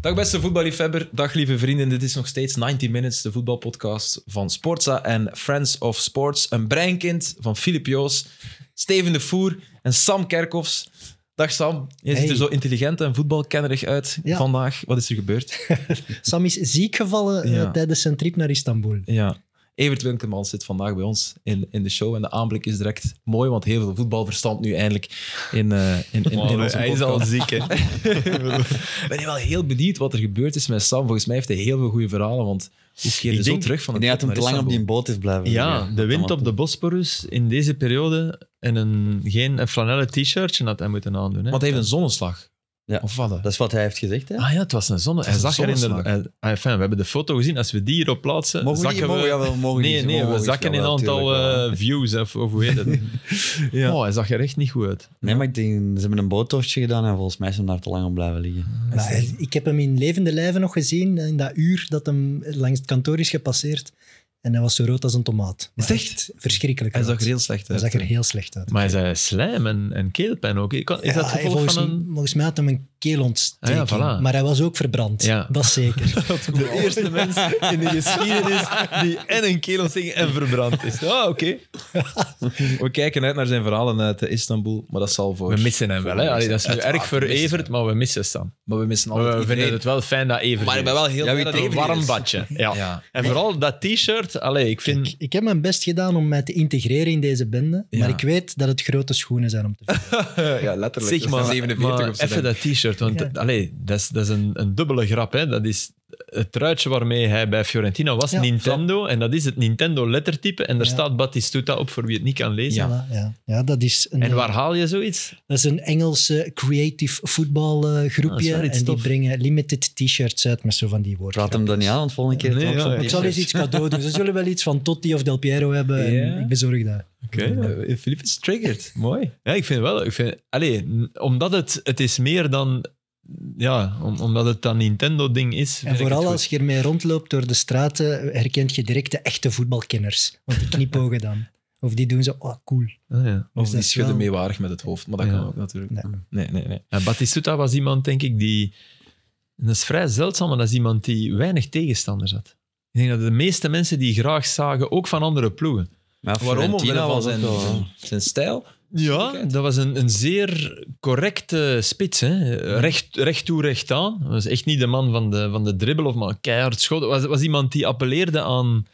Dag beste voetballiefhebber, dag lieve vrienden. Dit is nog steeds 90 Minutes, de voetbalpodcast van Sportza en Friends of Sports. Een breinkind van Filip Joos, Steven de Voer en Sam Kerkhoffs. Dag Sam, je ziet Hey. er zo intelligent en voetbalkennerig uit Ja. vandaag. Wat is er gebeurd? Sam is ziek gevallen eh, Ja. tijdens zijn trip naar Istanbul. Ja. Evert Winkelman zit vandaag bij ons in, in de show en de aanblik is direct mooi, want heel veel voetbalverstand nu eindelijk in, eh, in, in, in onze podcast. hij is al ziek, hè? Ik ben wel heel benieuwd wat er gebeurd is met Sam. Volgens mij heeft hij heel veel goede verhalen, want hoe keer je Ik zo denk- terug van Ik een denk dat trip hem te naar lang op die Istanbul? boot is blijven. Ja, de wind op de Bosporus in deze periode en een, geen een flanellen t-shirtje had hij moeten aandoen. Hè? Want hij heeft een zonneslag. Ja. Of wat? hè? Dat is wat hij heeft gezegd, hè? Ah ja, het was een zonne. Het Hij was zag een er inderdaad... zonneslag. hij- ah, Enfin, we hebben de foto gezien. Als we die hierop plaatsen, Mogen we zakken niet? Mogen we, jawel, mogen Nee, niet. nee, Mogen we niet, zakken in jawel, aantal tuurlijk wel. eh, views, of, of hoe heet het? Ja. Oh, hij zag er echt niet goed uit. Nee, maar ik denk, ze hebben een boottochtje gedaan en volgens mij is hem daar te lang op blijven liggen. Maar hij- ik heb hem in levende lijven nog gezien, in dat uur dat hem langs het kantoor is gepasseerd. En hij was zo rood als een tomaat. Is Maar het echt? Verschrikkelijk Hij rood. zag er heel slecht Hij uit. zag er heel slecht uit. Maar hij zei slijm en, en keelpijn ook. Ik kan- Is Ja, dat hij- gevolg volgens, van een... volgens mij had hem een keelontsteking. Ah ja, voilà. Maar hij was ook verbrand. Ja. Dat zeker. De eerste mens in de geschiedenis die en een keelontsteking en verbrand is. Ah, oké. We kijken uit naar zijn verhalen uit eh, Istanbul, maar dat zal voor... We missen hem wel, hè. Allee, dat is nu Uiteraard, erg voor we missen Evert, maar we missen Sam. Maar we missen Maar altijd we vinden iedereen. het wel fijn dat Evert Maar ik ben wel heel ja, blij weet dat je, Evert Een warm is. badje. Ja. Ja. En vooral dat t-shirt. Allee, ik vind... ik, ik heb mijn best gedaan om mij te integreren in deze bende. Ja. Maar ik weet dat het grote schoenen zijn om te vullen. Ja, letterlijk. Zeg dat maar, is 47 maar op zijn even nek. dat t-shirt. Want Ja. allee, dat is, dat is een, een dubbele grap. Hè. Dat is het truitje waarmee hij bij Fiorentina was, Ja. Nintendo. En dat is het Nintendo lettertype. En daar Ja. staat Batistuta op, voor wie het niet kan lezen. Ja. Voilà, ja. ja, dat is een, En waar haal je zoiets? Dat is een Engelse creative Ah, dat is voetbalgroepje. wel iets en die tof. brengen limited t-shirts uit met zo van die woorden. Praat hem dan niet aan, want volgende keer... Nee, trok ja, ze op ja. die Ik zal eens iets cadeau doen. Ze zullen wel iets van Totti of Del Piero hebben. en Ja. ik bezorg dat. Oké. Eh, Filip is triggered. Mooi. Ja, ik vind wel. Ik vind, allee, n- omdat het, het is meer dan. Ja, om- omdat het dat Nintendo-ding is. En vooral als je ermee rondloopt door de straten, herkent je direct de echte voetbalkenners. Want die knipogen dan. Of die doen zo, oh cool. Ah, ja. Of Dus die dat is schudden wel- meewarig met het hoofd, maar dat Ja. kan ook natuurlijk. Nee. Nee, nee, nee. Ja, Batistuta was iemand, denk ik, die. en Dat is vrij zeldzaam, maar dat is iemand die weinig tegenstanders had. Ik denk dat de meeste mensen die graag zagen, ook van andere ploegen. Maar Waarom? Omwille Fiorentina van was ook zijn, wel- zijn stijl. Ja, dat was een, een zeer correcte spits. Hè. Recht, recht toe, recht aan. Dat was echt niet de man van de, van de dribbel of maar keihard schot. Het was, was iemand die appelleerde aan,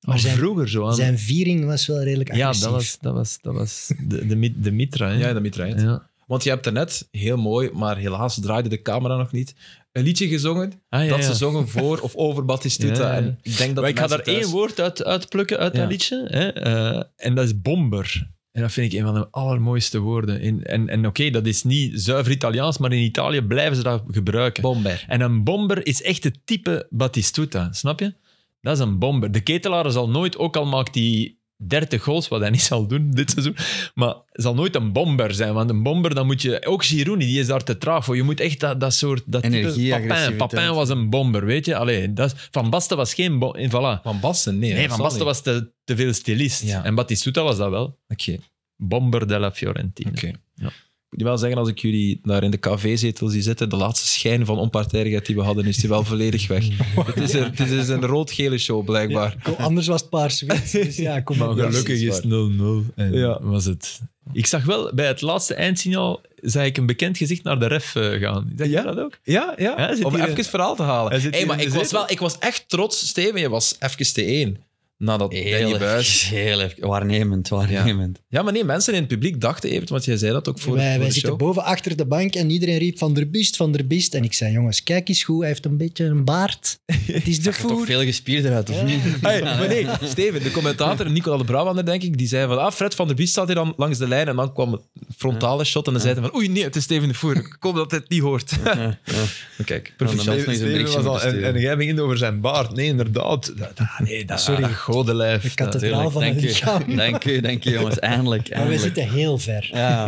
Maar aan zijn- vroeger. Zo, aan, Zijn viering was wel redelijk Ja, agressief. dat was, dat was, dat was de, de, mit- de Mitra. Hè? Ja, dat mitraait. Ja. Want je hebt daarnet, heel mooi, maar helaas draaide de camera nog niet, een liedje gezongen. Ah, ja, dat ze ja. zongen voor of over Batistuta. Ja, ja, ja. En ik denk dat Maar de ik ga daar mensen thuis- één woord uit, uitplukken uit Ja. dat liedje. Hè? Eh, en dat is bomber. En dat vind ik een van de allermooiste woorden. In, en en oké, dat is niet zuiver Italiaans, maar in Italië blijven ze dat gebruiken. Bomber. en een bomber is echt het type Batistuta, snap je? Dat is een bomber. De ketelaar zal nooit, ook al maakt hij 30 goals, wat hij niet zal doen dit seizoen, maar zal nooit een bomber zijn. Want een bomber, dan moet je... Ook Girouni, die is daar te traag voor. Je moet echt dat, dat soort... Dat Energie, type, Papin, agressiviteit. Papin was een bomber, weet je? Allee, dat, is- Van Basten was geen bom- en Voilà. Van Basten, nee. Nee, dat Van zal Basten niet. was te, te veel stilist. Ja. En Batistuta was dat wel. Oké, Bomber della Fiorentina. oké. Ja. Ik moet wel zeggen, als ik jullie daar in de kv-zetel zie zitten, de laatste schijn van onpartijdigheid die we hadden, is die wel volledig weg. het, is er, het is een rood-gele show, blijkbaar. Kom, Anders was het paars-wit. Dus ja, kom Maar op. gelukkig Ja, is dat het 0-0. En Ja. was het. Ik zag wel bij het laatste eindsignaal zag ik een bekend gezicht naar de ref eh, gaan. Zag je Ja? dat ook? Ja, ja. Hij zit Om hier even in- het verhaal te halen. Hij zit Hey, hier maar in ik de was, zetel. wel, ik was echt trots, Steven. Je was even de één. Nadat Danny Heel Buis... erg, heel erg. Waarnemend, waarnemend. Ja, maar nee, mensen in het publiek dachten even, want jij zei dat ook voor, wij voor wij de zitten show. boven achter de bank en iedereen riep van der Biest, van der Biest. En ik zei, jongens, kijk eens goed, hij heeft een beetje een baard. Het is de Toch voer. veel gespierder uit, of niet? Hey, maar nee, Steven, de commentator, Nicola de Brabander, denk ik, die zei van, ah, Fred van der Biest staat hier dan langs de lijn. En dan kwam het frontale shot en dan zei hij van, oei, nee, het is Steven de Voer. Ik hoop dat hij het niet hoort. Maar Kijk, proficiat. Steven- Steven was al- en- en jij begint over zijn baard. Nee, inderdaad. Ah, nee, dat, Sorry. godenlijf. De kathedraal van het Dank lichaam. je, dank je, dank je, jongens. Eindelijk, Maar wij eindelijk. zitten heel ver. Ja,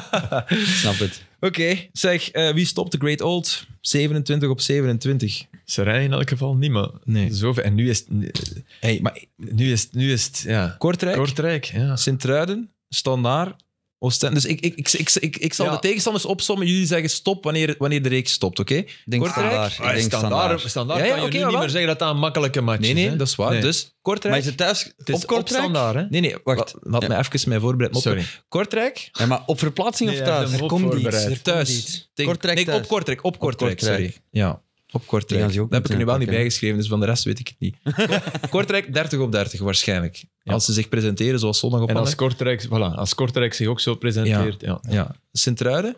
ik snap het. Oké, zeg, eh, wie stopt de Great Old? 27 op 27. Ze rijden in elk geval niet, maar Nee. zoveel. En nu is, het- Hey, maar nu is, het- nu is het ja, Kortrijk, Kortrijk. Ja. Sint-Truiden, Standaard, Oostende. Dus ik, ik, ik, ik, ik, ik zal Ja. de tegenstanders opsommen. Jullie zeggen stop wanneer, wanneer de reeks stopt, oké? Ik denk Kortrijk? standaard. Ik denk standaard. standaard Ja, ja, kan je oké, nu maar niet wel. meer zeggen dat dat een makkelijke match Nee, is. nee, hè. dat is waar. Nee. Dus Kortrijk... Maar is het thuis Het is op Kortrijk? op standaard, hè? Nee, nee, wacht. Wacht. Laat Ja. me even mijn voorbereid op. Sorry. Kortrijk? Ja, maar op verplaatsing Nee, of hij thuis? heeft hem Er Ook komt iets. voorbereid. Er komt iets. Thuis. Tegen- Kortrijk nee, thuis. op Kortrijk. Op Kortrijk, Kortrijk. sorry. Ja, op Kortrijk. Die Dat gaan ze heb ook ik er nu wel meteen niet pakken. bijgeschreven, dus van de rest weet ik het niet. Kortrijk 30 op 30 waarschijnlijk. Als ze zich presenteren zoals zondag op En als Anderlecht. Kortrijk, voilà, als Kortrijk zich ook zo presenteert. Ja. Ja. Sint-Truiden?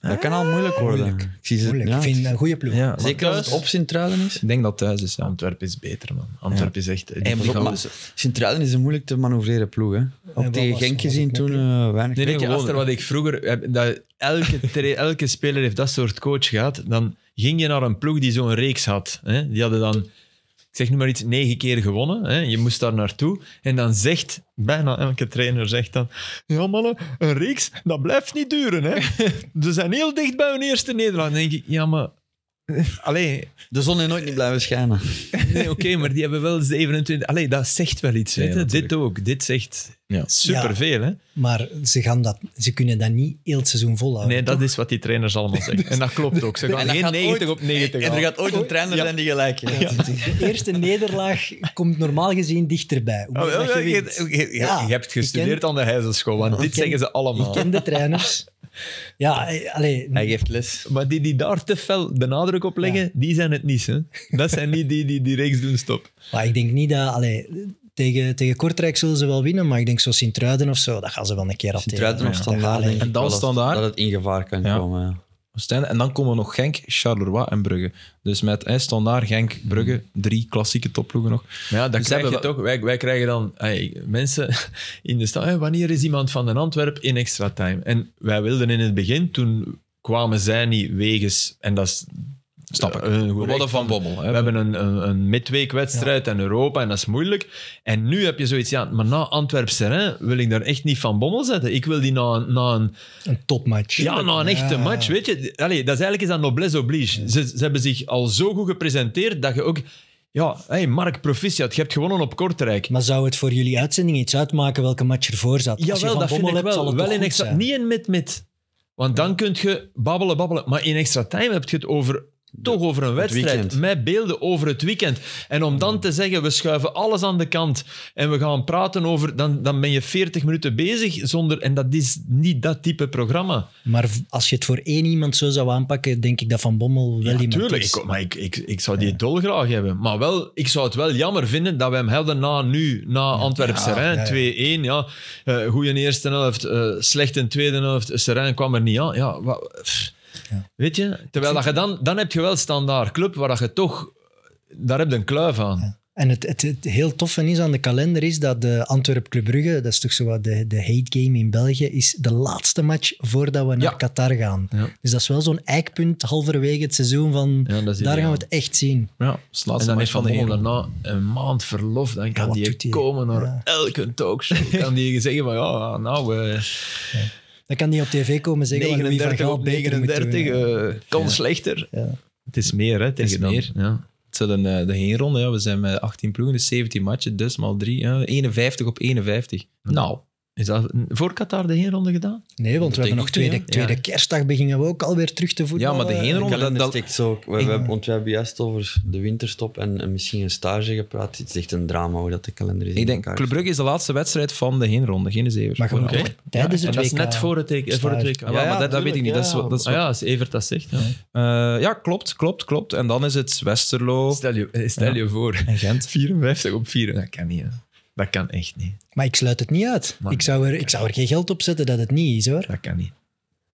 Dat kan al moeilijk worden. moeilijk. Ik zie ze, Ah. Moeilijk. ja, Ik vind het een goede ploeg. Ja. Zeker als het op Sint-Truiden is. Ik denk dat thuis is, ja. Antwerpen is beter, man. Antwerpen is echt... En pas op, Brugge. maar- Sint-Truiden is een moeilijk te manoeuvreren ploeg. Hè. wat Ook tegen was- Genk was gezien het toen nog? eh, weinig. Nee, weet je, gewonnen. Aster, wat ik vroeger... heb, Dat elke, tra- elke speler heeft dat soort coach gehad. Dan ging je naar een ploeg die zo'n reeks had. Hè? Die hadden dan, ik zeg nu maar iets, negen keer gewonnen. Hè? Je moest daar naartoe. En dan zegt, bijna elke trainer zegt dan... Ja, mannen, een reeks, dat blijft niet duren. Hè? Ze zijn heel dicht bij hun eerste nederlaag. Dan denk ik, ja, maar... Allee, De zon is nooit niet blijven schijnen. nee, oké, maar die hebben wel 27... Allee, dat zegt wel iets. Nee, weet je? dit natuurlijk. ook. Dit zegt Ja. superveel, hè? Maar ze, gaan dat, ze kunnen dat niet heel het seizoen volhouden. Nee, dat is wat die trainers allemaal zeggen. Oh, En dat klopt ook. Ze gaan dat geen gaat 90 ooit- op 90 En er halen. gaat ooit een trainer zijn die gelijk heeft. De eerste nederlaag komt normaal gezien dichterbij. Hoe Oh, meer oh, dat je je, wint. je- je- Ja, je hebt ik gestudeerd aan de Heijzelschool, want Ja, dit ik ken- zeggen ze Ik allemaal. ken de trainers. Ja, eh, allee, Hij geeft les. Maar die die daar te fel de nadruk op leggen, die zijn het niet. Hè? Dat zijn niet die die die reeks doen stop. maar ik denk niet dat... Allee, tegen, tegen Kortrijk zullen ze wel winnen, maar ik denk zo Sint-Truiden of zo, dat gaan ze wel een keer al Sint-Truiden tegen. of Ja. standaard. Allee, denk En ik dan wel dat- standaard. Dat het in gevaar kan Ja. komen. ja. Oostende. En dan komen nog Genk, Charleroi en Brugge. Dus met eh, Standaard, Genk, Brugge, drie klassieke topploegen nog. Ja, dat Dus krijg je hebben we- toch. Wij, wij krijgen dan ey, mensen in de stad. "Hey, wanneer is iemand van een Antwerp in extra time? En wij wilden in het begin, toen kwamen zij niet wegens. En dat is. Snap ik. eh, een goed We recht hadden Van Bommel. Hè. We hebben een, een, een midweekwedstrijd in Europa en dat is moeilijk. En nu heb je zoiets, ja, maar na Antwerp-Serrain wil ik daar echt niet van bommel zetten. Ik wil die na, een- na, een, Een topmatch. ja, na een echte Ja. match, weet je. Allee, dat is eigenlijk is dat noblesse oblige. Ze, ze hebben zich al zo goed gepresenteerd dat je ook... Ja, hey, Mark, proficiat, je hebt gewonnen op Kortrijk. Maar zou het voor jullie uitzending iets uitmaken welke match ervoor zat? Als je Jawel, Van dat vind Bommel ik hebt, zal wel. het wel toch in goed extra, zijn? niet in mid-mid. Want dan kun je babbelen, babbelen. Maar in extra time heb je het over, toch over een wedstrijd. weekend. Met beelden over het weekend. En om dan te zeggen, we schuiven alles aan de kant en we gaan praten over... Dan, dan ben je 40 minuten bezig zonder... En dat is niet dat type programma. Maar v- als je het voor één iemand zo zou aanpakken, denk ik dat Van Bommel wel iemand Tuurlijk, is. ik, maar ik, ik, ik zou die dolgraag hebben. Maar wel, ik zou het wel jammer vinden dat we hem hadden na nu, na Antwerp ja, Serrain, ja. 2-1. Ja. Eh goeie eerste helft, eh slechte tweede helft. Serrain kwam er niet aan. Ja, wa- pff. Ja. Weet je? Terwijl dat je dan, dan heb je wel standaard club waar dat je toch, daar heb je een kluif aan. En het, het, het heel toffe is aan de kalender is dat de Antwerp Club Brugge, dat is toch zo wat de, de hate game in België, is de laatste match voordat we naar Ja. Qatar gaan. Ja. Dus dat is wel zo'n eikpunt halverwege het seizoen van Ja, dat is daar ideaal. gaan we het echt zien. Ja, slaatste match En dan heeft Van de Bommel Eredivisie. daarna een maand verlof. Dan kan wat die doet hij? komen naar Ja. elke talkshow. kan die zeggen van, ja, nou... eh, Dan kan die op tv komen zeggen wat Louis van 39 Gaal op beter moet 39, doen. eh, kan slechter. Ja. Het is meer, hè, tegen is dan. meer. Ja. Het zullen eh, de heenronde, ja. we zijn met 18 ploegen, dus 17 matchen, dus maal 3. 51 op 51. Nou, Is dat voor Qatar de heenronde gedaan? Nee, want we denk hebben nog ik niet, tweede, hè. tweede kerstdag beginnen we ook alweer terug te voetballen. Ja, maar de heenronde- De Waarom? kalender Dat- stikt zo. We, we, hebben- want we hebben juist over de winterstop en, en misschien een stage gepraat. Het is echt een drama hoe dat de kalender is. in ik denk, elkaar Club Brugge is de laatste wedstrijd van de heenronde, geen zeven. Maar je moet Oké. ook tijdens En het dat is WK net voor het, eh, voor het WK. Ja, Ja, maar dat, dat weet ik niet. Dat is, wat- dat is Ah wat- ja, als Evert dat zegt. Ja. Eh, ja, klopt, klopt, klopt. En dan is het Westerlo Stel, je, eh, stel je voor, en Gent. 54 op 4. Dat kan niet. hè. Dat kan echt niet. Maar ik sluit het niet uit. Maar- Ik zou, er, ik zou er geen geld op zetten dat het niet is, hoor. Dat kan niet.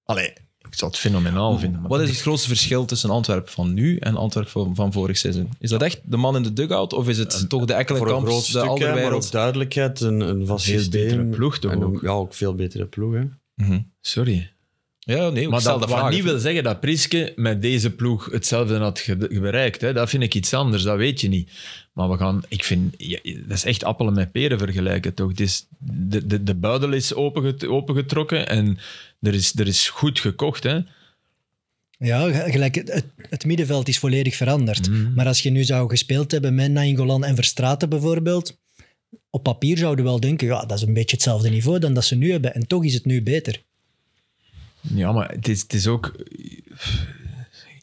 Allee, ik zou het fenomenaal vinden. maar- Nou, Wat is het grootste verschil tussen Antwerpen van nu en Antwerpen van, van vorig seizoen? Is dat echt de man in de dugout of is het toch de Voor een Ekkelenkamp, groot de stuk, hè, maar Alderweireld? ook duidelijkheid, een, een vast Veel systeem. betere ploeg toch En een- ook? Ja, ook veel betere ploeg. Hè. Mhm. Sorry. Ja, nee, ik Maar stel dat de wat vraag. niet wil zeggen dat Priske met deze ploeg hetzelfde had ge- bereikt. Hè. Dat vind ik iets anders, dat weet je niet. Maar we gaan, ik vind, ja, dat is echt appelen met peren vergelijken toch. Het is, de, de, de buidel is openge- opengetrokken en er is, er is goed gekocht. Hè. Ja, ge- gelijk, het, het- het middenveld is volledig veranderd. Mhm. Maar als je nu zou gespeeld hebben met Nainggolan en Verstraten bijvoorbeeld, op papier zouden we wel denken, ja, dat is een beetje hetzelfde niveau dan dat ze nu hebben. En toch is het nu beter. Ja, maar het is, het is ook...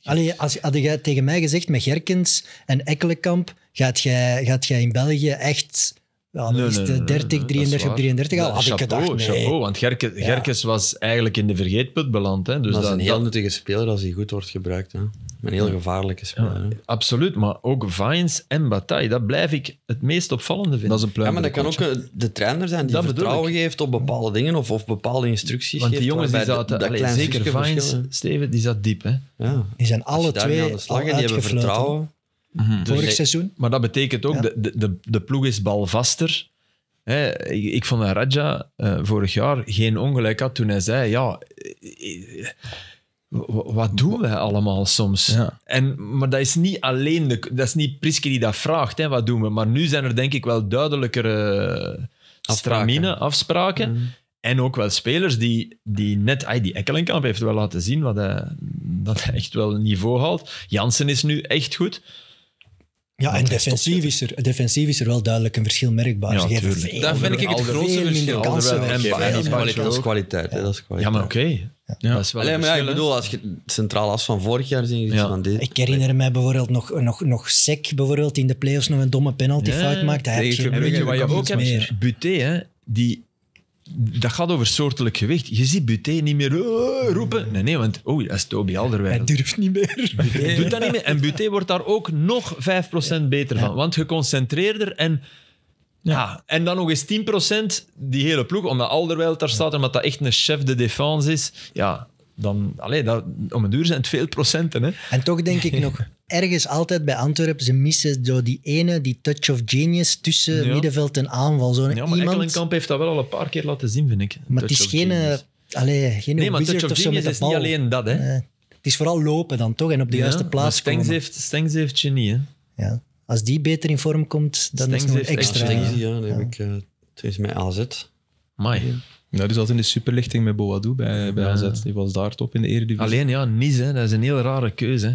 Allee, als, had jij tegen mij gezegd met Gerkens en Ekkelenkamp, gaat jij, gaat jij in België echt ja, Nee, is nee, de nee, nee, 30, nee, 33, dat is waar. 33 al? Ja, Had ik chapeau, gedacht, nee. chapeau, want Gerke- Ja. Gerkes was eigenlijk in de vergeetput beland. Hè? Dus dat is dat- een heel dat- nuttige speler als hij goed wordt gebruikt. Hè. Een heel gevaarlijke speler. hè. absoluut, maar ook Vines en Bataille, dat blijf ik het meest opvallende vinden. Dat is een pluim. Ja, maar dat kan ook een- de trainer zijn die Dat bedoel vertrouwen geeft op bepaalde dingen of, of bepaalde instructies. Want die geeft, jongens die waarbij zaten, dat allee, klein zeker stukje Vines, verschil, Steven, die zat diep. Hè? hè. Ja. Die zijn alle Alle twee aan de slag al en die hebben uitgefloten. vertrouwen. Mhm. Vorig Dus- seizoen. Maar dat betekent ook, Ja. de, de, de, de ploeg is balvaster. Hè, ik, ik vond dat Raja eh, vorig jaar geen ongelijk had toen hij zei, ja, eh, eh, w- wat doen wij allemaal soms? Ja. En, maar dat is niet alleen, de, dat is niet Priske die dat vraagt, hè, wat doen we? Maar nu zijn er denk ik wel duidelijkere eh, stramine, afspraken. En ook wel spelers die, die net... ai, die Ekkelenkamp heeft wel laten zien wat hij, dat hij echt wel een niveau haalt. Jansen is nu echt goed. Ja, en defensief is, er, defensief is er wel duidelijk een verschil merkbaar. Ja, Ze geven tuurlijk. veel Daar vind minder- ik het veel grootste minder verschil. kansen Alderweireld weg. en Veel dat, is minder kansen. kwaliteit, dat is kwaliteit. hè, Dat is Ja, kwaliteit. maar oké. Ja. Dat is wel Allee, een maar ja, ik verschil, hè. bedoel, als je het centraal as van vorig jaar ziet, Ja. van dit. Ik herinner mij bijvoorbeeld nog, nog, nog Sek bijvoorbeeld in de playoffs nog een domme penalty Ja, fout maakt. Hij had tegen geen- En weet je Brugge, wat je dat ook komt hebt? iets Buté, hè, die, dat gaat over soortelijk gewicht. Je ziet Buté niet meer "Oh," roepen. Nee, nee, want oei, dat is Toby Hij Alderweireld. durft niet meer. Hij doet dat niet meer. En Buté wordt daar ook nog 5% beter van. Want geconcentreerder en... Ja, en dan nog eens 10% die hele ploeg, omdat Alderweireld daar staat en omdat dat echt een chef de défense is. Ja, dan, allee, dat, om een duur zijn het veel procenten. Hè. En toch denk ik nog ergens altijd bij Antwerpen, ze missen zo die ene, die touch of genius tussen Ja. middenveld en aanval. Zo'n Ja, maar iemand, Ekkelenkamp heeft dat wel al een paar keer laten zien, vind ik. maar het Touch is of geen, eh, genius. allee, geen Nee, maar wizard Touch of of zo met Genius de is bal. niet alleen dat, hè. Nee. Het is vooral lopen dan toch en op de Ja, juiste maar plaats Stengs komen. heeft, Stengs heeft genie, hè. Ja. Als die beter in vorm komt, dan Stengs is het nog heeft een extra. extra- Ja, dan heb ik... eh, Toen is mijn AZ. Amai. Ja, dus- die zat in de superlichting met Boadou bij, bij Ja. AZ. Die was daar top in de eredivisie. Alleen ja, Nice, hè, dat is een heel rare keuze. hè.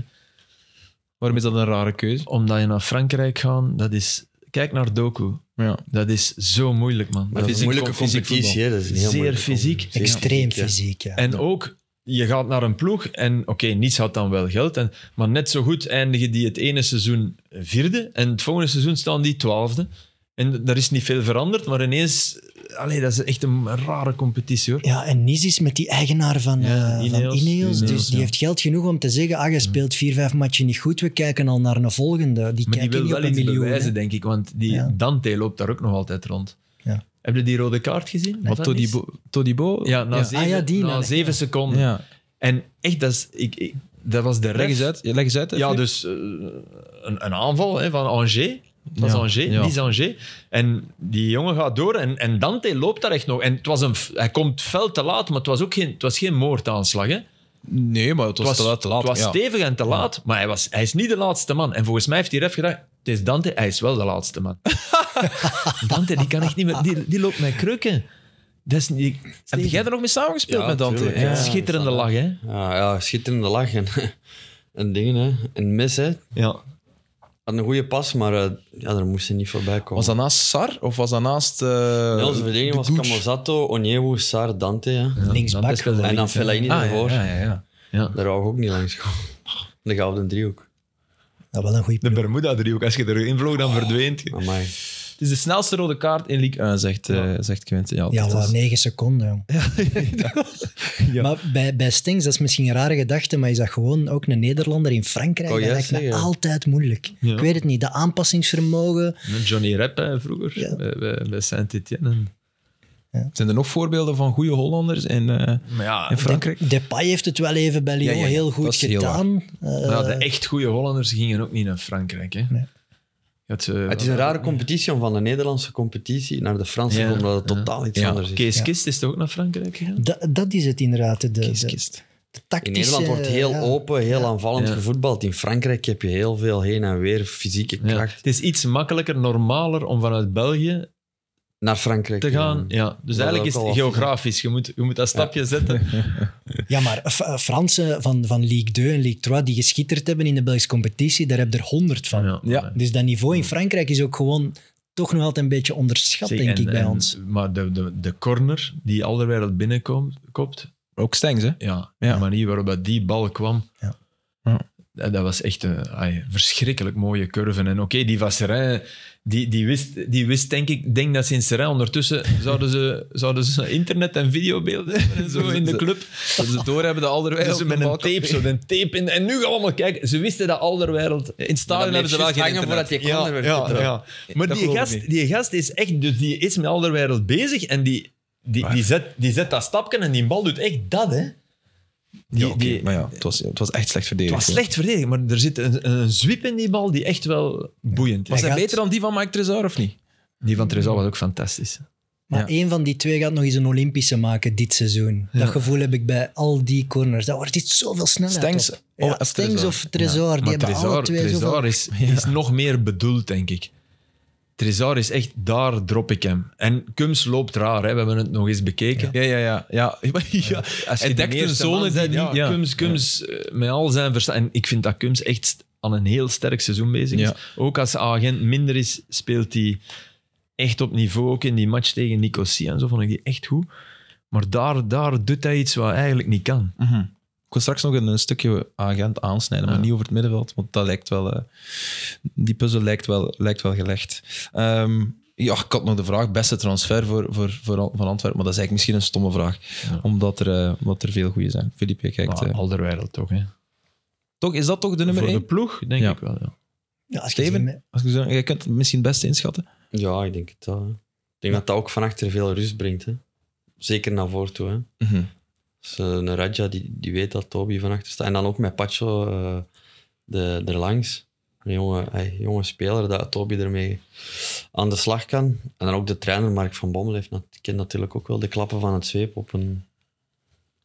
Waarom is dat een rare keuze? Omdat je naar Frankrijk gaat, dat is... Kijk naar Doku. Ja. Dat is zo moeilijk, man. Maar dat het is een moeilijke moeilijk fysiek competitie. voetbal. hè, Dat is een heel Zeer moeilijke fysiek. competitie. Zeer Extreem fysiek, ja. fysiek, ja. En ook, je gaat naar een ploeg en oké, Nice had dan wel geld. En, maar net zo goed eindigen die het ene seizoen vierde en het volgende seizoen staan die twaalfde. En d- daar is niet veel veranderd, maar ineens... Allee, dat is echt een rare competitie, hoor. Ja, en Nis is met die eigenaar van, Ja, eh, van Ineos. Ineos. Dus Ineos, die ja. heeft geld genoeg om te zeggen: ah, je speelt vier, vijf matchen niet goed, we kijken al naar een volgende. Die Maar die kijken wil niet wel op een iets miljoen. bewijzen, hè. denk ik. Want die Ja. Dante loopt daar ook nog altijd rond. Ja. Heb je die rode kaart gezien? Wat Was dat niet? Todibo? Todibo? Ja, na ja. zeven, Ah ja, die, na nee. zeven seconden. Ja. En echt, dat, is, ik, ik- dat was de ref. Leg eens uit. Ja, Leg eens uit hè, Ja, Filip. dus eh, een, een aanval hè, van Angers. Dat is Ja, Angers, ja. Nice Angers. En die jongen gaat door en, en Dante loopt daar echt nog. En het was een, f- hij komt fel te laat, maar het was ook geen, het was geen moordaanslag. Hè. Nee, maar het was, te laat. Te laat het was ja. stevig en te laat, maar hij, was, hij is niet de laatste man. En volgens mij heeft die ref gedacht, het is Dante, hij is wel de laatste man. Dante, die kan echt niet meer... Die, die loopt met krukken. Dat is niet... Heb jij er nog mee samengespeeld Ja, met Dante? tuurlijk, Ja. ja. Schitterende lach, hè? Ja, ja, schitterende lach en, en dingen. Hè. En mis, hè. Ja. Had een goede pas, maar eh, ja, daar moest hij niet voorbij komen. Was dat naast Sar of was dat naast... eh Ah, Ja, onze verdediging de was coach? Camozato, Onyewu, Sar, Dante. hè. Linksbak. Dante speelde En dan links, hè. Fellaini Ah, ja, ervoor. ja, ja, ja. ja. Daar wou ik ook niet langs komen. De gouden driehoek. Dat wel een goede De ploeg. Bermuda-driehoek, als je erin vloog, dan verdwijnt je. Amai. Het is de snelste rode kaart in Ligue 1, zegt, eh zegt Quinten. Ja, Ja, dat wel is- negen seconden. jong. Maar bij, bij Stengs, dat is misschien een rare gedachte, maar is dat gewoon ook een Nederlander in Frankrijk? Wou dat jij lijkt me zeggen? altijd moeilijk. Ja. Ik weet het niet. De aanpassingsvermogen. Johnny Rep hè, vroeger, Ja. bij, bij, bij Saint-Etienne. Zijn er nog voorbeelden van goede Hollanders in, eh, Maar ja, in Frankrijk? De- Depay heeft het wel even bij Lyon Ja, ja, ja. heel Dat goed is heel Nou, gedaan. Eh, maar ja, de echt goede Hollanders gingen ook niet naar Frankrijk. Hè. Nee. Dat, eh, Het is een rare competitie om van de Nederlandse competitie naar de Franse te Ja, komen, omdat het ja. totaal iets Ja, anders is. Kees Kist is toch ook naar Frankrijk gegaan? da- dat is het inderdaad. De, de, de Kist. tactische, In Nederland wordt heel eh, ja. open, heel aanvallend Ja. gevoetbald. In Frankrijk heb je heel veel heen en weer fysieke Ja. kracht. Het is iets makkelijker, normaler om vanuit België Naar Frankrijk eh, te gaan. Ja. Dus Dat eigenlijk is is ook het al wat. geografisch. Je moet, je moet dat stapje zetten. Ja, maar F- eh, Fransen van, van Ligue 2 en Ligue 3 die geschitterd hebben in de Belgische competitie, daar heb je er honderd van. Ja. Dus dat niveau in Frankrijk is ook gewoon toch nog altijd een beetje onderschat, Zeg, denk en- ik, bij en- ons. Maar de, de, de corner die Alderweireld binnenkomt, kopt, Ook Stengs, hè? Ja, Ja. de manier waarop dat die bal kwam. Ja. Ja. Dat, dat was echt een ai, verschrikkelijk mooie curve. En oké, die van Seraing, die, die, wist, die wist denk ik, denk dat ze in Seraing ondertussen zouden ze, zouden ze internet en videobeelden hebben en zo in de club. Dat ze doorhebben de Alderwijl. Dus met een tape, zo, een tape. In, en nu gaan we allemaal kijken. Ze wisten dat Alderwereld... In het stadion hebben ze wel geen hangen internet. voordat je kon ja, er werd ja, getrapt. ja. Maar Dat die geloof ik gast, niet. die gast is echt... Dus die is met Alderwereld bezig en die, die, die, zet, die zet dat stapje en die bal doet echt dat, hè. Die, Ja, oké, die, maar ja, het was, het was echt slecht het verdedigd. was hoor. slecht verdedigd, maar er zit een, een zwiep in die bal die echt wel boeiend Was is. Hij hij gaat- beter dan die van Mike Trezor of niet? Die van Trezal was ook fantastisch. Maar één van die twee gaat nog eens een Olympische maken dit seizoen. Dat gevoel heb ik bij al die corners. Dat wordt dit zoveel sneller. Stengs op. of- ja, of Stengs Trezor. of Trezor. Die maar hebben alle Trezor, twee zoveel... Trezor is, is nog meer bedoeld, denk ik. Trezor is echt, daar drop ik hem. En Kums loopt raar, hè. we hebben het nog eens bekeken. Ja, ja, ja. ja. ja. Als je Hij de dekt eerste een zone man die- bent, ja, ja. Kums, Kums eh, met al zijn verstand. En ik vind dat Kums echt st- aan een heel sterk seizoen bezig is. Ja. Ook als agent minder is, speelt hij echt op niveau. Ook in die match tegen Nicosia en zo vond ik die echt goed. Maar daar, daar doet hij iets wat hij eigenlijk niet kan. Mhm. Ik wil straks nog een, een stukje agent aansnijden, maar Ja. niet over het middenveld, want dat lijkt wel, eh, die puzzel lijkt wel, lijkt wel gelegd. Ehm, ja, ik had nog de vraag, beste transfer voor, voor, voor, Al- van Antwerpen, maar dat is eigenlijk misschien een stomme vraag, Ja. omdat, er, eh, omdat er veel goede zijn. Filip, je kijkt... Maar eh, Alderweireld toch, hè? toch, is dat toch de nummer Voor de 1? ploeg, denk Ja. ik wel. Ja. Ja, als je Steven, ziet, als ik zo- jij kunt het misschien het beste inschatten. Ja, ik denk het wel. hè. Ik denk dat dat ook van achter veel rust brengt. Hè. Zeker naar voren toe. Hè. Mhm. Dus, eh, een Raja die, die weet dat Toby van achter staat. En dan ook met Pacho eh, de, erlangs. Een jonge, hey, jonge speler dat Toby ermee aan de slag kan. En dan ook de trainer Mark van Bommel heeft nat- kent natuurlijk ook wel de klappen van het zweep op een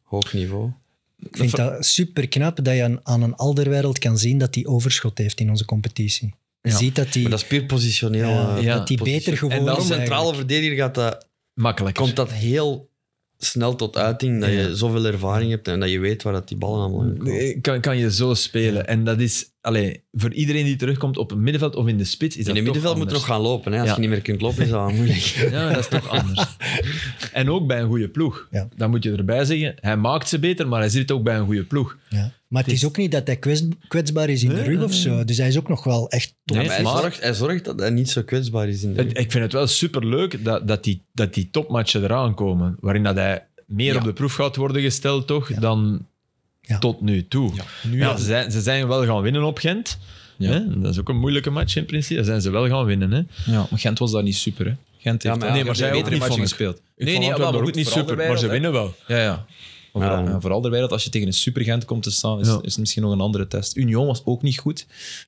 hoog niveau. ik vind dat super knap dat je aan, aan een alderwereld kan zien dat die overschot heeft in onze competitie. Je Ja. ziet dat die, Maar dat is puur positioneel. ja, eh, ja, dat die positie- beter geworden En dan is centrale eigenlijk. verdediger gaat dat Makkelijk. komt dat heel snel tot uiting dat je Ja. zoveel ervaring hebt en dat je weet waar dat die ballen allemaal in komen. Nee, Kan, kan je zo spelen. En dat is, allee, voor iedereen die terugkomt op het middenveld of in de spits, is In dat toch het middenveld moet er nog anders. gaan lopen. Hè. Als Ja. je niet meer kunt lopen, is dat wel moeilijk. Ja, dat is toch anders. En ook bij een goede ploeg. Ja. Dan moet je erbij zeggen, hij maakt ze beter, maar hij zit ook bij een goede ploeg. Ja. Maar het is ook niet dat hij kwets- kwetsbaar is in de Nee, rug nee, of zo. Dus hij is ook nog wel echt top. Nee, Maar hij, maar- zorgt, hij zorgt dat hij niet zo kwetsbaar is in de Het- ik vind het wel superleuk dat, dat, die, dat die topmatchen eraan komen, waarin dat hij meer Ja. op de proef gaat worden gesteld, toch, Ja. dan Ja. tot nu toe. Ja. ze, zijn, ze zijn wel gaan winnen op Gent. Ja. Hè? Dat is ook een moeilijke match in principe. Dan zijn ze wel gaan winnen. Hè? Ja, maar Gent was daar niet super, hè? Gent Ja, heeft maar daar ja, betere zij ook matchen niet, vond ik. gespeeld. Ik vond Antwerpen daar ook niet super, maar ze winnen wel. Ja, ja. eh, Maar Vooral, Ja. ja, vooral de wereld, als je tegen een supergent komt te staan, is, Ja. is het misschien nog een andere test. Union was ook niet goed.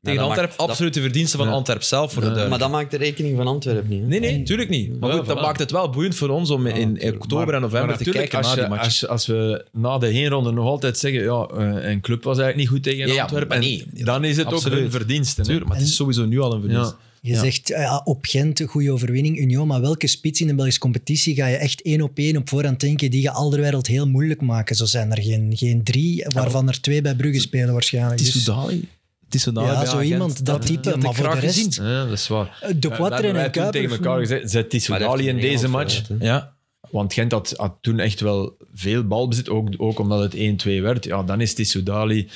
Tegen dat Antwerp, maakt- dat- absolute verdiensten van Ja. Antwerp zelf. Voor de Maar duidelijkheid. dat maakt de rekening van Antwerpen niet. Hè. Nee, nee, tuurlijk niet. Maar Ja, goed, dat voilà. maakt het wel boeiend voor ons om in, in oktober en november Maar te natuurlijk, kijken als naar die je- match. Als, je- als we na de heenronde nog altijd zeggen, ja, eh, een club was eigenlijk niet goed tegen Ja, ja, Antwerpen, maar en nee. dan is het Absoluut. ook hun verdiensten. hè. Tuurlijk, maar het is sowieso nu al een verdienst. Je Ja. zegt eh, ja, op Gent, een goede overwinning, Union. Maar welke spits in de Belgische competitie ga je echt één op één op voorhand denken? Die je Alderwereld heel moeilijk maken. Zo zijn er geen, geen drie, waarvan er twee bij Brugge spelen waarschijnlijk. Het is Dus, Soudali. Het is Soudali Ja, bij zo Gent. iemand, dat had- type, had ik maar voor de graag rest- eh, gezien. Ja, dat is waar. de Ja, dat hebben Quattro Eh, wij en toen Kuiper. tegen elkaar gezegd, zet die Maar daar Soudali heeft in hij deze geen match. geld voor, hè. Ja, Want Gent had, had toen echt wel veel balbezit, ook, ook omdat het 1-2 werd. Ja, dan is Tissoudali...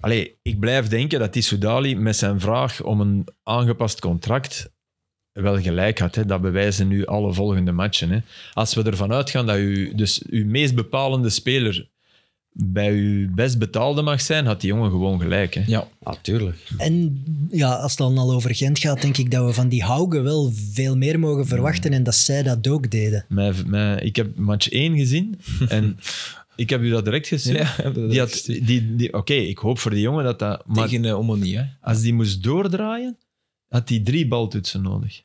Allee, ik blijf denken dat Tissoudali met zijn vraag om een aangepast contract wel gelijk had. Hè. Dat bewijzen nu alle volgende matchen. Hè. Als we ervan uitgaan dat u, dus uw meest bepalende speler bij uw best betaalde mag zijn, had die jongen gewoon gelijk. Hè. ja. Ah, tuurlijk. En ja, als het dan al over Gent gaat, denk ik dat we van die Haugen wel veel meer mogen verwachten. En dat zij dat ook deden. Mijn, mijn, ik heb match 1 gezien en ik heb u dat direct gezien. Ja, dat- die had, die, die, Oké, ik hoop voor die jongen dat dat... Maar Tegen eh, Omonie, hè. als die moest doordraaien, had hij drie baltoetsen nodig.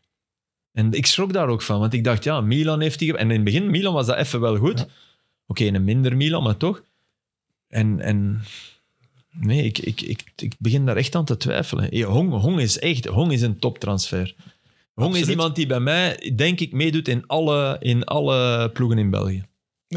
En ik schrok daar ook van, want ik dacht, ja, Milan heeft die... En in het begin, Milan was dat even wel goed. Oké, een minder Milan, maar toch. En... en nee, ik, ik, ik, ik begin daar echt aan te twijfelen. Ja, Hong, Hong is echt... Hong is een toptransfer. Hong Absoluut. is iemand die bij mij, denk ik, meedoet in alle, in alle ploegen in België.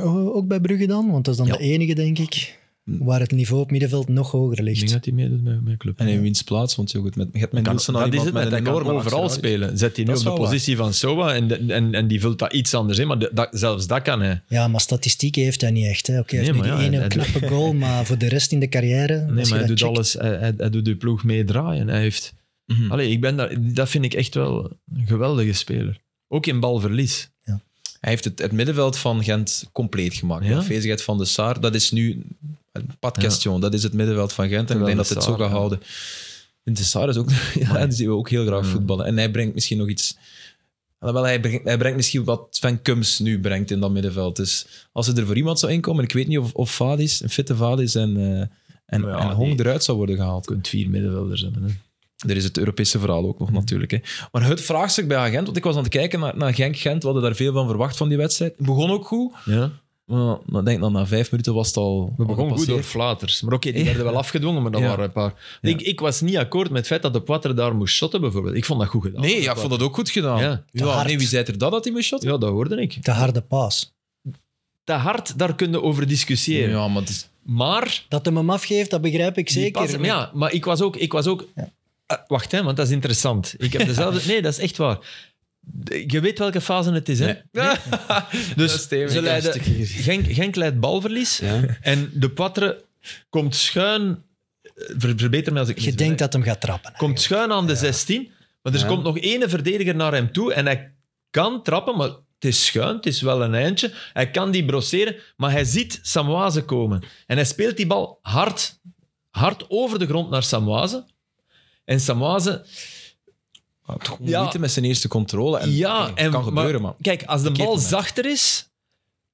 Oh, ook bij Brugge dan, want dat is dan Ja. de enige, denk ik. Hm. waar het niveau op middenveld nog hoger Ik ligt. denk dat hij meedoet met mijn club. En in wiens plaats, want je, goed, met, je hebt met Kan- Nielsen al dat is iemand het met net, een hij kan enorme overal actie. spelen. Zet hij Dat nu op is de wel waar. positie van Sowa en, de- en, en die vult dat iets anders in, maar de- dat, zelfs dat kan hij. Ja, maar statistieken heeft hij niet echt. Hè. Oké, hij heeft Nee, nu maar die ja, ene hij- knappe goal, maar voor de rest in de carrière... Nee, als je maar dat hij Dus doet checkt- alles. Hij, hij, hij doet de ploeg meedraaien. Hij heeft... Mhm. Allee, ik ben daar, dat vind ik echt wel een geweldige speler. Ook in balverlies. Hij heeft het, het middenveld van Gent compleet gemaakt. Ja. De afwezigheid van de Saar, dat is nu een pad question. Dat is het middenveld van Gent en ik Terwijl denk dat de het zo Saar, gaat ja. houden. En de Saar is ook, ja, die zien we ook heel Mm. graag voetballen. En hij brengt misschien nog iets... Wel, hij, brengt, hij brengt misschien wat Sven Kums nu brengt in dat middenveld. Dus als er er voor iemand zou inkomen, ik weet niet of, of Vadis, een fitte Vadis en, eh, en, Ja, en Hong die- eruit zou worden gehaald. Je kunt vier middenvelders hebben. Hè. Mhm. Er is het Europese verhaal ook nog natuurlijk. Hè. Maar het vraagstuk bij Gent, want ik was aan het kijken naar, naar Genk-Gent, we hadden daar veel van verwacht van die wedstrijd. Het begon ook goed, Ja. maar ik denk dan na vijf minuten was het al We al begonnen goed gepasseerd. door flaters. Maar oké, die werden wel afgedwongen, maar dat Ja. waren een paar. Ja. Ik, ik was niet akkoord met het feit dat de Poitre daar moest shotten, bijvoorbeeld. Ik vond dat goed gedaan. Nee, ja, ik vond dat ook goed gedaan. Ja. Ja. Te hard. nee, wie zei er dat dat hij moest shotten? Ja, dat hoorde ik. De harde paas. Te hard, daar kunnen we over discussiëren. Ja, maar het is- Maar, Dat hem hem afgeeft, dat begrijp ik die zeker. passen- maar ja, maar ik was ook... Ik was ook Ah, wacht, hè, want dat is interessant. Ik heb dezelfde... Nee, dat is echt waar. De- Je weet welke fase het is, hè? Nee. Dat is dus stevig. ze leiden, Ik heb een stukje Genk, Genk leidt balverlies Ja. en de Poitre komt schuin... eh, Ver- verbeter me als ik je mis ben, denkt hè. dat hem gaat trappen. Komt schuin aan de 16, maar er Ja. komt nog ene verdediger naar hem toe en hij kan trappen, maar het is schuin, het is wel een eindje. Hij kan die brosseren, maar hij ziet Samwaze komen. En hij speelt die bal hard, hard over de grond naar Samwaze. En Samwaze, hij had gewoon Ja. moeite met zijn eerste controle. En, ja, oké, en, kan maar- gebeuren, man. Kijk, als de Verkeerd bal moment. zachter is,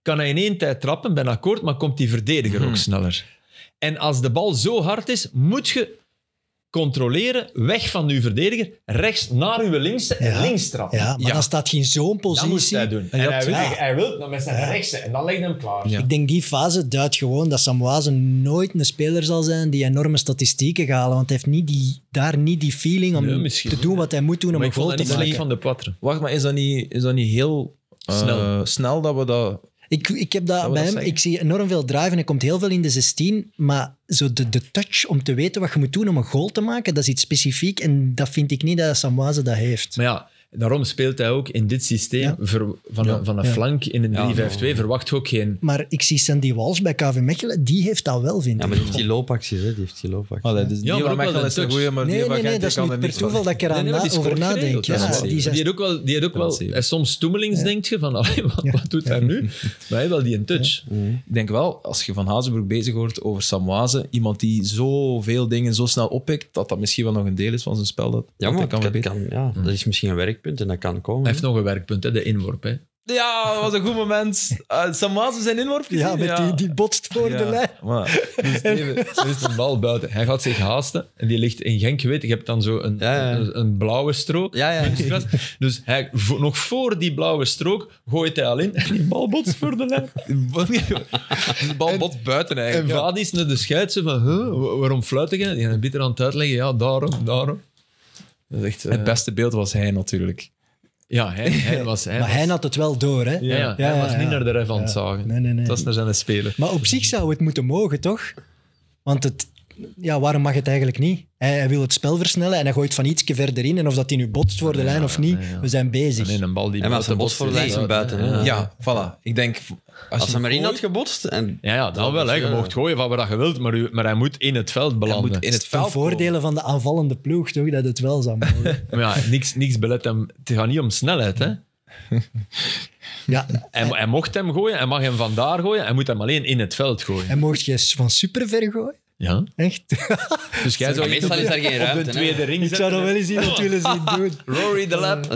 kan hij in één tijd trappen, ben akkoord, maar komt die verdediger Hmm. ook sneller. En als de bal zo hard is, moet je controleren, weg van uw verdediger, rechts naar uw linkse en Ja. links trappen. Ja, maar Ja. dan staat hij in zo'n Dat moest hij positie. doen. En En hij wil, ja. hij wil dan met zijn Ja. rechtse en dan legt hij hem klaar. Ja. Ik denk die fase duidt gewoon dat Samwaze nooit een speler zal zijn die enorme statistieken gaat halen. Want hij heeft niet die, daar niet die feeling om Nee, misschien te doen wat hij moet doen om Maar een ik vond goal dat te niet maken. slecht van de Poitre. Wacht, maar is dat niet, is dat niet heel eh, Snel. snel dat we dat... Ik, ik heb dat Zou we bij dat hem, zeggen? ik zie enorm veel drive en hij komt heel veel in de 16. Maar zo de, de touch om te weten wat je moet doen om een goal te maken, dat is iets specifiek. En dat vind ik niet dat Samwaze dat heeft. Maar ja, daarom speelt hij ook in dit systeem Ja. ver- van, Ja. een, van een Ja. flank in een Ja, 3-5-2. Verwacht je ook geen... Maar ik zie Sandy Walsh bij KV Mechelen, die heeft dat wel, vind Ja, ik. maar die heeft die loopacties, hè. Die heeft die loopacties. Allee, dus maar die ook van wel Mechelen een is een touch. goeie, maar nee, die van nee, nee, Gent dat is kan er niet per niks van. toeval dat ik er Nee, aan nee, maar na- die scoort over nadenk. geregeld, Ja, dat is waar. die Die zegt, had ook wel, die had ook wel Penalty. eh, soms stoemelings, denk je, van allee, wat, wat doet hij nu? Maar hij wel die een touch. Ik denk wel, als je van Hazenbroek bezig hoort over Samwaze, iemand die zoveel dingen zo snel oppikt, dat dat misschien wel nog een deel is van zijn spel. Dat, Ja, dat maar hij het kan, verbeteren. kan- ja, dat is misschien een werkpunt en dat kan komen. Hij hè. heeft nog een werkpunt, hè, de inworp. Hè. Ja, dat was een goed moment. Eh, Samwaze zijn inworp gezien? ja, met Die, die botst voor de lijn. Maar, Dus even, er is een bal buiten. Hij gaat zich haasten en die ligt in Genk. Je weet, je hebt dan zo een, Ja, ja. een, een blauwe strook. Ja, ja. Kunstgras. Dus hij, vo- nog voor die blauwe strook gooit hij al in en die bal botst voor de lijn. de bal bot buiten En eigenlijk. Vadis naar de scheidsen van, huh, wa- waarom fluit je? En een bitter aan het uitleggen, ja, daarom, daarom. Dat is echt... eh, Het beste beeld was hij natuurlijk. Ja, hij, hij was... Hij Maar was- hij had het wel door, hè? Ja, ja, hij ja, was ja. niet naar de ref aan het Ja. zagen. Nee, nee, nee. Het was naar zijn speler. Maar op zich zou het moeten mogen, toch? Want het, ja, waarom mag het eigenlijk niet? Hij, hij wil het spel versnellen en hij gooit van ietsje verder in. En of dat hij nu botst voor de lijn of niet, ja, ja. we zijn bezig. Nee, een bal die... Ja, maar als buiten een bos voor de botst, lijn is zijn buiten, buiten. hè. Ja, voilà. Ik denk... Als, Als je hij maar in had gooit, gebotst en... Ja, ja, dan wel. Hè. Je Ja. mag gooien van wat je wilt, maar, u, maar hij moet in het veld hij belanden. moet in het Ten veld komen. voordele van de aanvallende ploeg, toch? Dat het wel zou mogen. Maar ja, niks, niks belet hem. Het gaat niet om snelheid. Hè. ja, Hij, hij mocht hem gooien, hij mag hem vandaar gooien, hij moet hem alleen in het veld gooien. en mocht je van super ver gooien? Ja. Echt? Dus jij zou Maar meestal is daar geen op de ruimte, hè. tweede ring Ik zou zetten. dat wel eens iemand willen zien doen. Rory de Lap.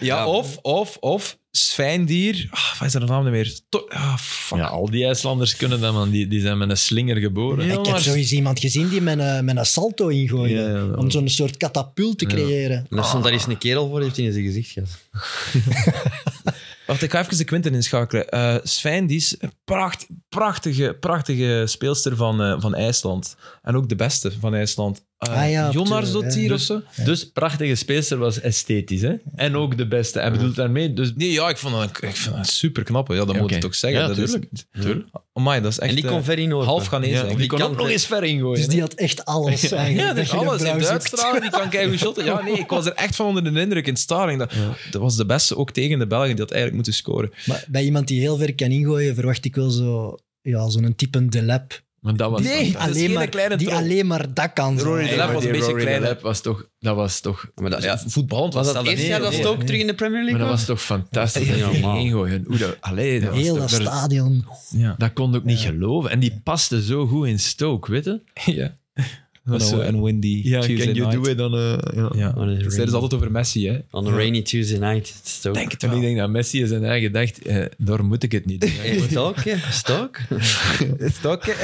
Ja, of, of, of Svendier. Ah, wat is zijn naam nou weer? To- ah, fuck. Ja, al die IJslanders kunnen dat, man. Die, die zijn met een slinger geboren. Ik heb zoiets iemand gezien die met een, met een salto ingooide. Ja, ja, ja. Om zo'n soort katapult te creëren. En daar stond daar eens een kerel voor, heeft hij in zijn gezicht gehad. Wacht, ik ga even de Quinten inschakelen. Eh Svein, die is een pracht, prachtige, prachtige speelster van, eh, van IJsland. En ook de beste van IJsland. eh, Ah ja, op Jonars de- Dottir ja. of zo. Dus prachtige speelster was esthetisch. Hè? En ook de beste. Hij bedoelt daarmee. Dus Nee, ja, ik vond dat, ik vind dat super knap. Ja, dat moet Oké. ik toch zeggen. Ja, dat is, tuurlijk. tuurlijk. Amai, dat is echt en die eh, kon ver in Noord. half Ghanese. Ja, eigenlijk. die, kon kan ook nog ver- eens ver ingooien. Dus hè. die had echt alles Ja, eigenlijk. dat dat is je een alles. vrouw Die zoekt. uitstralen, die kan keigoed shotten. Ja, nee, ik was er echt van onder de indruk in Staring. Dat, dat was de beste, ook tegen de Belgen, die had eigenlijk moeten scoren. Maar bij iemand die heel ver kan ingooien, verwacht ik wel zo, ja, zo'n type De Lap. Maar dat was Nee, Die dat is alleen geen maar- kleine Die troll. alleen maar dat kan. zo. Rory De Lap maar was een die beetje Rory de kleiner. Lap was toch... Dat was Oh toch... Maar dat, ja, Dus Voetballend was dat eerste jaar dat ze nee, het ook terug in de Premier Maar League dat was? was toch fantastisch. Ja, dat die normaal. ingooien. Hoe dat, allee, dat was Heel dat toch- daar- stadion. Ja. Dat kon ik niet geloven. En die paste zo goed in Stoke, weet je? ja. Dat is is eh, zo- een windy Tuesday night. dan? Ja. On a Ze zeiden rainy- het altijd over Messi, hè. On a rainy Tuesday night. Het is ook. Denk het En ik wel. denk dat Messi in zijn eigen dacht, eh, daar moet ik het niet doen. Hey, Stok, hè? Stok? Is het ook, hè?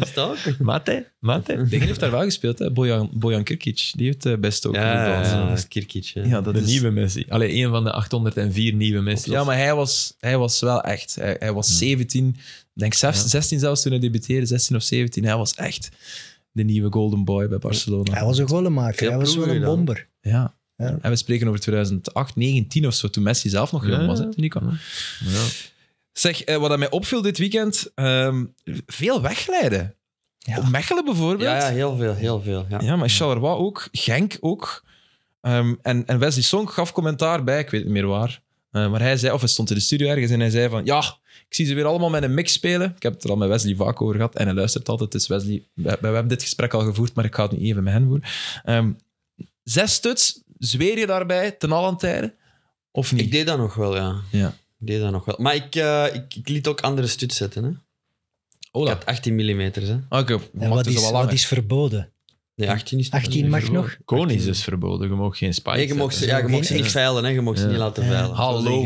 Stok? Mate, mate. Tegen heeft daar wel gespeeld, hè? Bojan, Bojan Kirkic. Die heeft eh, best ook Ja, ja, voetbal. ja, dat is Kirkic. hè. Ja, dat de is- nieuwe Messi. Allee, een van de 804 nieuwe Messi. Ja, maar hij was, hij was wel echt. Hij, hij was 17, denk zelfs, 16 zelfs toen hij debuteerde, 16 of 17. Hij was echt de nieuwe golden boy bij Barcelona. Hij was een gollenmaker. Veel Hij was wel ploegen een dan. bomber. Ja. Ja. En we spreken over 2008, 19 of zo, toen Messi zelf nog jong Ja. was. Hè, toen die kwam. Ja. Zeg, eh, wat dat mij opviel dit weekend, ehm, veel wegleiden. Ja. Op Mechelen bijvoorbeeld. Ja, ja, heel veel, heel veel. Ja. Ja, maar Charleroi ook, Genk ook. Ehm, en, en Wesley Song gaf commentaar bij, ik weet niet meer waar. Eh, maar hij zei, of hij stond in de studio ergens en hij zei van, ja, ik zie ze weer allemaal met een mix spelen. Ik heb het er al met Wesley vaak over gehad en hij luistert altijd. Dus Wesley, we, we hebben dit gesprek al gevoerd, maar ik ga het nu even met hen voeren. Ehm, zes stuts, zweer je daarbij ten allen tijde? Of niet? Ik deed dat nog wel, ja. Ja. Ik deed dat nog wel. Maar ik, eh, ik, ik liet ook andere stuts zetten. Hè. Ik Ola. had 18 mm. Hè. Oké, wat En wat is is, al wat langer. is verboden? Nee, 18 is 18 mag nog? Koon is dus verboden. Je mag geen spikes Nee, je mocht ze, zetten. ja, je mocht ze Ja. niet veilen, hè. je mocht ze Ja. niet laten Ja. veilen. Hallo, Zoals in in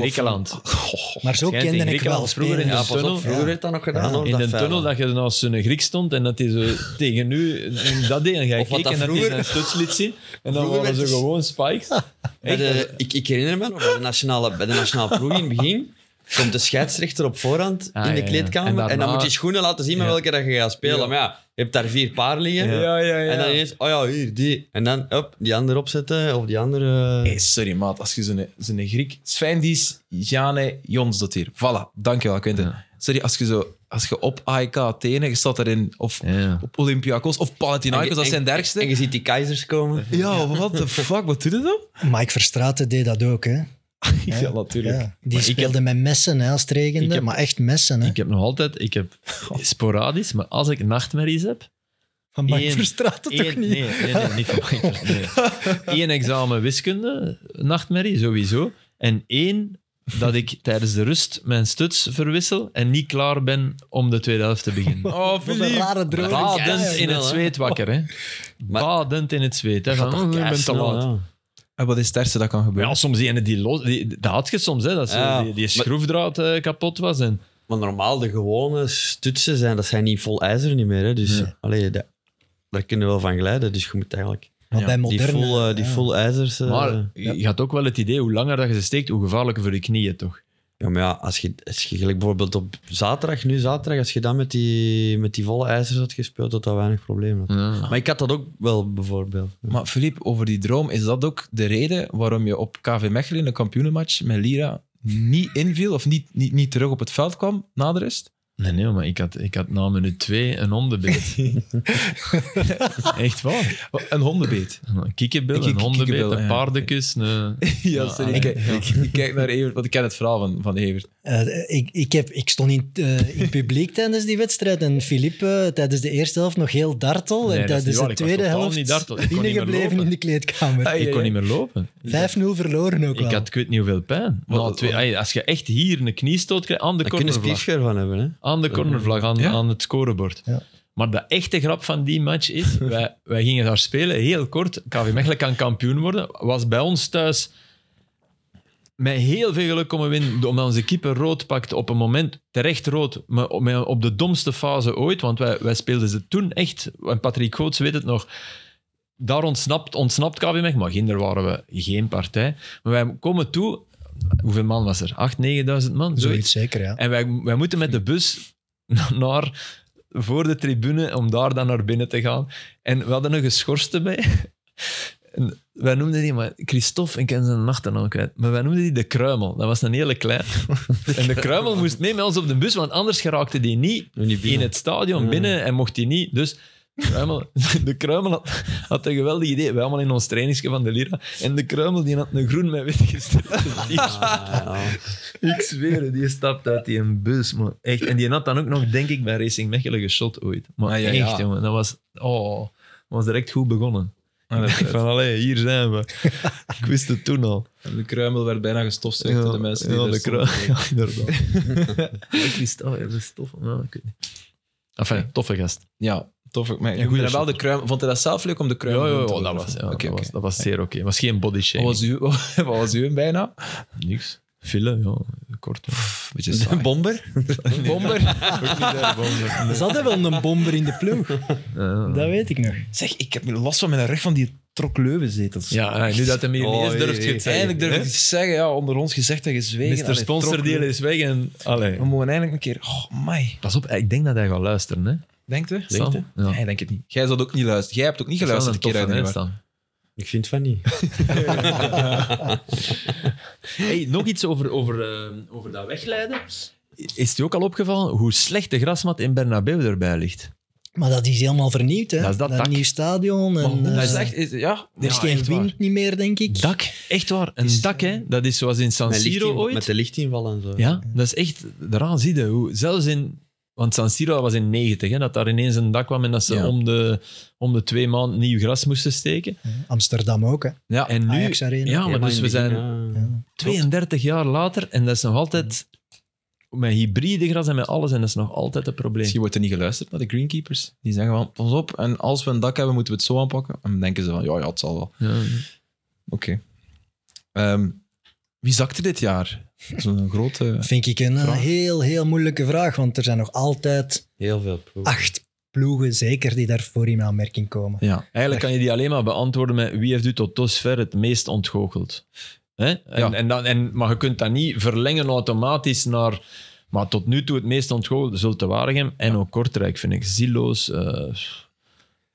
Griekenland. Griekenland. Oh, Maar zo Schijnt in kende ik Griekenland wel vroeger in spelers. de Ja, dus pas tunnel. op, vroeger heeft dat nog gedaan. hoor, In dat de veilen. tunnel dat je dan als een Griek stond en dat hij zo tegen nu dat deed. En jij Of wat keek dat en dat hij vroeger- zijn stuts liet zien. En dan Vroeger waren werd ze dus- gewoon spikes. Bij de, ik, ik herinner me nog, bij de nationale, bij de nationale ploeg in het begin komt de scheidsrechter op voorhand Ah, in ja, de ja. kleedkamer. En En, daarna- dan moet je schoenen laten zien met Ja. welke dat je gaat spelen. Ja. Maar ja, je hebt daar vier paar liggen. Ja, ja, ja. En dan ineens, oh ja, hier, die. En dan, op, die andere opzetten, of die andere... eh, Hey, sorry, maat. Als je zo'n, zo'n Griek... Svendies, Jane, Jons dat hier. Voilà. Dankjewel, Quinten. Ja. Sorry, als je, zo, als je op AEK Athene, je staat daarin, of Ja. op Olympiakos, of En Panathinaikos, je- dat en- zijn En dergste. je ziet die keizers komen. Ja, what the fuck? Wat doet het dan? Mike Verstraeten deed dat ook, hè. Ja, natuurlijk. Ja. Die speelde met messen hè, als het regende, Ik heb- maar echt messen. Hè. Ik heb nog altijd, ik heb sporadisch, maar als ik nachtmerries heb, Van Mike Eén- Verstraeten toch Eén- niet? Nee, nee, nee, niet van Mike Verstraeten, nee. Eén examen wiskunde, nachtmerrie, sowieso. En één dat ik tijdens de rust mijn stuts verwissel en niet klaar ben om de tweede helft te beginnen. Oh, Wat een Philippe. rare droom. Badend keisnel, in het hè? zweet wakker, hè. Badend in het zweet, hè. Van, oh, ik ben te Keisnel, laat. ja. En wat is het ergste dat kan Maar gebeuren? ja, soms die ene die los... Die, dat had je soms, hè. Dat zo Ja, die, die maar- schroefdraad eh, kapot was. En, Maar normaal, de gewone stutsen zijn, dat zijn niet vol ijzer niet meer. Hè. Dus Ja. allee, da- daar kunnen we wel van glijden. Dus je moet eigenlijk Maar bij die moderne... full, eh, die ja. full ijzers... eh, maar je had ook wel het idee, hoe langer dat je ze steekt, hoe gevaarlijker voor je knieën, toch? Ja, maar ja, als je, als je gelijk bijvoorbeeld op zaterdag, nu zaterdag, als je dan met die, met die volle ijzers had gespeeld, had dat weinig probleem. had. Maar ik had dat ook wel, bijvoorbeeld. Maar Philippe, over die droom, is dat ook de reden waarom je op KV Mechelen in een kampioenenmatch met Lira niet inviel of niet, niet, niet terug op het veld kwam na de rust? Nee, nee, maar ik had, ik had na minuut twee een hondenbeet. Echt waar. Een hondenbeet. Een kikkenbil, Kik- een hondenbeet, kikkenbil, een ja. paardenkus. Ja, Een... Ja, sorry. ah, Ik, ja. ik, ik kijk naar Evert, want ik ken het verhaal van, van Evert. Eh, ik, ik, heb, ik stond in, eh, in publiek tijdens die wedstrijd en Philippe eh, tijdens de eerste helft nog heel dartel Nee, en dat is tijdens niet waar. de Ik was tweede totaal helft niet dartel. Ik kon niet meer binnengebleven lopen. in de kleedkamer. Ai, Ik kon ai, niet meer lopen. 5-0 verloren ook wel. Ik had ik weet niet hoeveel pijn. Wat- Na twee, ey, als je echt hier een kniestoot krijgt, aan de Daar kunnen cornervlag. spiescher van hebben. Hè? Aan de cornervlag, aan, Ja. aan het scorebord. Ja. Maar de echte grap van die match is, wij, wij gingen daar spelen, heel kort. KV Mechelen kan kampioen worden. Was bij ons thuis met heel veel geluk komen winnen, omdat onze keeper rood pakt op een moment, terecht rood, maar op, maar op de domste fase ooit, want wij, wij speelden ze toen echt, en Patrick Goots weet het nog, daar ontsnapt, ontsnapt KV Mechelen, maar ginder waren we geen partij. Maar wij komen toe, hoeveel man was er? 8.000, 9.000 man? Zoiets zeker, ja. En wij, wij moeten met de bus naar voor de tribune om daar dan naar binnen te gaan. En we hadden een geschorste bij. En wij noemden die, maar Christophe, ik ken zijn achternaam kwijt, maar wij noemden die de Kruimel. Dat was een hele klein. En de Kruimel moest mee met ons op de bus, want anders geraakte die niet in het stadion Ja. binnen en mocht die niet. Dus Kruimel, de Kruimel had, had een geweldig idee. Wij allemaal in ons trainingsje van de Lira. En de Kruimel die had een groen met wit gestript. Die- Ah, ik zweer het, die stapt uit die een bus, man. Echt. En die had dan ook nog, denk ik, bij Racing Mechelen geschot ooit. Maar Ah, ja, ja. echt, jongen. Dat was, oh, dat was direct goed begonnen. Ah, dat Ik dacht is- van, allee, hier zijn we. ik wist het toen al. De kruimel werd bijna gestofzuigd door de mensen die ja, er de stonden. kruis. Ja, inderdaad. ik wist, oh ja, dat is tof. Nou, ik weet niet. Enfin, toffe gast. Ja, tof. Maar ik goede vind dat wel shot. de kruimel. Vond je dat zelf leuk om de Ja, ja, kruimel ja, te dat, doen? was, ja, Oké, dat, oké. Was, dat was zeer oké. Het was geen body Wat shaming. was, uw, wat was uw bijna? Niks. File, ja. Kort. ja. Beetje Bomber? Bomber? Ze hadden wel een bomber in de ploeg, dat weet ik nog. Zeg, ik heb last van mijn rug van die trokleuwenzetels. Ja, nu dat hem hier Oh, niet is, durft jee, je het zeggen. Eindelijk durf ik hè? het te zeggen, ja, onder ons gezegd en gezwegen. Mr. Allee, Sponsordeel trokleuwen. is weg en... Allee. We moeten eindelijk een keer... Oh, my. Pas op, ik denk dat hij gaat luisteren, hè. Denkt u? Sam? Sam? Ja. Nee, denk het niet. Jij zou het ook niet luisteren. Jij hebt ook niet geluisterd. Dat is wel een keer een uit de toffe, hè, ik vind van niet. Stan? Hey, nog iets over, over, eh, over dat wegleiden. Is het je ook al opgevallen hoe slecht de grasmat in Bernabeu erbij ligt? Maar dat is helemaal vernieuwd, hè? Dat is dat dak. nieuw stadion. En, nieuwe. Maar eh, dat is echt... is- ja, er is ja, geen echt waar. wind niet meer, denk ik. Dak, echt waar. Een is- dak, hè. Dat is zoals in San Met, Siro lichtinval- ooit. met de lichtinval en zo. Ja, dat is echt... Daaraan zie je hoe... Zelfs in... Want San Siro dat was in 90, hè, dat daar ineens een dak kwam en dat ze Ja. om, de, om de twee maanden nieuw gras moesten steken. Amsterdam ook, hè? Ja. En nu... Ajax Arena. Ja, Ja, maar maar dus in we het begin, zijn... ja. Ja. 32 jaar later en dat is nog altijd met hybride gras en met alles en dat is nog altijd een probleem. Misschien wordt er niet geluisterd naar de greenkeepers. Die zeggen van, pas op, en als we een dak hebben, moeten we het zo aanpakken. En dan denken ze van, ja, ja het zal wel. Oké. Ja. Ehm, wie zakte dit jaar? Zo'n grote... Vind ik een eh, Vraag. heel, heel moeilijke vraag, want er zijn nog altijd Heel veel proeven. acht ploegen zeker die daarvoor in aanmerking komen. Ja. Eigenlijk kan je die alleen maar beantwoorden met wie heeft u tot dusver het meest ontgoocheld. Hè? En, Ja. en dan, en, maar je kunt dat niet verlengen automatisch naar... Maar tot nu toe het meest ontgoocheld zult te Waregem en ook Kortrijk, vind ik. Zilloos, eh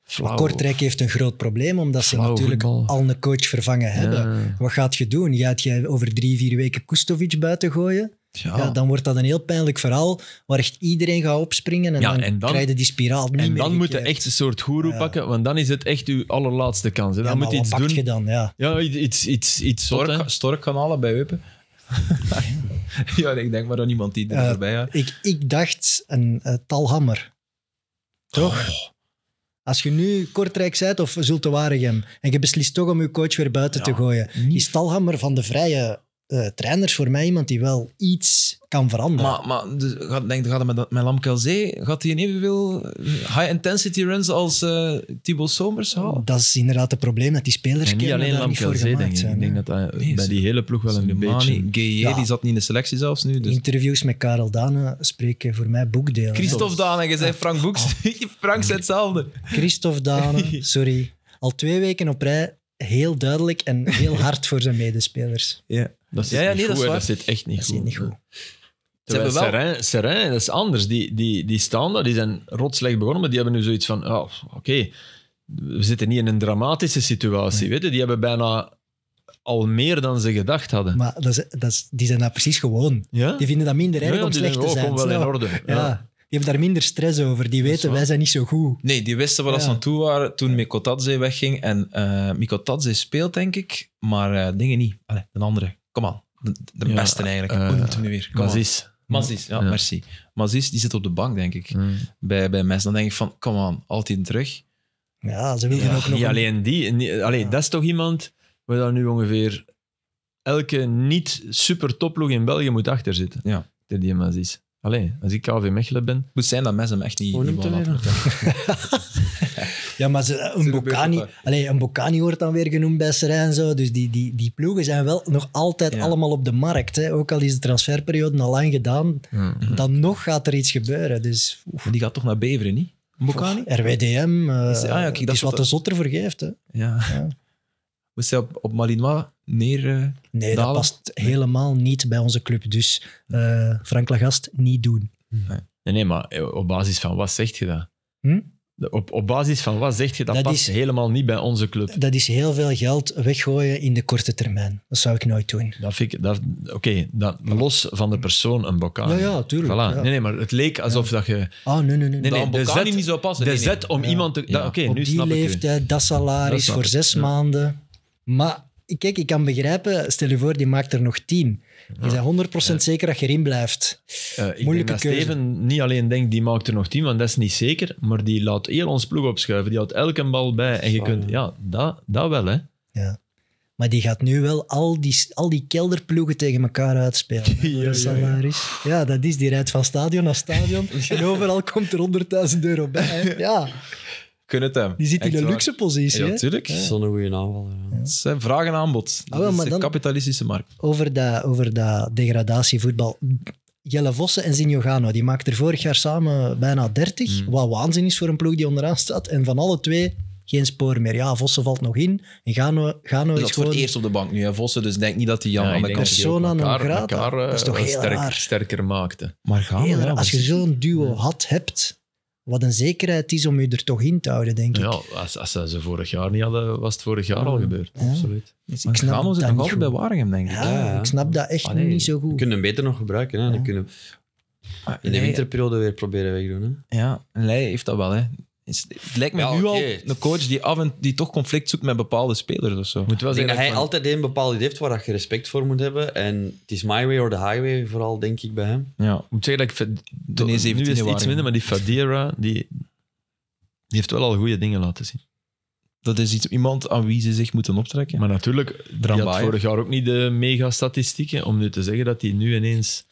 flauw. Kortrijk heeft een groot probleem, omdat ze Flauw natuurlijk voetbal. al een coach vervangen hebben. Wat gaat je doen? Gaat jij over drie, vier weken Kustovic buiten gooien? Ja. Ja, dan wordt dat een heel pijnlijk verhaal waar echt iedereen gaat opspringen en, Ja, dan, en dan- krijg je die spiraal niet En meer dan moet je gekeerd. echt een soort goeroe Ja. pakken, want dan is het echt uw allerlaatste kans. Hè? Ja, Dan maar moet je wat iets pakt doen. je dan? Ja. Ja, iets, iets, iets zot, hè. Stork, stork kan halen bij Eupen. ja, ik denk maar aan iemand die er Eh, voorbij gaat. Ik, ik dacht een eh, talhammer. Toch? Oh. Als je nu Kortrijk zijt of Zulte Waregem en je beslist toch om je coach weer buiten te gooien, is talhammer van de vrije eh, trainers voor mij iemand die wel iets kan veranderen. Maar, maar dus, gaat, denk, gaat hij met, met Lam Kelzee, gaat hij in evenveel high-intensity runs als eh Thibaut Somers Oh, halen? dat is inderdaad het probleem dat die spelers En niet kennen alleen daar niet voor Lamkelzee, gemaakt denk ik. zijn. Ik denk hè. dat dat Nee, bij ze- die hele ploeg wel een beetje... Mani, Gueye, Ja. die zat niet in de selectie zelfs nu. Dus. Interviews met Karel Dane spreken voor mij boekdelen. hè. Christophe Daan en je zei Frank Boeks. Oh. Frank zei hetzelfde. Christophe Dane, sorry. Al twee weken op rij heel duidelijk en heel hard voor zijn medespelers. Ja. Dat zit Ja, ja, niet nee, dat goed, is hè. waar. Dat zit echt niet Dat goed. zit niet goed. Terwijl Ze hebben Seraing, Seraing, dat is anders. Die, die, die staan daar, die zijn rot slecht begonnen, maar die hebben nu zoiets van, oh, oké, we zitten niet in een dramatische situatie. Weet je? Die hebben bijna al meer dan ze gedacht hadden. Maar dat is, dat is, die zijn daar precies gewoon. ja? Die vinden dat minder Ja, erg ja, om die slecht te denken, oh, zijn. komt wel Zo. in orde. Ja. Die hebben daar minder stress over. Die weten, waar. wij zijn niet zo goed. Nee, die wisten waar Ja. dat ze aan toe waren toen Mikotadze wegging. En eh Mikotadze speelt, denk ik, maar eh, dingen niet. Allee, de andere. Kom aan. De, de Ja, beste eigenlijk. eh, Hoe noemt hem nu weer? Kom aan. Mazis. Mazis, ja, Ja. merci. Mazis, die zit op de bank, denk ik, Mm. Hmm. bij, bij Mes. Dan denk ik van, come on, altijd terug. Ja, ze wilden Ja, ook nog... niet een- alleen die. niet- allee, Ja. Dat is toch iemand waar dan nu ongeveer elke niet super topploeg in België moet achter zitten. Ja. Die die mens is. Allee, als ik KV Mechelen ben. Het moet zijn dat Mes hem echt niet... Hoe niet noemt wou hem laten. Ja, maar ze, een, gebeurt Bocani, dat. allee, een Bocani wordt dan weer genoemd bij Serijn. en Zo. Dus die, die, die ploegen zijn wel nog altijd Ja. allemaal op de markt. Hè. Ook al is de transferperiode al lang gedaan, dan nog gaat er iets gebeuren. Dus oef. Die gaat toch naar Beveren, niet? Bokani? RWDM, eh Is- ah ja, kijk, het dat is is wat wat de zotter voor geeft. Hè. Ja. Ja. Moest hij op, op Malinois neer... eh, Nee, dat Dalen? past helemaal niet bij onze club. Dus eh Frank Lagast, niet doen. Nee, nee, maar op basis van wat zegt je dat? Hm? De- Op, op basis van wat zeg je dat, Dat past is- helemaal niet bij onze club. Dat is heel veel geld weggooien in de korte termijn. Dat zou ik nooit doen. Dat vind ik, dat, oké, dat los van de persoon een bokaal. Ja, ja, tuurlijk. Voilà. Ja. Nee, nee, maar het leek alsof dat je... Oh, nee, nee, nee. Nee, nee. Dat nee, een de Bocani zet- niet zou passen. De Nee, nee. zet om Ja. iemand te... dat- Ja. Oké, Op nu die snap ik u. leeftijd, dat Dat salaris snap voor ik, zes ja. maanden. Maar kijk, ik kan begrijpen, stel je voor, die maakt er nog tien. Je bent 100% zeker dat je erin blijft. Eh, ik Moeilijke denk dat keuze. Steven niet alleen denkt, die maakt er nog tien, want dat is niet zeker, maar die laat heel ons ploeg opschuiven. Die houdt elke bal bij. En je Zwaar, kunt... Ja, dat, dat wel, hè. Maar die gaat nu wel al die, al die kelderploegen tegen elkaar uitspelen. hè, voor Ja, een ja, ja. salaris. Ja, dat is. Die rijdt van stadion naar stadion. En overal komt er 100.000 euro bij. hè. Ja, Gun het hem. die zit in Echt een waar. luxe positie. Ja, hè. tuurlijk. Het Zo'n goede aanvaller. ja. is, eh, Vraag en aanbod. Ah, Dat wel, is maar de dan- kapitalistische markt. Over dat, over dat degradatievoetbal. Jelle Vossen en Zinho Gano, die maakten er vorig jaar samen bijna 30. Mm. Wat waanzin is voor een ploeg die onderaan staat. En van alle twee geen spoor meer. Ja, Vossen valt nog in. En Gano, Gano Dat is is voor gewoon... het eerst op de bank nu, hè, Vossen. Dus denk niet dat hij Jan Ja, aan ik de denk kant dat is. die Persona non elkaar- grata. elkaar, eh, Dat is toch wel heel raar. sterker maakte. Maar gaan Heel we raar. daar, Als je man. zo'n duo had, hebt, wat een zekerheid is om je er toch in te houden, denk ik. Ja, als, als ze ze vorig jaar niet hadden, was het vorig jaar al gebeurd. Ja. Absoluut. Dus ik Maar snap Gano dat zit nog niet altijd bij goed. Waregem, denk ik. Ja, Ja, ja. ik snap dat echt Allee, niet zo We goed. kunnen hem beter nog gebruiken. Hè. Dan Ja. kunnen we Ah, in de nee, winterperiode weer proberen wegdoen. Hè. Ja, en Leij heeft dat wel, hè. Is- Het lijkt me Ja, nu oké. al een coach die, af en, die toch conflict zoekt met bepaalde spelers of zo. Moet wel Ik denk zeggen dat hij van- altijd één bepaald idee heeft waar dat je respect voor moet hebben. En het is my way or the highway vooral, denk ik, bij hem. Ja. Ik moet zeggen dat ik... vind- De E nee, nu is het 17e iets waren. minder, maar die Fadira, die, die heeft wel al goede dingen laten zien. Dat is iets, iemand aan wie ze zich moeten optrekken. Maar natuurlijk, die had Drambaai. vorig jaar ook niet de mega-statistieken. Om nu te zeggen dat hij nu ineens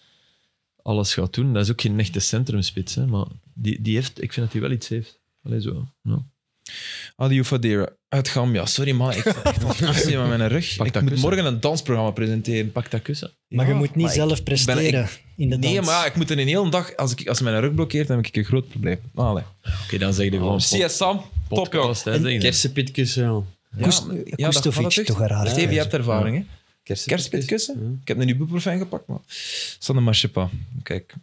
alles gaat doen, dat is ook geen echte centrumspits. Hè? Maar die, die heeft, ik vind dat hij wel iets heeft. Allee, zo. ja. Adiou Fadera. Uit Gambia. Sorry man, ik heb echt een afzien met mijn rug. Pak ik dat moet kussen. morgen een dansprogramma presenteren. Pak dat kussen. Maar je Ja, moet niet maar ik zelf presteren in de Nee, dans. maar ja, ik moet in een hele dag... Als, ik, als mijn rug blokkeert, dan heb ik een groot probleem. Ah, Allee. Oké, dan zeg je gewoon Zie je, Sam? Top, joh. Oh, podcast. Hè, zeg je. Kersenpitkussen, ja. Koest- maar- dat- Koestovic, dat echt- toch een raar Steven, je keuze. hebt ervaring, hè? Kerstpitkussen? Ja. Ik heb een ibuprofen gepakt, man. Sanne Marchepa. Kijk.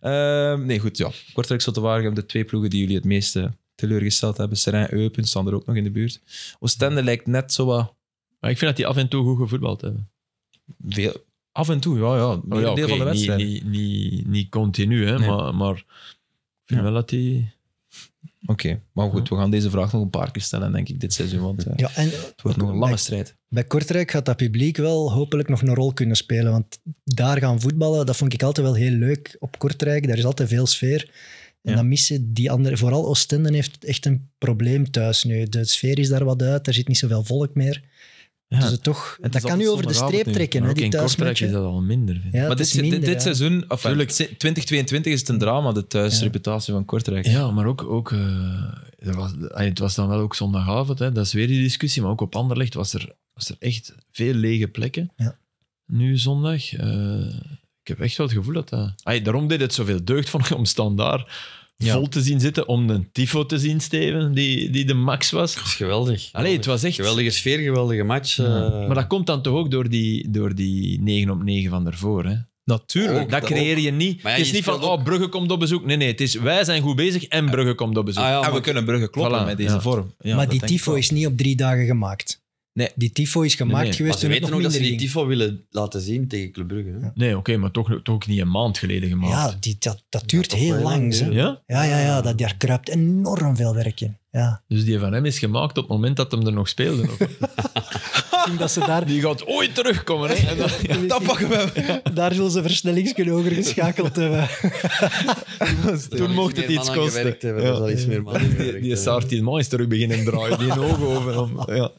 Ehm, nee, goed, ja. Kortrijk zal te waren de twee ploegen die jullie het meeste teleurgesteld hebben. Serijn Eupen staan er ook nog in de buurt. Oostende lijkt net zo wat Maar ik vind dat die af en toe goed gevoetbald hebben. veel... Af en toe, ja, ja. Een deel Oh oké, van de niet, wedstrijd. niet, niet, niet continu, hè, Nee. maar, maar ik vind Ja. wel dat die... Oké, maar goed, we gaan deze vraag nog een paar keer stellen, denk ik, dit seizoen. Want eh, Ja, en het wordt nog een lange Bij- strijd. Bij Kortrijk gaat dat publiek wel hopelijk nog een rol kunnen spelen. Want daar gaan voetballen, dat vond ik altijd wel heel leuk op Kortrijk. Daar is altijd veel sfeer. En Ja. dan missen die andere... Vooral Oostende heeft echt een probleem thuis nu. De sfeer is daar wat uit, er zit niet zoveel volk meer. Ja. Dus het toch, het dat is kan nu altijd over de zondagavond streep nu. trekken, Maar hè, ook die in Kortrijk is thuismatchen. dat al minder, vind ik. Ja, maar het dit, is dit- minder, dit ja. seizoen, eh, enfin, Tuurlijk. 2022 is het een drama, de thuisreputatie van Kortrijk. Ja, maar ook, ook eh, er was, ah, het was dan wel ook zondagavond, hè, dat is weer die discussie, maar ook op Anderlecht was er, was er echt veel lege plekken. Ja. Nu zondag. eh, ik heb echt wel het gevoel dat dat... Ah, daarom deed het zoveel deugd van om standaard Ja. vol te zien zitten, om een tifo te zien, Steven, die, die de max was. Dat is geweldig. Allee, het was echt... Geweldige sfeer, geweldige match. eh. Maar dat komt dan toch ook door die, door die 9 op 9 van daarvoor, hè? Natuurlijk. Ook, dat dat creëer je niet. Maar ja, het is je niet van, speelt ook- oh, Brugge komt op bezoek. Nee, nee, het is wij zijn goed bezig en Brugge komt op bezoek. Ah, ja, en we maar- kunnen Brugge kloppen Voilà, met deze ja. vorm. Ja, maar dat die denk ik tifo wel. is niet op drie dagen gemaakt. Nee. Die tifo is gemaakt nee, Maar geweest ze toen het nog weten ook dat minder ze die ging. tifo willen laten zien tegen Club Brugge. hè. Ja. Nee, oké, maar toch, toch ook niet een maand geleden Ja, gemaakt. die, dat, dat duurt toch heel wel lang. lang, hè. ja. Ja, Ja? ja, ja, dat, daar kruipt enorm veel werk in. Ja. Dus die van hem is gemaakt op het moment dat hem er nog speelde. of wat? Ik denk dat ze daar, Die gaat ooit terugkomen. Hè? En dan, Dat pakken we. daar zullen ze versnellingsken hoger geschakeld hebben. Er zal mocht het dus meer iets mannen kosten. gewerkt hebben, er Ja. zal iets meer mannen die gewerkt die hebben. Sartin is terug beginnen draaien. Die een oog over hem. Ja.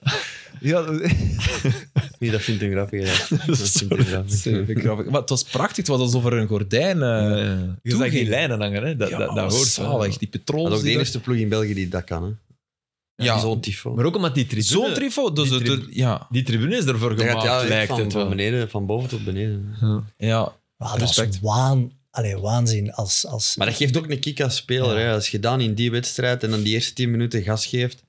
Nee, dat vindt een grapje. Dat vindt een grapje. Vind ik grappig. Maar het was prachtig. Het was alsof er een gordijn... eh, je zag die ging- lijnen hangen. Hè? Dat, ja, dat, dat was hoort zalig. wel. Die Dat is petrols. ook de enige ploeg in België die dat kan. Hè. Ja. Zo'n tifo. Maar ook omdat die tribune... Zo'n trifo. Dus die het- tribune- ja. die tribune is ervoor Dat gemaakt, gaat ja, lijkt van, het van, wel. beneden, van boven tot beneden. ja. Ah, dat Respect. is waan, allee, waanzin. Als, als, Maar dat geeft ook een kick als speler. Hè. Als je dan in die wedstrijd en dan die eerste 10 minuten gas geeft,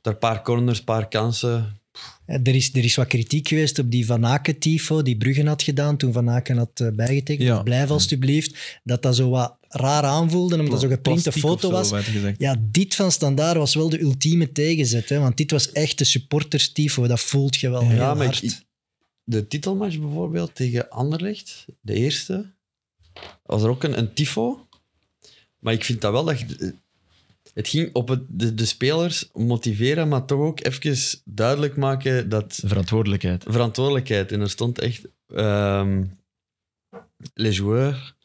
daar een paar corners, een paar kansen. Eh, Er is, er is wat kritiek geweest op die Van Aken-tifo die Bruggen had gedaan toen Van Aken had eh, bijgetekend. Ja. Hm. of Blijf alstublieft. Dat dat zo wat raar aanvoelde, omdat dat zo'n geprinte Plastiek of foto zo, was. werd er gezegd. Ja, dit van Standaard was wel de ultieme tegenzet. Hè? Want dit was echt de supporters-tifo. Dat voelt je wel heel Ja, maar hard. ik- ik- de titelmatch bijvoorbeeld tegen Anderlecht, de eerste, was er ook een, een tifo. Maar ik vind dat wel dat... je- Het ging op het, de, de spelers motiveren, maar toch ook even duidelijk maken dat Verantwoordelijkheid. verantwoordelijkheid. En er stond echt... ehm les joueurs,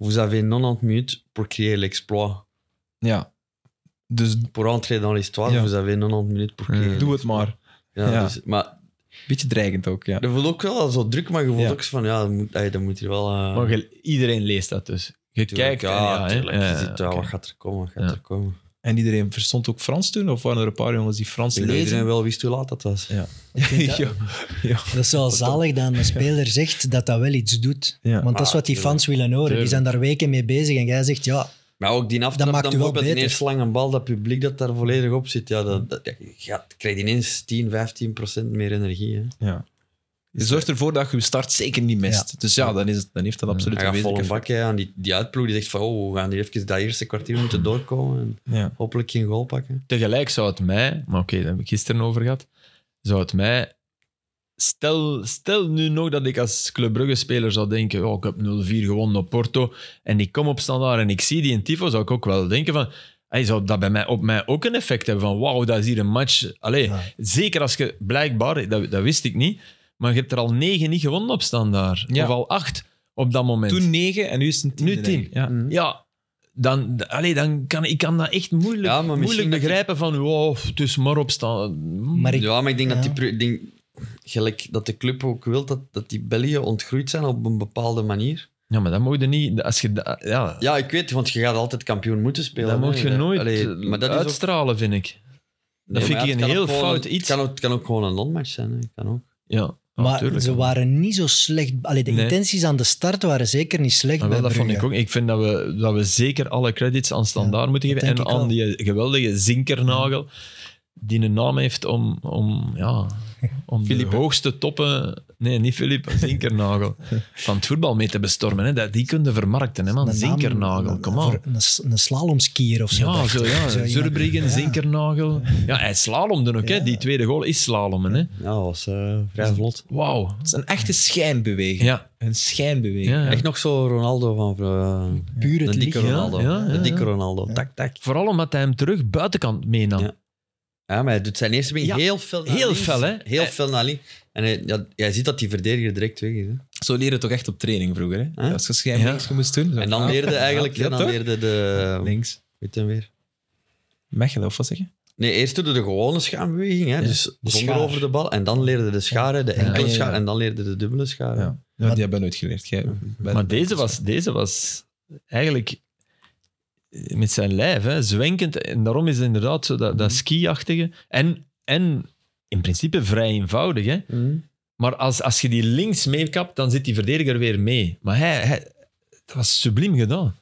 vous avez 90 minutes pour créer l'exploit. Ja. Dus Pour entrer dans l'histoire, Ja. vous avez 90 minutes pour Ja. créer doe het maar. Ja, Ja. Dus, maar Beetje dreigend ook, ja. Dat voelt ook wel al zo druk, maar je voelt Ja. ook zo van, ja, dat moet, ey, dat moet hier wel... eh, Maar je- iedereen leest dat dus. Je tuurlijk, kijkt en ja, hè. tuurlijk, Ah. Ja, je ziet, ja, oké. wat gaat er komen, wat gaat Ja. er komen. En iedereen verstond ook Frans toen? Of waren er een paar jongens die Frans Ik denk dat iedereen lezen? wel wist hoe laat dat was. vind dat- ja. Ja. Dat is wel zalig dat een speler zegt dat dat wel iets doet. Ja. Want dat is Ah, wat die tuurlijk. fans willen horen. Die Tuurlijk. zijn daar weken mee bezig en jij zegt ja. Maar ook die aftrap, maakt dan u wel bijvoorbeeld die beter. eerste lange bal, dat publiek dat daar volledig op zit, ja, dat, dat, ja, je gaat- krijgt ineens 10, 15 procent meer energie. Hè. Ja. Je zorgt ervoor dat je je start zeker niet mist. Dus ja, dan, is het, dan heeft dat absoluut Hij een gaat vol een wezenlijk bak hè, aan die, die uitploeg, die zegt van, oh, we gaan hier even dat eerste kwartier moeten doorkomen en effect. Ja. hopelijk geen goal pakken. Tegelijk zou het mij, maar oké, daar heb ik gisteren over gehad, zou het mij... Stel, stel nu nog dat ik als Club Brugge-speler zou denken, oh, ik heb 0-4 gewonnen op Porto, en ik kom op standaard en ik zie die in Tifo, zou ik ook wel denken van... Hij zou dat bij mij, op mij ook een effect hebben van wauw, dat is hier een match. Allee, Ja. Zeker als je blijkbaar, dat, dat wist ik niet, maar je hebt er al negen niet gewonnen op standaard. Ja. Of al acht op dat moment. Toen 9 en nu is het een 10. Nu tien. Ja. Mhm. Ja, dan, d- allee, dan kan ik kan dat echt moeilijk, Ja, maar moeilijk misschien dat je- begrijpen van wow, het is maar Mm. op staan. Maar ik, Ja, maar ik denk Ja. dat die... pro- ik denk, gelijk dat de club ook wil dat, dat die België ontgroeid zijn op een bepaalde manier. Ja, maar dat moet je niet... Als je da- ja, Ja, ik weet, want je gaat altijd kampioen moeten spelen. dat hè. moet je nooit Allee, maar dat is ook- uitstralen, vind ik. Nee, vind maar ik ja, het een kan heel ook gewoon fout een- iets. Het kan, ook, het kan ook gewoon een non-match zijn. Hè. Kan ook. Ja, maar natuurlijk. ze waren niet zo slecht. Allee, de Nee. intenties aan de start waren zeker niet slecht. Maar wel, bij dat vond ik Brugge. ook. Ik vind dat we, dat we zeker alle credits aan standaard moeten dat geven. En denk ik aan wel. die geweldige zinkernagel, die een naam heeft om, om, ja, om de Philippe. hoogste toppen... Nee, niet Filip, zinkernagel. van het voetbal mee te bestormen. Hè. Dat, die kunnen vermarkten, hè, man. Een naam- Zinkernagel, een- kom aan. voor Een, s- een slalomskier of zo. Ja, dacht zo, ik. ja. Zo iemand- Zurbriggen, Ja. zinkernagel. Ja, hij slalomde ook, hè. Ja. Die tweede goal is slalomen, hè. Ja, dat was eh, vrij vlot. Wauw. Het is een echte schijnbeweging. Ja. Een schijnbeweging. Ja, ja. Echt nog zo Ronaldo van... eh, Puur het de dikke lichaam. lichaam. Ronaldo. Ja, ja, de ja. dikke Ronaldo. Tak, tak. Vooral omdat hij hem terug buitenkant meenam. Ja. Ja, maar hij doet zijn eerste beweging Ja, heel fel naar heel links. fel, hè. Heel Hij- fel naar links. En hij, ja, jij ziet dat die verdediger direct weg is. Hè. Zo leren we toch echt op training vroeger. Hè? Huh? Als je schijnbeweging moest doen. zo- En dan leerde eigenlijk... Ja, en dan toch? leerde de... Links. Weet hem weer. Mechelen, of wat zeg je? Nee, eerst doe je de gewone schaambeweging. Hè. Dus zonder schaar. over de bal. En dan leerde de scharen, de enkele Ja, ja, ja. schaar. En dan leerde de dubbele schaar. hè. Ja. Ja, die hebben we nooit geleerd. Jij bent- Maar deze was, deze was eigenlijk eh, met zijn lijf hè, zwenkend. En daarom is het inderdaad zo dat, dat skiachtige. En, en in principe vrij eenvoudig. Hè? Mhm. Maar als, als je die links meekapt, dan zit die verdediger weer mee. Maar hij, hij- dat was subliem gedaan.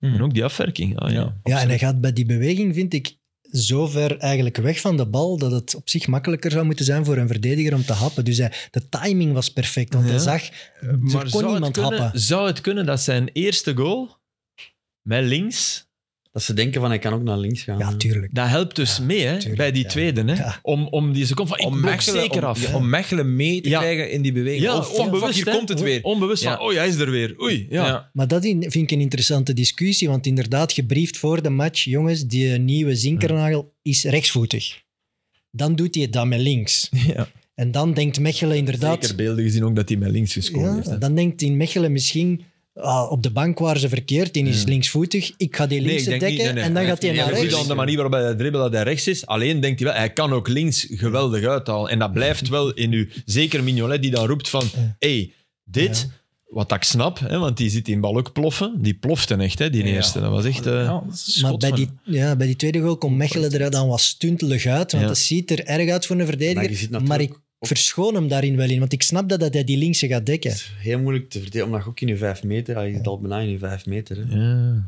Mhm. En ook die afwerking. Ah, ja. Ja. Ja, en hij gaat bij die beweging, vind ik, zo ver eigenlijk weg van de bal dat het op zich makkelijker zou moeten zijn voor een verdediger om te happen. Dus hij, de timing was perfect, want hij Ja. zag, er Dus kon zou, niemand het kunnen, happen. zou het kunnen dat zijn eerste goal met links Dat ze denken van hij kan ook naar links gaan. Ja, tuurlijk. Dat helpt dus mee hè, tuurlijk, bij die ja. tweede. Hè? Ja. Om, om die seconde van, ik om blok Mechelen, zeker om, af. ja, om Mechelen mee te Ja. krijgen in die beweging. Ja, oh, fuck, onbewust, fuck, hier hè. komt het weer. Onbewust Ja. van, oh, hij is er weer. Oei, ja. Ja. Maar dat in- vind ik een interessante discussie, want inderdaad, gebriefd voor de match, jongens, die nieuwe zinkernagel is rechtsvoetig. Dan doet hij het dan met links. Ja. En dan denkt Mechelen inderdaad... Zeker beelden gezien ook dat hij met links gescoord Ja, heeft. hè. dan denkt in Mechelen misschien... ah, op de bank waar ze verkeerd, die is linksvoetig. Ik ga die Nee, linkse ik denk niet, dekken nee, nee. en dan Hij gaat hij heeft naar niet Goed rechts. dan rechts. de manier waarop hij dribbelt dat hij rechts is. Alleen denkt hij wel, hij kan ook links geweldig uithalen. En dat blijft wel in u. Zeker Mignolet die dan roept van, hey, dit... Wat dat ik snap, hè, want die zit die bal ook ploffen. Die plofte echt, hè, die Ja. eerste. Dat was echt... eh, Ja, dat is een Maar schot bij van- die, ja, bij die tweede goal komt Mechelen er dan wat stuntelig uit. Want Ja. dat ziet er erg uit voor een Maar je ziet verdediger. Maar, natuurlijk ik verschoon hem daarin wel in. Want ik snap dat, dat hij die linkse gaat dekken. Het is heel moeilijk te verdedigen, omdat je ook in je vijf meter, hij zit al bijna in je vijf meter. Hè. ja.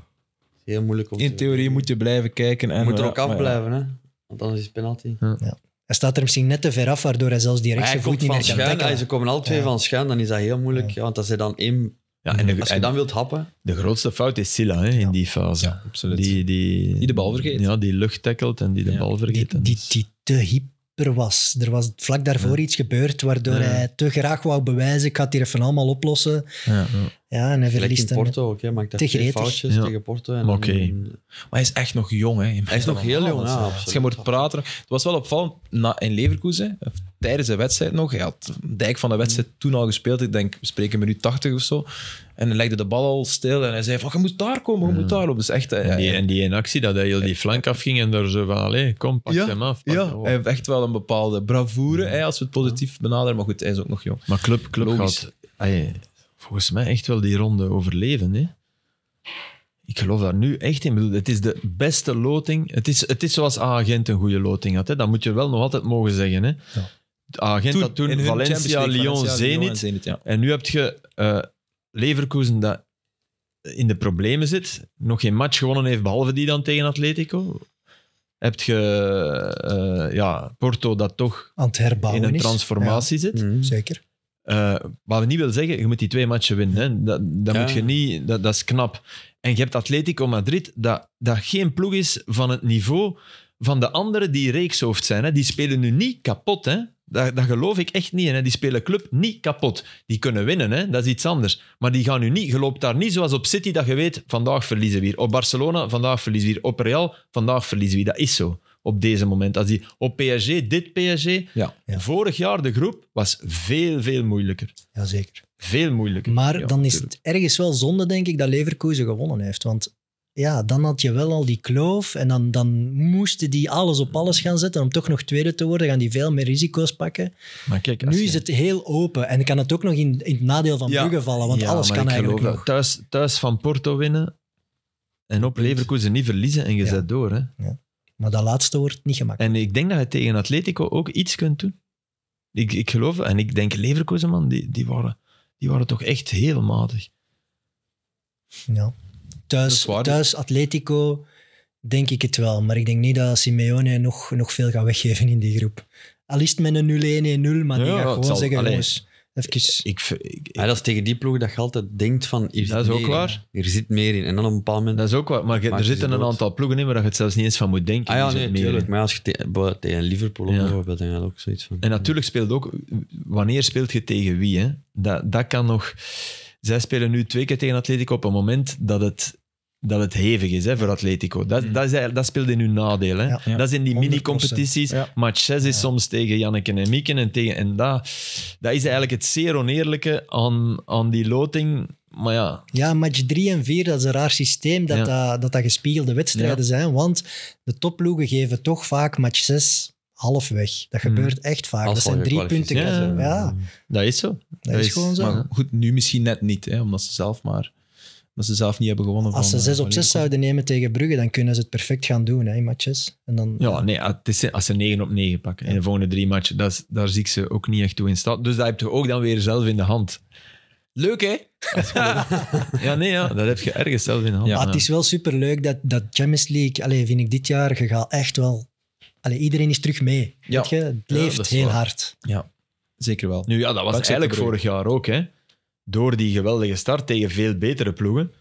Heel moeilijk om In te theorie verdedigen. moet je blijven kijken. En eh, Je moet er Ja, ook maar af ja. blijven, hè? want anders is het penalty. Hij staat er misschien net te ver af, waardoor hij zelfs die Maar hij rechtse voet komt niet meer van kan schuin. ah, tackelen. Ze komen alle twee Ja. van schuin, dan is dat heel moeilijk. Ja. want als je dan één... Ja, en de, Mhm, Als je en dan wilt happen... de grootste fout is Silla hè, in Ja. die fase. Ja, absoluut. Die, die, Die de bal vergeet. Ja, die lucht tackelt en die de Ja. bal Die, vergeet. En die, dus- die te hyper was. Er was vlak daarvoor iets gebeurd waardoor Ja. hij te graag wou bewijzen. Ik ga het hier even allemaal oplossen. ja, ja. Ja, en hij Gelijk verliest in hem. Porto ook, hè. Maakt daar Tegen twee Eters. foutjes Ja. tegen Porto. En Maar oké. dan- Maar hij is echt nog jong, hè? Hij is nog heel jong, ja, Als dus je absoluut. moet praten. Het was wel opvallend na, in Leverkusen, of tijdens de wedstrijd nog. Hij had Dijk van de wedstrijd toen al gespeeld. Ik denk, we spreken minuut 80 of zo. En hij legde de bal al stil en hij zei: van, "Oh, Je moet daar komen, je moet daar op. Dus echt, eh, En die, hij- en die in actie, dat hij heel die flank afging en daar zo van, allee, kom, pak Ja, hem af. oh. pak ja, hem af. hij heeft echt wel een bepaalde bravoure, hè, als we het positief benaderen. Maar goed, hij is ook nog jong. Maar club, club Logisch. gaat allee, volgens mij echt wel die ronde overleven. Hè? Ik geloof daar nu echt in. Ik bedoel, het is de beste loting. Het is, het is zoals A-agent een goede loting had. Hè? Dat moet je wel nog altijd mogen zeggen. Hè? A-agent had in toen hun Champions Valencia, League, Lyon, Valencia, Lyon en Zenit. Zenit, ja. En nu heb je eh Leverkusen dat in de problemen zit. Nog geen match gewonnen heeft, behalve die dan tegen Atletico. Heb je eh, ja, Porto dat toch Aan het herbouwen in een is. transformatie zit. Ja, Mm. zeker. Eh, wat we niet wil zeggen, je moet die twee matchen winnen. Hè. Dat, dat, Ja. moet je niet, dat, dat is knap. En je hebt Atletico Madrid, dat, dat geen ploeg is van het niveau van de anderen die reekshoofd zijn. Hè. Die spelen nu niet kapot. Hè. Dat, dat geloof ik echt niet. in, Hè. Die spelen club niet kapot. Die kunnen winnen, hè. dat is iets anders. Maar die gaan nu niet, je loopt daar niet zoals op City dat je weet, vandaag verliezen we hier. Op Barcelona, vandaag verliezen we hier. Op Real, vandaag verliezen we hier. Dat is zo. Op deze moment. Als die op PSG, dit PSG, Ja. Vorig jaar de groep was veel, veel moeilijker. Ja, zeker. Veel moeilijker. Maar Ja, dan is tuurlijk. het ergens wel zonde, denk ik, dat Leverkusen gewonnen heeft. Want ja, dan had je wel al die kloof en dan, dan moesten die alles op alles gaan zetten. Om toch nog tweede te worden, gaan die veel meer risico's pakken. Maar kijk, als Nu je- is het heel open en kan het ook nog in, in het nadeel van Ja. Brugge vallen, want Ja, alles maar kan ik eigenlijk geloof nog. dat Thuis, thuis van Porto winnen en op Leverkusen niet verliezen en je Ja. zet door. Hè. Maar dat laatste wordt niet gemakkelijk. En ik denk dat je tegen Atletico ook iets kunt doen. Ik, ik geloof En ik denk Leverkusen, man, die, die, waren, die waren toch echt heel matig. Ja. Dat is Thuis, waar. thuis Atletico denk ik het wel. Maar ik denk niet dat Simeone nog, nog veel gaat weggeven in die groep. Al is het met een 0-1-1-0, maar die Ja, gaat het gewoon zal- zeggen, allee. jongens, even... Ik, ver- ik- ik- Ah, Ja, dat is tegen die ploeg dat je altijd denkt van... Hier Dat zit is ook meer in. waar. Hier zit meer in. En dan op een bepaald moment... dat is ook wat. Maar je- Maak er je zitten ze een dood. aantal ploegen in waar je het zelfs niet eens van moet denken. Ah ja, Die nee, zit meer natuurlijk. in. Maar als je te- bo- tegen Liverpool ook Ja. bijvoorbeeld, dan had ook zoiets van... En natuurlijk speelt ook, wanneer speelt je tegen wie? Hè? Dat, dat kan nog. Zij spelen nu twee keer tegen Atletico op een moment dat het, dat het hevig is hè, voor Atletico. Dat, Mm. dat, is, eigenlijk- dat speelt in hun nadeel. Hè? Ja. Ja. Dat is in die 100%. mini-competities. Ja. Match 6 is soms tegen Janneke en Mieken. En, tegen, en dat, dat is eigenlijk het zeer oneerlijke aan, aan die loting. Maar ja, Ja, match 3 en 4, dat is een raar systeem dat Ja. dat, dat, dat gespiegelde wedstrijden Ja. zijn. Want de topploegen geven toch vaak match 6 half weg. Dat Hmm. gebeurt echt vaak. Als dat ze zijn al drie punten. gekwalificeerd Ja, zijn. dat is zo. dat is gewoon zo. maar- Maar goed, nu misschien net niet, hè, omdat ze zelf maar omdat ze zelf niet hebben gewonnen. Als ze van, 6 eh, op van 6 zouden nemen tegen Brugge, dan kunnen ze het perfect gaan doen hè, in matches. En dan, Ja, nee, het is, als ze 9 op 9 pakken in de volgende drie matchen, dat is, daar zie ik ze ook niet echt toe in staat. Dus dat heb je ook dan weer zelf in de hand. Leuk, hè? Ja, nee, ja, dat heb je ergens zelf in de hand. Ja. Maar het is wel superleuk dat, dat Champions League, allee, vind ik dit jaar, je gaat echt wel... Allee, iedereen is terug mee. Ja. Weet je? Het Ja, leeft dat is heel waar. hard. Zeker wel. Nu ja, dat was Dankzij eigenlijk de Bruyne. vorig jaar ook, hè. Door die geweldige start tegen veel betere ploegen.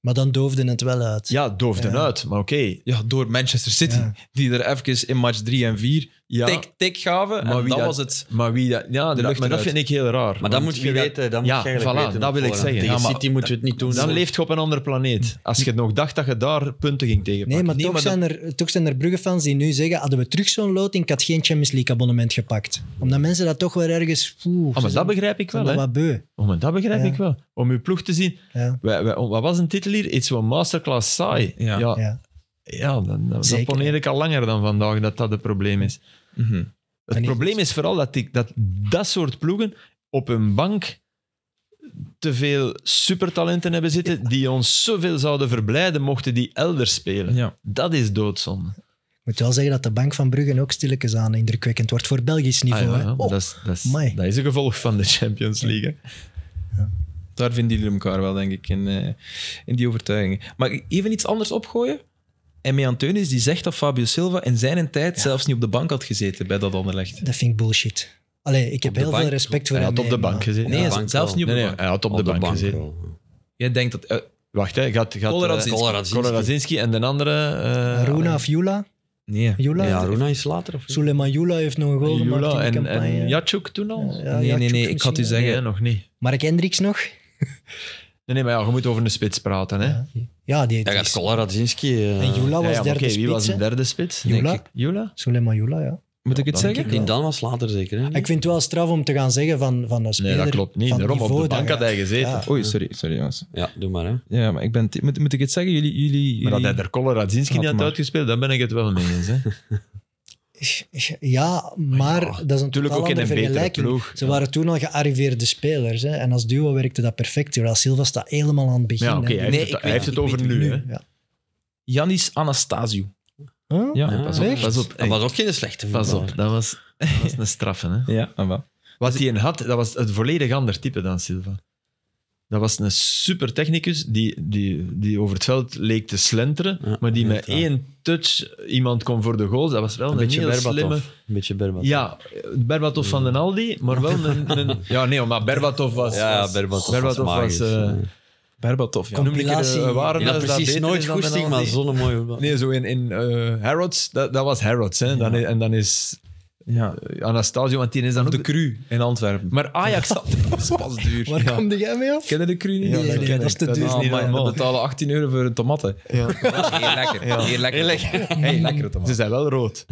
Maar dan doofde het wel uit. Ja, doofden Ja. uit, maar oké. Ja, door Manchester City, Ja. die er even in match 3 en 4 Ja, tik, tik gaven. Maar en wie dat dat- was het. maar wie dat... Ja, De lucht dat- maar dat eruit. vind ik heel raar. Maar dat Want moet je wie weten, dat moet Ja, je eigenlijk voilà, weten. dat wil ik Voilà. zeggen. Tegen Ja, maar- City moet je het niet doen. Dan leeft je op een andere planeet. Als je nog dacht dat je daar punten ging tegenpakken. Nee, maar, Nee, toch, maar zijn er, toch zijn er Brugge-fans die nu zeggen: hadden we terug zo'n loting, ik had geen Champions League-abonnement gepakt. Omdat mensen dat toch weer ergens. Oeh, Ah, ze maar dat zijn- begrijp ik zijn wel, hè. wel wat beu. Oh, maar dat begrijp Ja. ik wel. Om je ploeg te zien... Ja. Wij- wij- wat was een titel hier? It's one masterclass saai. Ja. ja, Ja. ja, dan- dan, dat Zeker. poneer ik al langer dan vandaag dat dat het probleem is. Mhm. Het En ik- probleem is vooral dat, ik, dat dat soort ploegen op hun bank te veel supertalenten hebben zitten die ons zoveel zouden verblijden mochten die elders spelen. Ja. Dat is doodzonde. Ik moet wel zeggen dat de bank van Brugge ook stilletjes aan indrukwekkend wordt voor Belgisch Ah, niveau. ja, hè. maar Oh, dat, is, dat, is, amai. dat is een gevolg van de Champions League. hè. Daar vinden jullie elkaar wel, denk ik, in, eh, in die overtuigingen. Maar even iets anders opgooien? Emme Antonis die zegt dat Fabio Silva in zijn tijd zelfs niet op de bank had gezeten bij dat Anderlecht. Dat vind ik bullshit. Allee, ik heb de heel bank. veel respect voor Hij hem. eh, had op de nee, bank maar- gezeten. Nee, de bank zelfs wel. niet op de nee, nee, bank. hij had op, de, bank, gezeten. wel. Jij denkt dat... eh, Wacht, hè. Gaat, gaat, Koloradzinski. eh, Koloradzinski. Koloradzinski en de andere... eh, Aruna of Jula? nee. Jula? Ja, Runa is later of niet? Suleiman Jula heeft nog een goal gemaakt in Jula de en, campagne. en Jatschuk toen al? Ja, nee, nee, Jatjuk nee. Ik misschien, had u ja. zeggen... Nee, nog niet. Mark Hendricks nog? Nee, nee, maar ja, je moet over een spits praten. Hè. Ja, die Ja, die gaat is- Koloradzinski... En eh, Jula Ja, was ja, maar derde oké, Wie was spits. de hè? derde spits? Jula? Denk ik. Jula? Suleiman Jula, ja. Moet ik het dan zeggen? denk Die dan was later zeker, hè? Ik vind het wel straf om te gaan zeggen van, van een Hm. Nee, speler... dat klopt niet. van Daarom op niveau de dat bank had hij gezeten. Ja. Oei, sorry, sorry jongens. Ja, doe maar, hè. Ja, maar ik ben... Moet, moet ik het zeggen? Jullie... jullie, Maar dat hij jullie... er Koloradzinski niet Laat had maar. uitgespeeld, daar ben ik het wel mee eens. Hè. Ja, maar Ja, dat is een Natuurlijk totaal ook in andere een betere vergelijking. ploeg. Ze waren toen al gearriveerde spelers. Hè? En als duo werkte dat perfect. Terwijl Silva staat helemaal aan het begin. Ja, hè. oké, hij Nee, heeft ik het, hij weet- heeft het ik over weet nu. Hè. Ja. Janis Anastasio. Huh? Ja, Ah, pas op. echt? Pas op, Dat was ook geen slechte pas voetballer. op. Dat was, dat was een straffe. Hè. Ja, ah, wel. Wat hij in had, dat was het volledig ander type dan Silva. Dat was een super technicus die, die, die over het veld leek te slenteren, Ja, maar die met inderdaad. één touch iemand kon voor de goals. Dat was wel een, Een beetje heel Berbatov. slimme... Een beetje Berbatov. Ja, Berbatov van den Aldi, maar wel een... een- ja, nee, maar Berbatov was... Ja, was- Berbatov, Berbatov was... magisch. eh, Ja. Berbatov, ja. Kom. noem ik het, Compilatie. eh, waren Die had is dat precies beter nooit is dan Den goesting, maar Aldi? zo'n mooie voetbal. Nee, zo in, in eh, Harrods, dat, dat was Harrods. Hè. Dan, en dan is ja. Eh, Anastasio, want die is dan ook... De Cru in Antwerpen. maar Ajax had... Dat is pas duur. Waar kwam jij mee af? Kennen de Cru niet? Ja, Nee, dat nee, dat ken ik. is te Dat duur. Ah, is niet We normaal. betalen 18 euro voor een tomaten. Dat is heel lekker. Heel lekker. Hey, lekkere Ze tomaten. zijn wel rood.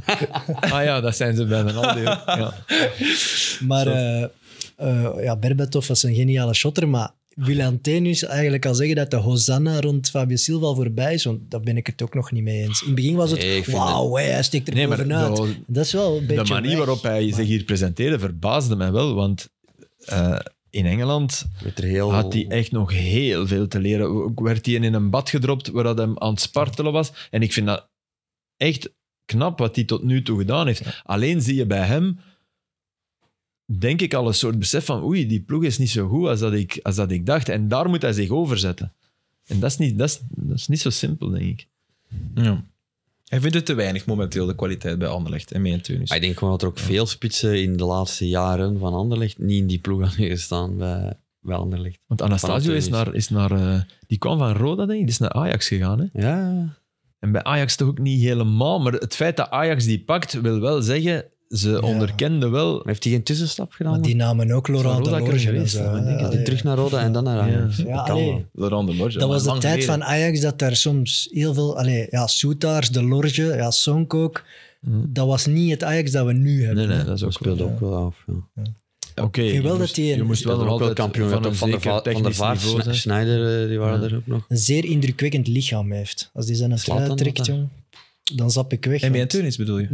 ah ja, dat zijn ze bij Den Aldi ook. Ja. Maar eh eh, ja, Berbatov was een geniale shotter, maar wil Antenius eigenlijk al zeggen dat de Hosanna rond Fabio Silva al voorbij is? Want daar ben ik het ook nog niet mee eens. In het begin was het, Nee, ik vind wauw, hè, hij steekt er Nee, maar bovenuit. de- dat is wel een beetje de manier weg. waarop hij zich hier presenteerde verbaasde mij wel, want eh, in Engeland Met er heel... had Oh. hij echt nog heel veel te leren. Ook werd hij in een bad gedropt waar dat hem aan het spartelen was. En ik vind dat echt knap wat hij tot nu toe gedaan heeft. Alleen zie je bij hem, denk ik, al een soort besef van oei, die ploeg is niet zo goed als dat ik, als dat ik dacht. En daar moet hij zich over zetten. En dat is, niet, dat, is, dat is niet zo simpel, denk ik. Ja. Hij vindt het te weinig momenteel, de kwaliteit bij Anderlecht en mee en Tunis. Maar ik denk gewoon dat er ook veel spitsen in de laatste jaren van Anderlecht niet in die ploeg hadden gestaan bij, bij Anderlecht. Want Anastasio is Panathinaikos. naar, is naar eh, die kwam van Roda, denk ik, die is naar Ajax gegaan. Hè? Ja, En bij Ajax toch ook niet helemaal. Maar het feit dat Ajax die pakt, wil wel zeggen, ze onderkenden wel. heeft hij geen tussenstap gedaan? Maar die namen ook Laurent Zou Roda Delorge. en kunnen geweest zo, zijn, hè. denk ik. Ja, Die ja. terug naar Roda en dan naar Ajax. Ja. Dat Ja, kan allee. wel. Laurent de Morge, Dat maar was de lang tijd geleden. van Ajax dat daar soms heel veel... Allee, ja, Soetaars, Delorge, ja, Sonk ook. Mm. Dat was niet het Ajax dat we nu hebben. Nee, nee, dat is Dat ook speelde ook wel af. Ja. Oké. Ik vind wel je dat moest- die een- Je moest wel Dat nog er ook wel altijd kampioen van van, een van, de zeker Va- van der technisch Vaart, niveau Sne- zijn. Schneider, eh, die waren Ja. er ook nog. Een zeer indrukwekkend lichaam heeft. Als die zijn een trui Zlatan trekt, ook, hè. jong, dan zap ik weg. En mee en want- Tunis bedoel je?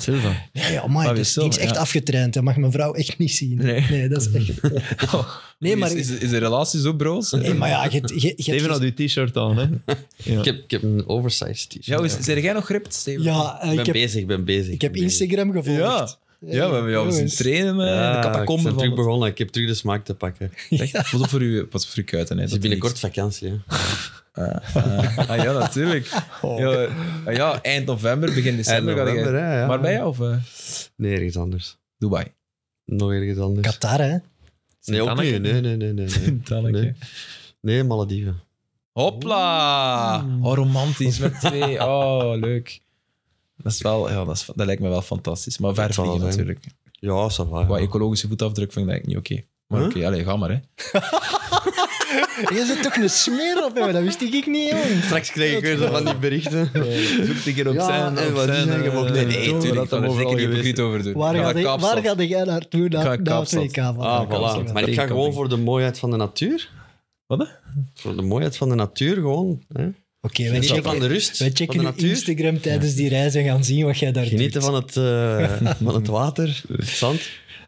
Silva. Ja, ja maar Fabio die is, die Silva, is echt ja. afgetraind. Dat mag mijn vrouw echt niet zien. Nee. dat is echt... Nee, maar, Oh. Is, is, is de relatie zo broos? nee, maar ja, je, je, je- Steven had uw t-shirt aan, hè? Ja. Ik, heb, ik heb een oversized t-shirt. Ja, is, zijn jij nog gript, Steven? ja, eh, ik ik ben heb, bezig, ben bezig. ik heb ben bezig. Instagram gevolgd. Ja. Ja, we hebben jou eens Oh, jongens. zien trainen. eh, in de Ah, ik catacomben ben van... terug begonnen. Ik heb terug de smaak te pakken. Dus Het Echt? Pas op voor uw, pas op voor uw kuiten. Hè. is dat binnenkort vakantie. Hè. Ah ja, natuurlijk. Ja, eh, ja, eind november, begin december. Eind ga jij- november, hè, ja. Maar bij jou of eh, Nee, ergens anders. Dubai? Nog ergens anders. Qatar, hè. nee, ook Tanneke. niet. Nee, nee, nee. nee, nee. Tanneke. Nee. Nee, Malediven. Hopla! Oh, romantisch met twee. Oh, leuk. Dat, is wel, ja, dat, is, dat lijkt me wel fantastisch. Maar ver Dat zal vliegen wel zijn. natuurlijk. Ja, ça va. Qua ecologische voetafdruk vind ik dat eigenlijk niet oké. Maar Huh? oké, allez, ga maar. Hè. Je zit toch een smeer op, hè. dat wist ik niet, jong. Straks kreeg ik weer zo van die berichten. Zoek een keer op Ja, zijn. en op wat die zijn, zeggen, eh, maar ook nee, nee, toon, tuurlijk, dat kan hem er overal zeker niet geweest hypocriet over doen. Waar, Ga ga naar de- Kaapstad. waar ga jij naartoe? ga Naar, naar naar Kaapstad. WK van. kan Ah, wel voilà. zijn. Maar ik ga Rekenkamping. gewoon voor de mooiheid van de natuur. Wat, hè? Voor de mooiheid van de natuur gewoon. Hè? Oké, wij Genieten van checken, de rust, wij van de checken je natuur. Instagram tijdens die reis en gaan zien wat jij daar Genieten doet. van het, eh, van het water, het zand.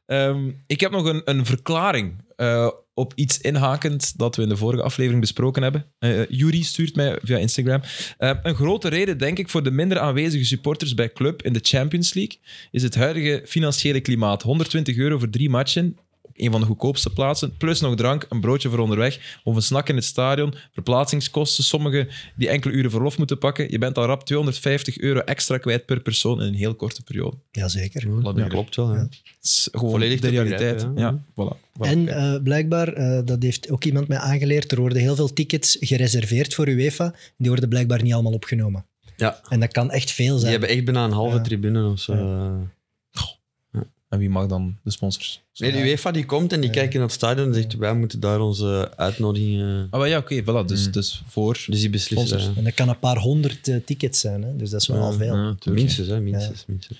Ehm, ik heb nog een, een verklaring eh, op iets inhakend dat we in de vorige aflevering besproken hebben. Eh Jury stuurt mij via Instagram. Eh, een grote reden, denk ik, voor de minder aanwezige supporters bij club in de Champions League is het huidige financiële klimaat. 120 euro voor drie matchen. een van de goedkoopste plaatsen. Plus nog drank, een broodje voor onderweg, of een snack in het stadion, verplaatsingskosten, sommigen die enkele uren verlof moeten pakken. Je bent al rap 250 euro extra kwijt per persoon in een heel korte periode. Jazeker. Dat klopt wel. Ja. Ja. Het is gewoon Volledig de te realiteit. begrijpen, ja. ja. voilà. voilà. En eh, blijkbaar, eh, dat heeft ook iemand mij aangeleerd, er worden heel veel tickets gereserveerd voor UEFA. Die worden blijkbaar niet allemaal opgenomen. Ja. En dat kan echt veel Die zijn. hebben echt bijna een halve Ja. tribune of zo. En wie mag dan de sponsors? Nee, de UEFA die komt en die kijken naar het stadion en zegt wij moeten daar onze uitnodigingen... Ah, wel, ja, oké, voilà. Dus, Mm. dus voor. Dus die beslissen. Sponsors. daar. En dat kan een paar honderd eh, tickets zijn, hè? dus dat is wel al veel. Ja, tuurlijk. minstens, hè, minstens, minstens.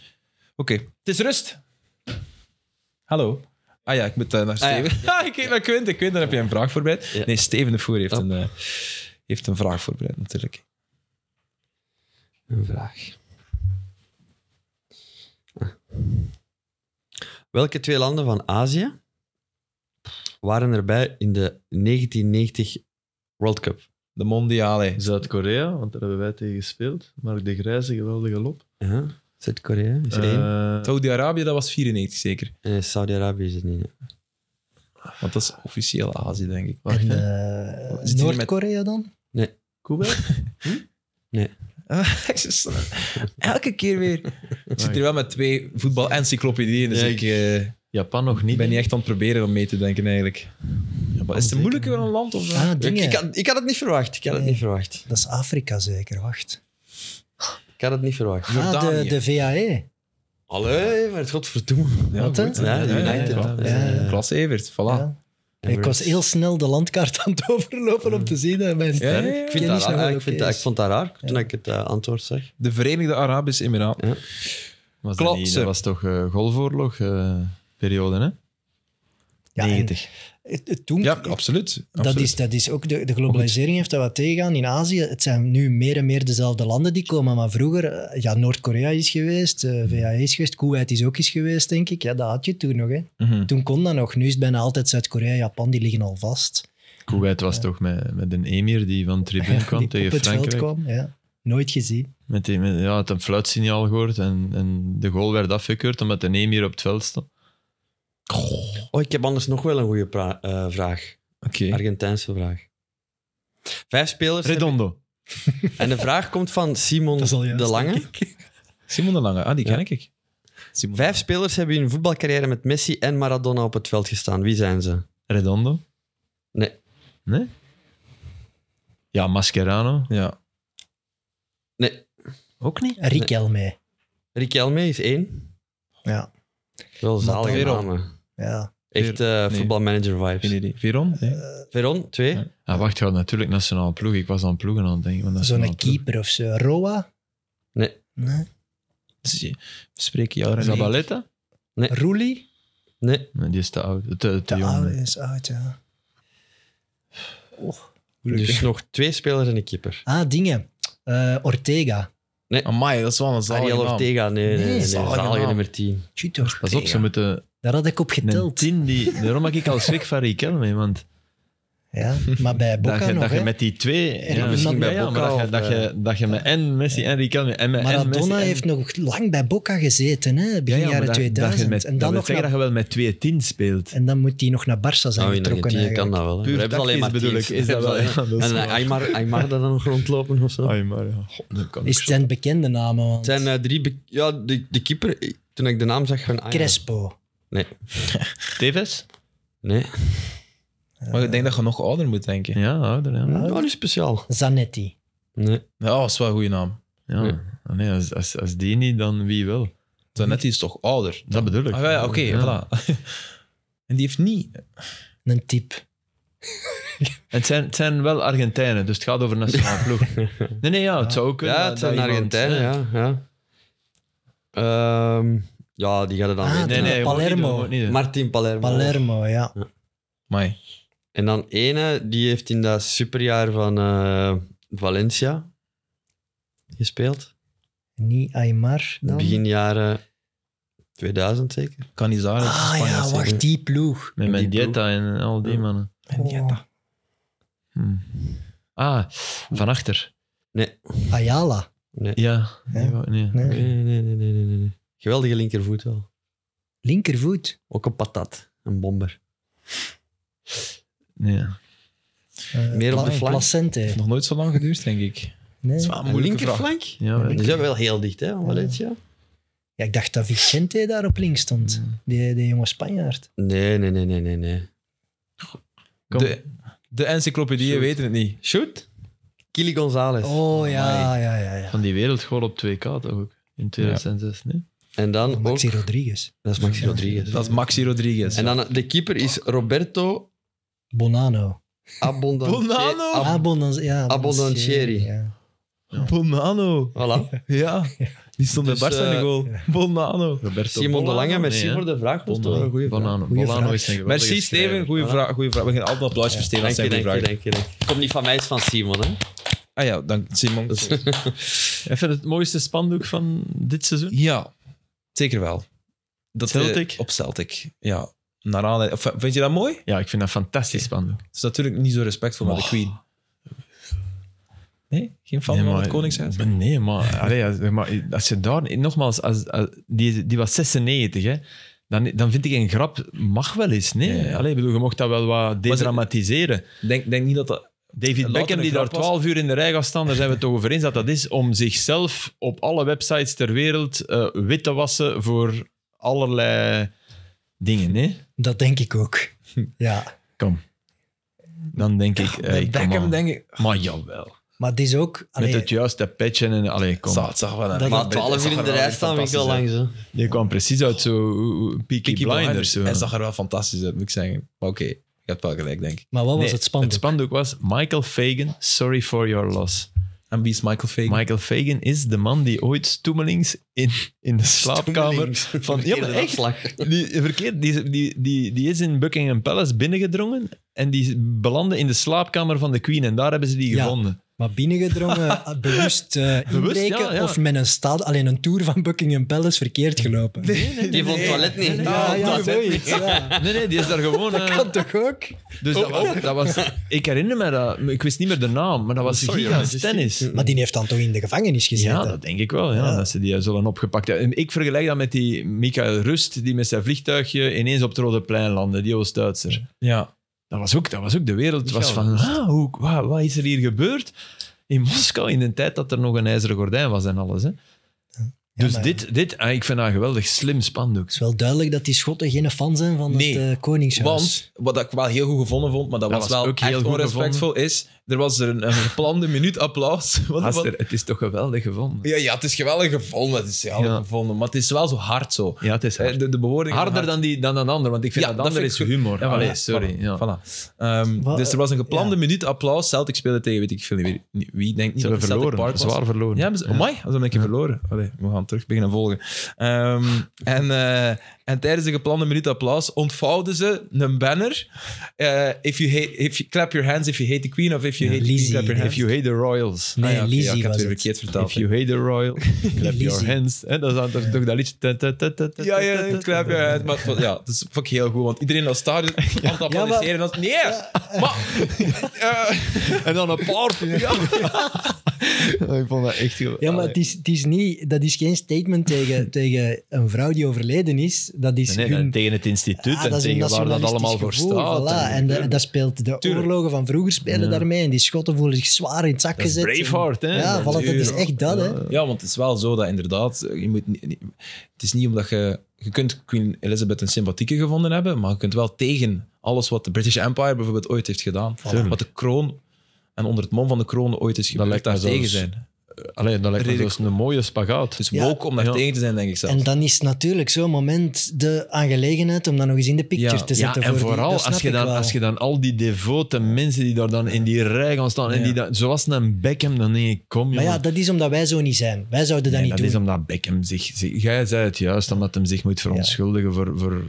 Oké, het is rust. Hallo. Ah ja, ik moet eh, naar Ah ja. Steven. Ah, ik kijk naar Quint. Quint, dan heb je een vraag voorbereid. Ja. Nee, Steven de Voer heeft, Oh. een, eh, heeft een vraag voorbereid, natuurlijk. Een vraag. Ah. Welke twee landen van Azië waren erbij in de 1990 World Cup? De mondiale. Zuid-Korea, want daar hebben wij tegen gespeeld. Mark de Grijze, geweldige lop. Ja, Zuid-Korea is er één. Eh, Saudi-Arabië, dat was 94 zeker. En Saudi-Arabië is er niet. hè. Want dat is officieel Azië, denk ik. wacht, En hè. eh, Zit hier met- Noord-Korea dan? Cuba? Ah, Elke keer weer. Ik zit hier wel met twee voetbal-encyclopedieën, dus Ja, ik ik- eh, Japan nog niet. ben niet echt aan het proberen om mee te denken, eigenlijk. Maar is het zeker. moeilijker een land? Of, eh? Ah, Ik, dingen. ik, had, ik had het niet verwacht. Ik had het Nee. niet verwacht. Dat is Afrika zeker, wacht. Ik had het niet verwacht. Ah, de, Jordanië. de E. VAE. Allee, maar het godverdomme. Ja, Wat, hè? goed, ja, Ja, ja, United. ja. Ja. Klas Evert, voilà. Ja. Ik was heel snel de landkaart aan het overlopen om te zien dat mijn Ja, ja, ja. Ik, vind dat kennis nog wel raar. ik, oké vind dat, ik is. vond dat raar toen ik het eh, antwoord zag. De Verenigde Arabische Emiraten. Was Klopt, dat, niet- ze. dat was toch eh, golfoorlog eh, periode, hè? Ja, en 90. het- het- Toen, Ja, absoluut. Hm. Dat absoluut. is, dat is ook de, de globalisering heeft dat wat tegengaan in Azië. Het zijn nu meer en meer dezelfde landen die komen. Maar vroeger, eh, ja, Noord-Korea is geweest, eh VAE is geweest, Kuwait is ook eens geweest, denk ik. Ja, dat had je toen nog. Hè. Mhm. Toen kon dat nog. Nu is het bijna altijd Zuid-Korea, Japan, die liggen al vast. Kuwait was toch met, met een emir die van de tribune kwam die op tegen het veld Frankrijk. kwam. Ja. Nooit gezien. Met die, met, ja, had een fluitsignaal gehoord en, en de goal werd afgekeurd omdat de emir op het veld stond. Oh, ik heb anders nog wel een goede pra- eh, vraag. Oké. Ah, Argentijnse vraag. Vijf spelers. Redondo. En de vraag komt van Simon Dat is al juist, de Lange. Simon de Lange, ah, die ken ik. Simon de Vijf spelers hebben in hun voetbalcarrière met Messi en Maradona op het veld gestaan. Wie zijn ze? Redondo? Nee. Nee? Ja, Mascherano. Lange. Ja. Nee, Ook niet? Riquelme. Riquelme is één. Ja. Wel zalige Veron. namen. Ja. Echt eh, nee. voetbalmanager Geen vibes. idee. Veron? Nee. Eh, Veron, twee. Ja. Ah, wacht, je had natuurlijk nationaal ploeg. Ik was aan ploegen aan het denken. want nationale Zo'n ploeg. keeper of zo. Roa? Nee. Nee. Dus je- we spreken jou René. Zabaleta? Roelie? Nee. Nee, die is te oud. Te, te De jong. oude is oud, ja. Oh, moeilijk. Dus nog twee spelers en een keeper. Ah, dingen. Eh, Ortega. Amai, dat is wel een zalige Ariel naam. Ortega, nee, nee, nee, nee, zalige zalige naam. nummer tien. Chut, Ortega. Pas op, ze moeten Daar had ik op een geteld. tien die... Daarom maak ik al schrik van Riquelme, want Ja, maar bij dat Boca je, nog, dat je hè. met die twee... En ja, misschien ja, bij ja, Boca maar dat je, of, dat je, dat je met en Messi en Riquelme en met en eh, Messi eh, Maradona en- heeft nog lang bij Boca gezeten, hè, Ja, begin ja, maar jaren dat- dat 2000. je met- en, dat dan wil nog zeggen Ah, naar- dat je wel met twee tien speelt. en dan moet hij nog naar Barça zijn Nou, in getrokken Argentinië eigenlijk. kan dat wel. hè. Puur Daar hebben ze alleen maar tactisch bedoel tien. ik, Dus is dat wel- Daar hebben ze ja, dat is alleen- waar. En eh, Aymar, Aymar daar dan nog rondlopen of zo? Ai, maar ja. Goh, dat Is kan ook het zo. zijn bekende namen? Want Het zijn eh, drie... be- Ja, de, de keeper... eh, Toen ik de naam zag van... Aymar- Crespo. Nee. Tevez? Nee. Maar ik denk dat je nog ouder moet Hm. denken. Ja, ouder, ja. Nou, niet speciaal. Zanetti. Nee. Ja, dat is wel een goede naam. ja. Nee. Ah, Nee, als, als, als die niet, dan wie wel? Zanetti is toch ouder? Dat bedoel ik. Ah, ja, ja, oké, Ja. voilà. En die heeft niet... Een type. En Het zijn, het zijn wel Argentijnen, dus het gaat over nationale ploeg. Nee, nee, ja, het zou ook kunnen. Ja, dat- het zijn dat iemand- eh? Argentijnen, ja. ja. Ehm, ja, die gaat het dan Ah, weten. Nee, nee, hè. je moet niet Palermo. doen, je moet niet doen. Martin Palermo. Palermo, ja. Amai. En dan ene, die heeft in dat superjaar van eh, Valencia gespeeld. Niet Aymar dan. Begin jaren 2000 zeker. Canizares. Ah ja, Spanjaard. wacht, die ploeg. Met Die Mendieta en al die Ja. mannen. Oh. Hm. Ah, van achter. Ayala. Nee. Ja. Ja. Nee, wa- nee. Nee. Nee, nee, nee, nee, nee, nee, nee. Geweldige linkervoet wel. Linkervoet. Ook een patat. Een bomber. Nee. Eh, Meer op Pla- de flank. Placente. heeft nog nooit zo lang geduurd, denk ik. Nee. Dat is wel een Een Ah, moeilijke vraag. linkerflank? Ja, wel. Die zijn wel heel dicht, hè, van Valencia. Ja, ik dacht dat Vicente daar op links stond. Die, die jonge Spanjaard. Nee, nee, nee, nee, nee. nee. Kom. De, de encyclopedieën Shoot. weten het niet. Shoot? Kili González. Oh ja, ja, ja. ja. Van die wereldgoal op 2K toch ook? In 2006, nee? En dan ook... Maxi Rodriguez. Dat is Maxi Rodriguez. Dat is Maxi Rodriguez. En dan de keeper is Roberto Bonano. Bonanno? Abondantieri. Abondan- Ah, ja, Abondantieri. Ja. Bonano. Voilà. Ja, die stond Dus, bij Barca in de eh, goal. Bonano. Roberto Simon de Bonano? Lange, merci Nee, hè? voor de vraag. Dat is toch een Bonano. goede vraag. Bonano. Goeie Bonano vraag. is een geweldige Merci, Steven. schrijver. Goeie Voilà. vraag, goeie vraag. We gaan altijd een applaus voor Steven. Dat Dank je, zijn goede dank je, vragen. dank je. dank je. Komt niet van mij, het is van Simon, hè? Ah ja, dank Simon. Ik vind het mooiste spandoek van dit seizoen. Ja, zeker wel. Dat Celtic? eh, op Celtic, ja. Naar aanleiding- of, vind je dat mooi? Ja, ik vind dat fantastisch spandoek. Het is natuurlijk niet zo respectvol naar de Oh. Queen. Nee? Geen fan van maar- het Koningshuis? Nee, maar, allee, ja, zeg maar als je daar... Nogmaals, als, als- die, die was 96, hè. Dan, dan vind ik een grap mag wel eens, nee? Ja, ja. Allee, ik bedoel, je mocht dat wel wat dedramatiseren. Denk, denk niet dat dat... David Louter Beckham een die grap daar was. 12 uur in de rij gaat staan, daar zijn we het toch over eens dat dat is om zichzelf op alle websites ter wereld eh, wit te wassen voor allerlei dingen. Hè? Dat denk ik ook. Ja. Dan denk ik, eh, Bij kom Beckham aan. denk ik... maar jawel. Maar het is ook... allee, Met het juiste petje en allee, kom. Zou het zag wel Dat- Maar 12 uur in de rij staan, vind ik wel lang, zo. Die kwam precies uit zo eh, eh, Peaky, Kiki Blinders. Blinders. zo. Hij zag er wel fantastisch uit, moet ik zeggen. Maar oké, je hebt wel gelijk, denk ik. Maar wat was Nee, het spannend? was Michael Fagan, sorry for your loss. En wie is Michael Fagan? Michael Fagan is de man die ooit stoemelings in, in de slaapkamer van... Ja, maar Verkeerde echt, afslag. Die, verkeerd, die, die, die, die is in Buckingham Palace binnengedrongen en die belandde in de slaapkamer van de Queen en daar hebben ze die Ja. gevonden. Maar binnengedrongen, eh, bewust eh, inbreken ja, ja. of met een stad, alleen een tour van Buckingham Palace verkeerd gelopen. Die vond het toilet niet. ja, ja, dat- zoiets. Ja. Nee, nee, die is daar gewoon. eh, Kan toch ook? dus dat was, dat was, ik herinner me dat, maar ik wist niet meer de naam, maar dat was Sorry, gigantisch Majesty. tennis. Maar die heeft dan toch in de gevangenis gezeten? Ja, dat denk ik wel. Ja, Ja. Dat ze die zullen opgepakt hebben. En Ik vergelijk dat met die Michael Rust, die met zijn vliegtuigje ineens op het Rode Plein landde, die Oost-Duitser. Ja. Dat was ook, dat was ook de wereld. was Michael van, ah, hoe, wa- wat is er hier gebeurd? In Moskou, in de tijd dat er nog een ijzeren gordijn was en alles. Hè? Ja, dus maar dit, dit ah, ik vind dat een geweldig slim spandoek. Het is wel duidelijk dat die Schotten geen fan zijn van Nee, het eh, Koningshuis. Want, wat ik wel heel goed gevonden vond, maar dat, Dat was, was wel ook heel echt goed onrespectvol, is... Er was er een, een geplande minuut applaus. Wat- wat- Gaster, het is toch geweldig gevonden. ja, ja, het is geweldig gevonden. Het is geweldig Ja. gevonden, maar het is wel zo hard zo. Ja, het is Eh, De, de bewoording... harder dan, die, dan dat ander, want ik vind Ja, dat dat ander vind is ik humor. Ja, Allee, voilà, sorry. voilà, ja. voilà. Ehm, Wat, dus er was een geplande ja. minuut applaus. Celtic speelde tegen, weet ik veel niet meer niet- wie. Ik Denk niet Ze dat hebben het Celtic Park verloren, was. zwaar verloren. Ja, maar, amai, dat is een beetje verloren. Allee, we gaan terug beginnen volgen. Ehm, en, eh, en tijdens de geplande minuut applaus ontvouwden ze een banner. Eh, if you hate, if you, clap your hands if you hate the queen, of if you Ja, hate the queen, Lizzie, clap your ja. hands. If you hate the royals, Nee, Ah ja, oké, ja, Lizzie ik heb was het weer het. verkeerd vertaald. if you hate the royals, clap your Lizzie. hands. Hè, dat is dan toch dat liedje. ta- ta- ta- ta- ta- Ja, ja, ta- ta- het clap your hands. Maar het vond- ja, dat is vond ik heel goed, want iedereen in dat stadion aan het applaudisseren. en dan- Nee, maar... eh, En dan een paard. ik vond dat echt geweldig. Ja, maar het is, het is niet, dat is geen statement tegen, tegen een vrouw die overleden is. Dat is Nee, nee, hun, tegen het instituut Ah, en dat is een tegen waar dat nationalistisch allemaal voor gevoel, staat. voilà. En, de- en dat speelt de Tuurlijk. oorlogen van vroeger spelen daarmee. En die Schotten voelen zich zwaar in het zak Dat is gezet. Braveheart, hè? Ja, voilà, dat is Tuurlijk. echt dat, hè. Ja, want het is wel zo dat inderdaad, je moet niet, niet- het is niet omdat je, je kunt Queen Elizabeth een sympathieke gevonden hebben, maar je kunt wel tegen alles wat de British Empire bijvoorbeeld ooit heeft gedaan, Tuurlijk. wat de kroon en onder het mom van de kroon ooit is gebeurd, lijkt me daar tegen zelfs- zijn. Alleen dat lijkt me Redelijk dus een mooie spagaat. Dus Ja. woke om daar Ja. tegen te zijn, denk ik zelf. En dan is natuurlijk zo'n moment de aangelegenheid om dat nog eens in de picture Ja, te ja, zetten. en voor vooral die, dat als, snap je ik dan, wel. als je dan al die devote mensen die daar dan in die rij gaan staan, en Ja. die dan, zoals een Beckham, dan denk ik, kom Maar jongen. ja, dat is omdat wij zo niet zijn. Wij zouden dat Nee, niet doen. dat is omdat Beckham zich, zich- Jij zei het juist, omdat hem zich moet verontschuldigen voor, voor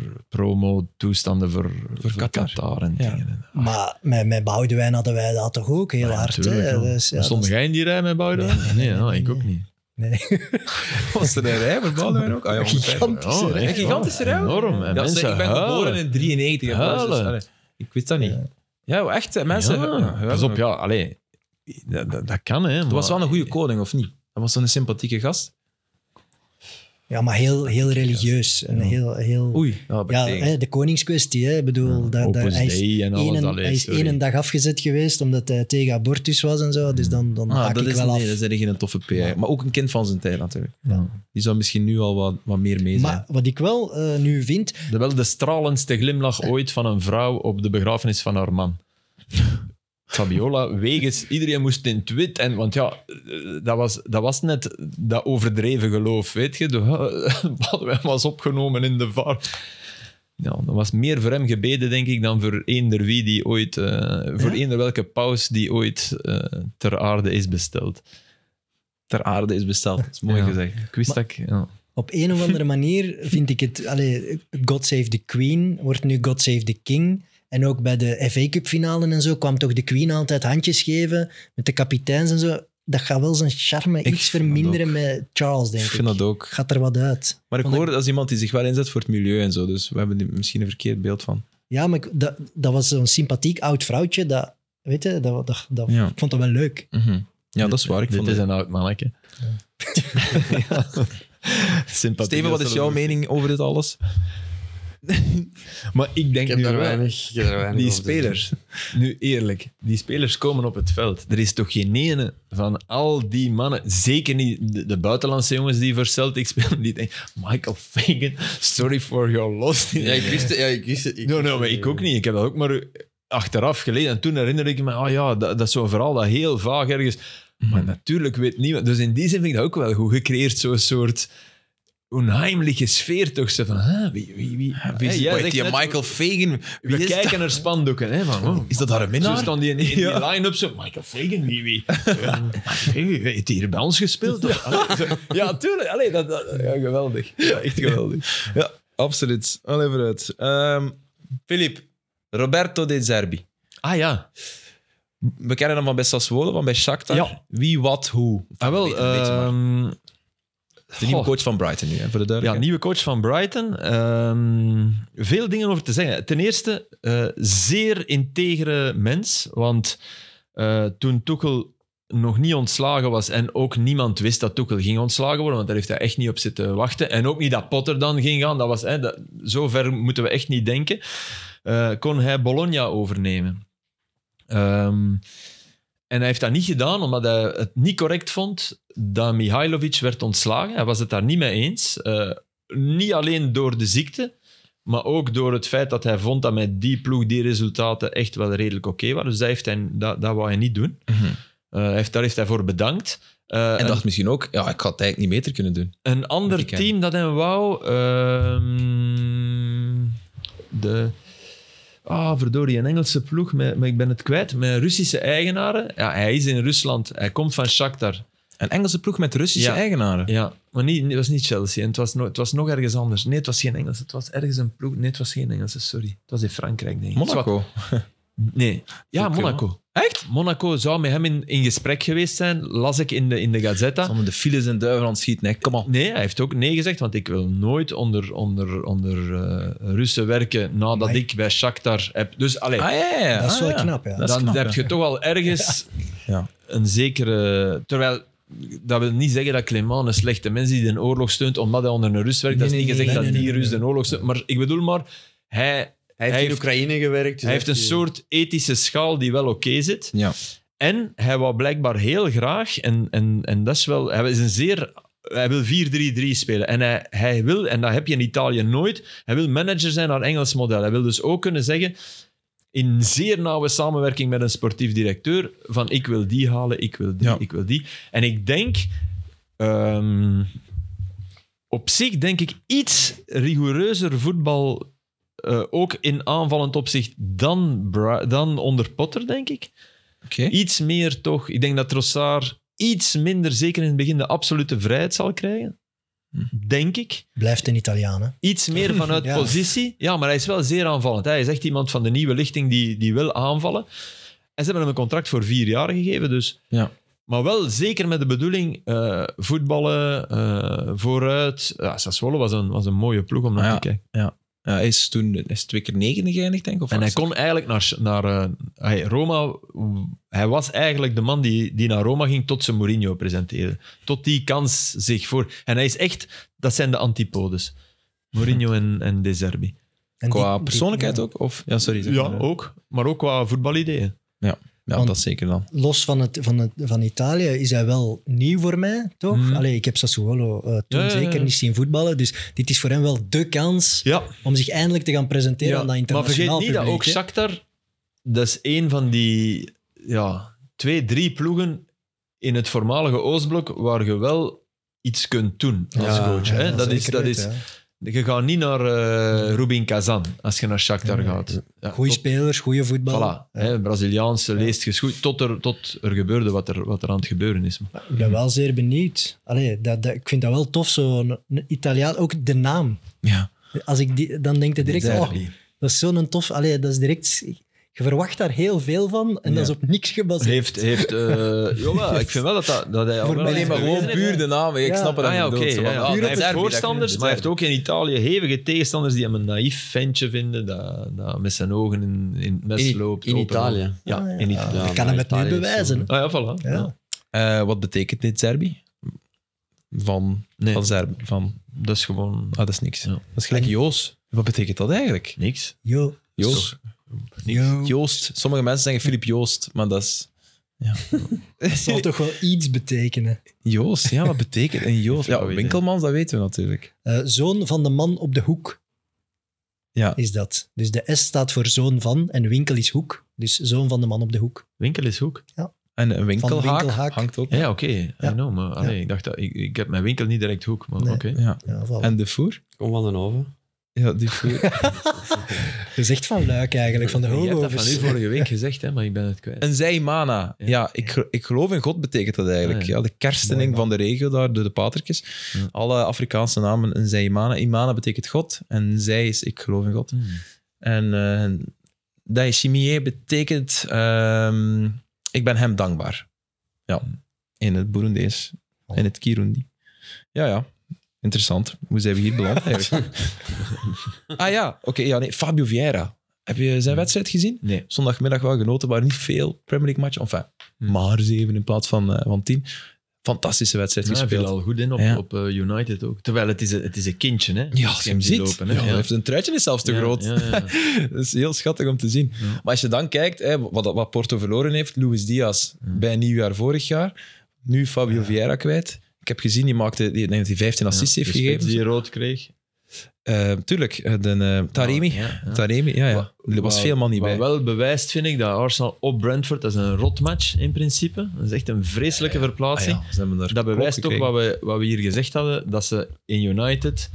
promo-toestanden voor, voor, Qatar. en Ja. dingen. Maar met, met Boudewijn hadden wij dat toch ook heel hard. hè? Natuurlijk, Ah ja. Dus, ja, Maar Stond dat is- jij in die rij met Boudewijn? Nee, ja, ik ook niet. was er een rij voor Boudewijn ook? Ah, ja, ongetwijfeld. Gigantische Oh, rij. Een echt gigantische rij. Enorm. En Ja, mensen ze- ik ben geboren huilen. in 93. hè, Huilen. dus, allee, ik weet dat niet. Ja, echt, hè, mensen. Ja, ja, huilen pas op, ook. ja, allee. Dat, dat, dat kan, hè. Dat was wel een goede koning, of niet? Dat was zo'n sympathieke gast. Ja, maar heel, heel religieus. En heel, heel, Oei, ja, ben ja, tegen. hè, de koningskwestie. Hè. Ik bedoel, dat, dat, Opus hij is, Dei en alles. één, allee, hij is sorry. één dag afgezet geweest omdat hij tegen abortus was en zo. Dus Hmm. dan, dan Ah, haak dat ik is wel nee, af. dat is geen toffe PR. Maar ook een kind van zijn tijd natuurlijk. Ja. Die zou misschien nu al wat, wat meer mee zijn. Maar wat ik wel eh, nu vind, De, wel de stralendste glimlach ooit van een vrouw op de begrafenis van haar man. Fabiola, wegens iedereen moest in het wit. En, want ja, eh, dat was, dat was net dat overdreven geloof. Weet je, de, Badwijn was opgenomen in de vaart. Ja, dat was meer voor hem gebeden, denk ik, dan voor eender wie die ooit, eh, voor eender welke paus die ooit eh, ter aarde is besteld. ter aarde is besteld. Dat is mooi Ja. gezegd. Ik wist dat ik. Ja. op een of andere manier vind ik het... Allee, God Save the Queen wordt nu God Save the King. En ook bij de FA Cup finalen en zo kwam toch de Queen altijd handjes geven met de kapiteins en zo. Dat gaat wel zijn charme iets vind dat verminderen ook. met Charles, Ik denk ik. vind dat ook. Gaat er wat uit. Maar ik Want ik- hoor dat is iemand die zich wel inzet voor het milieu en zo. Dus we hebben er misschien een verkeerd beeld van. Ja, maar ik- dat, dat was zo'n sympathiek oud vrouwtje. Dat, weet je, dat, dat, dat- Ja. ik vond dat wel leuk. Mhm. Ja, dat is waar. Ik Dit vond is het. een oud mannetje. Ja. Sympathie, Steven, dat wat is zullen jouw we- mening over dit alles? Maar ik denk Ik heb nu daar wel- weinig, ik heb daar weinig Die over te spelers, nu eerlijk, die spelers komen op het veld. Er is toch geen ene van al die mannen, zeker niet de, de buitenlandse jongens die voor Celtic spelen, die denken, Michael Fagan, sorry for your loss. zeggen. Ja, ik wist het. Ja, ik wist het ik no, wist no, het, maar ja. ik ook niet. Ik heb dat ook maar achteraf gelezen. En toen herinner ik me, ah ja, dat, dat is zo'n verhaal dat heel vaag ergens... Maar natuurlijk weet niemand... Dus in die zin vind ik dat ook wel goed gecreëerd, zo'n soort... Onheimliche sfeer toch? Ze van, ah, wie, wie, wie, Hè, jij zegt net- Fagan? we kijken naar spandoeken, hè? Van, oh. Is dat haar Zo minnaar? staan die in, in die Ja. line-up zo. Michael Fagan, wie wie? Ja. Michael Fagan, heeft hij hier bij ons gespeeld? Of- Allee, zo- Ja, tuurlijk. Allee, dat, dat- ja, geweldig. Ja, echt geweldig. Ja, absoluut. Al even uit. Ehm, Filip, Roberto De Zerbi. Ah ja. We kennen hem van bij Sassuolo, van bij Shakhtar. Ja. Wie, wat, hoe. Ah, wel, Weet een beetje, maar. ehm, de nieuwe goh. coach van Brighton nu, hè, voor de Ja, duidelijkheid. nieuwe coach van Brighton. Ehm, veel dingen over te zeggen. Ten eerste, eh, zeer integere mens. Want eh, toen Tuchel nog niet ontslagen was en ook niemand wist dat Tuchel ging ontslagen worden, want daar heeft hij echt niet op zitten wachten. En ook niet dat Potter dan ging gaan. Dat was, hè, dat, zo ver moeten we echt niet denken. Eh, kon hij Bologna overnemen. Ehm, en hij heeft dat niet gedaan omdat hij het niet correct vond dat Mihailovic werd ontslagen. Hij was het daar niet mee eens. Eh, niet alleen door de ziekte, maar ook door het feit dat hij vond dat met die ploeg die resultaten echt wel redelijk oké waren. Dus dat, heeft hij, dat, dat wou hij niet doen. Mhm. Eh, hij heeft, daar heeft hij voor bedankt. Eh, En dacht misschien ook, ja, ik had het eigenlijk niet beter kunnen doen. een Die ander kennen. team dat hem wou. ehm, de. Ah, verdorie, een Engelse ploeg, met- maar ik ben het kwijt. Met Russische eigenaren. Ja, hij is in Rusland, hij komt van Shakhtar. Een Engelse ploeg met Russische Ja. eigenaren. Ja, maar niet, het was niet Chelsea en het was, no- het was nog ergens anders. Nee, het was geen Engelse, het was ergens een ploeg. Nee, het was geen Engelse, sorry. Het was in Frankrijk, denk ik. Zwat- Monaco. Nee, ja, Oké, Monaco. Echt? Monaco zou met hem in, in gesprek geweest zijn, las ik in de, in de Gazzetta. Zal me de files en duiven aan het schieten, hè. Kom op. Nee, hij heeft ook nee gezegd, want ik wil nooit onder, onder, onder eh, Russen werken nadat Amai. ik bij Shakhtar heb. Dus allee, Ah, ja, ja, ja. Dat is Ah, wel ja. knap, ja. Dat is dan knap, heb ja. je toch al ergens Ja. een zekere... Terwijl, dat wil niet zeggen dat Clément een slechte mens is die de oorlog steunt omdat hij onder een Rus werkt. Nee, dat is nee, nee, niet gezegd dat nee, nee, die nee, Rus nee. de oorlog steunt. Maar ik bedoel maar, hij, Hij heeft Hij in heeft- Oekraïne gewerkt. dus hij heeft een soort ethische schaal die wel oké zit. Ja. En hij wou blijkbaar heel graag, en, en, en dat is wel, hij is een zeer. Hij wil 4-3-3 spelen. En hij, hij wil, en dat heb je in Italië nooit, hij wil manager zijn naar Engels model. Hij wil dus ook kunnen zeggen, in zeer nauwe samenwerking met een sportief directeur, van ik wil die halen, ik wil die, Ja. ik wil die. En ik denk, ehm, op zich denk ik iets rigoureuzer voetbal, eh, ook in aanvallend opzicht, dan, Bra- dan onder Potter, denk ik. Oké. Iets meer toch. Ik denk dat Trossard iets minder, zeker in het begin, de absolute vrijheid zal krijgen. Denk ik. Blijft een Italiaan, hè. Iets meer vanuit Ja. positie. Ja, maar hij is wel zeer aanvallend. Hij is echt iemand van de nieuwe lichting die, die wil aanvallen. En ze hebben hem een contract voor vier jaar gegeven, dus... Ja. Maar wel zeker met de bedoeling eh, voetballen, eh, vooruit. Ja, Sassuolo was een, was een mooie ploeg om naar Ah, te kijken. Ja, hij is toen hij is twee keer negende geëindigd, denk ik. Of En hij achtste. kon eigenlijk naar, naar eh, hij- Roma. Hij was eigenlijk de man die, die naar Roma ging tot ze Mourinho presenteerde. Tot die kans zich voor. En hij is echt, dat zijn de antipodes. Mourinho en, en De Zerbi. En Qua die- die- persoonlijkheid ja. ook? Of? Ja, sorry. zeg Ja, maar. ook. Maar ook qua voetbalideeën. Ja, Want- dat zeker dan. Los van, het, van, het, van Italië is hij wel nieuw voor mij, toch? Mhm. Allee, ik heb Sassuolo eh, toen Ja, ja, ja. zeker niet zien voetballen, dus dit is voor hem wel de kans Ja, om zich eindelijk te gaan presenteren aan dat maar vergeet internationaal niet publiek. dat ook hè. Shakhtar, dat is één van die ja, twee, drie ploegen in het voormalige Oostblok waar je wel iets kunt doen als Ja, coach. Hè? Ja, dat is, zeker dat is, weten, Je gaat niet naar eh, Rubin Kazan als je naar Shakhtar Nee. gaat. Ja, hè. Goeie tot- spelers, goede voetbal. Voilà, hè, Braziliaanse leest je goed tot er, tot er gebeurde wat er, wat er aan het gebeuren is. Ik ben wel zeer benieuwd. Allee, dat, dat, ik vind dat wel tof, zo'n een Italiaan. Ook de naam. Ja. Als ik die, dan denk je direct, De oh, derby. dat is zo'n tof... Allee, dat is direct... Je verwacht daar heel veel van en dat is Ja. op niks gebaseerd. Heeft, heeft, eh, jawel, ik vind wel dat, dat, dat hij... al Voor wel mij- Nee, eens maar gewoon bewezen heeft. puur de naam. Ik Ja. snap het Ah ja, oké. ja, ja. Puur Hij op heeft het voorstanders, maar hij heeft ook in Italië hevige tegenstanders die hem een naïef ventje vinden dat, dat met zijn ogen in, in het mes In- loopt. in open- Italië. Ja, Ah, ja. in Italië. Ja, ik maar kan hem het nu Italië is bewijzen. zo. hè. Ah ja, voilà. Ja. Ja. Eh, wat betekent dit Zerbi? Van, Nee, van Zerbi. Van, dat is gewoon ah, dat is niks. Ja. Dat is gelijk Joos. Wat betekent dat eigenlijk? niks. Yo. Joos. Yo. Joost. Sommige mensen zeggen Filip Joost, maar dat is... Ja. Dat zal toch wel iets betekenen. Joost, ja, wat betekent een Joost? Flauw Ja, idee. winkelmans, dat weten we natuurlijk. Eh, zoon van de man op de hoek. Ja. Is dat. Dus de S staat voor zoon van en winkel is hoek. Dus zoon van de man op de hoek. Winkel is hoek. En een winkelhaak, winkelhaak. hangt op. Ja, ja, oké. I Ja. know, maar allee, ik dacht dat... Ik, ik heb mijn winkel niet direct hoek, maar Nee. oké. Ja. Ja, voilà. En de voer? Kom van den Hoven. Ja, die voer. Dat is echt van Luik eigenlijk, van de Je hebt dat van u hoogovers. vorige week gezegd, hè, maar ik ben het kwijt. Een zijmana. Ja. Ja, ik, gel- ik geloof in God betekent dat eigenlijk. Ah, ja. ja. de kerstening Mooi, man. van de regio daar, door de patertjes. Ja. Alle Afrikaanse namen, een zijmana. Imana betekent God en zij is ik geloof in God. Hmm. En uh, daishimie betekent ehm, ik ben hem dankbaar. Ja, in het Burundees, Oh. in het Kirundi. Ja, ja. Interessant. Hoe zijn we hier beland eigenlijk? ah ja, oké. ja, nee. Fabio Vieira. Heb je zijn wedstrijd gezien? Nee. Zondagmiddag wel genoten, maar niet veel Premier League matchen. Enfin, Hmm. maar zeven in plaats van, eh, van tien. Fantastische wedstrijd Ja, Hij viel gespeeld. al goed in op, Ja. op eh, United ook. Terwijl het is, een- het is een kindje, hè. Ja, Als als je je hem ziet ziet. lopen, hè. ja, Ja. hij heeft- Zijn truitje is zelfs te Ja, groot. ja, ja. dat is heel schattig om te zien. Ja. Maar als je dan kijkt, hè, wat, wat Porto verloren heeft, Luis Diaz Hmm. bij nieuwjaar vorig jaar, nu Fabio Vieira kwijt. Ik heb gezien, die maakte, die, ik denk dat hij 15 assists Ja, heeft de spits gegeven. Die rood kreeg. Eh, tuurlijk, eh, de, eh, Taremi. Ja, Ah, ja, ja. Taremi, ja, ja. Wa- Er was wa- veel man niet wat bij. wel bewijst, vind ik, dat Arsenal op Brentford, dat is een rotmatch in principe. Dat is echt een vreselijke Ah verplaatsing. ja, ze hebben daar Dat bewijst klop ook wat gekregen. we, wat we hier gezegd hadden, dat ze in United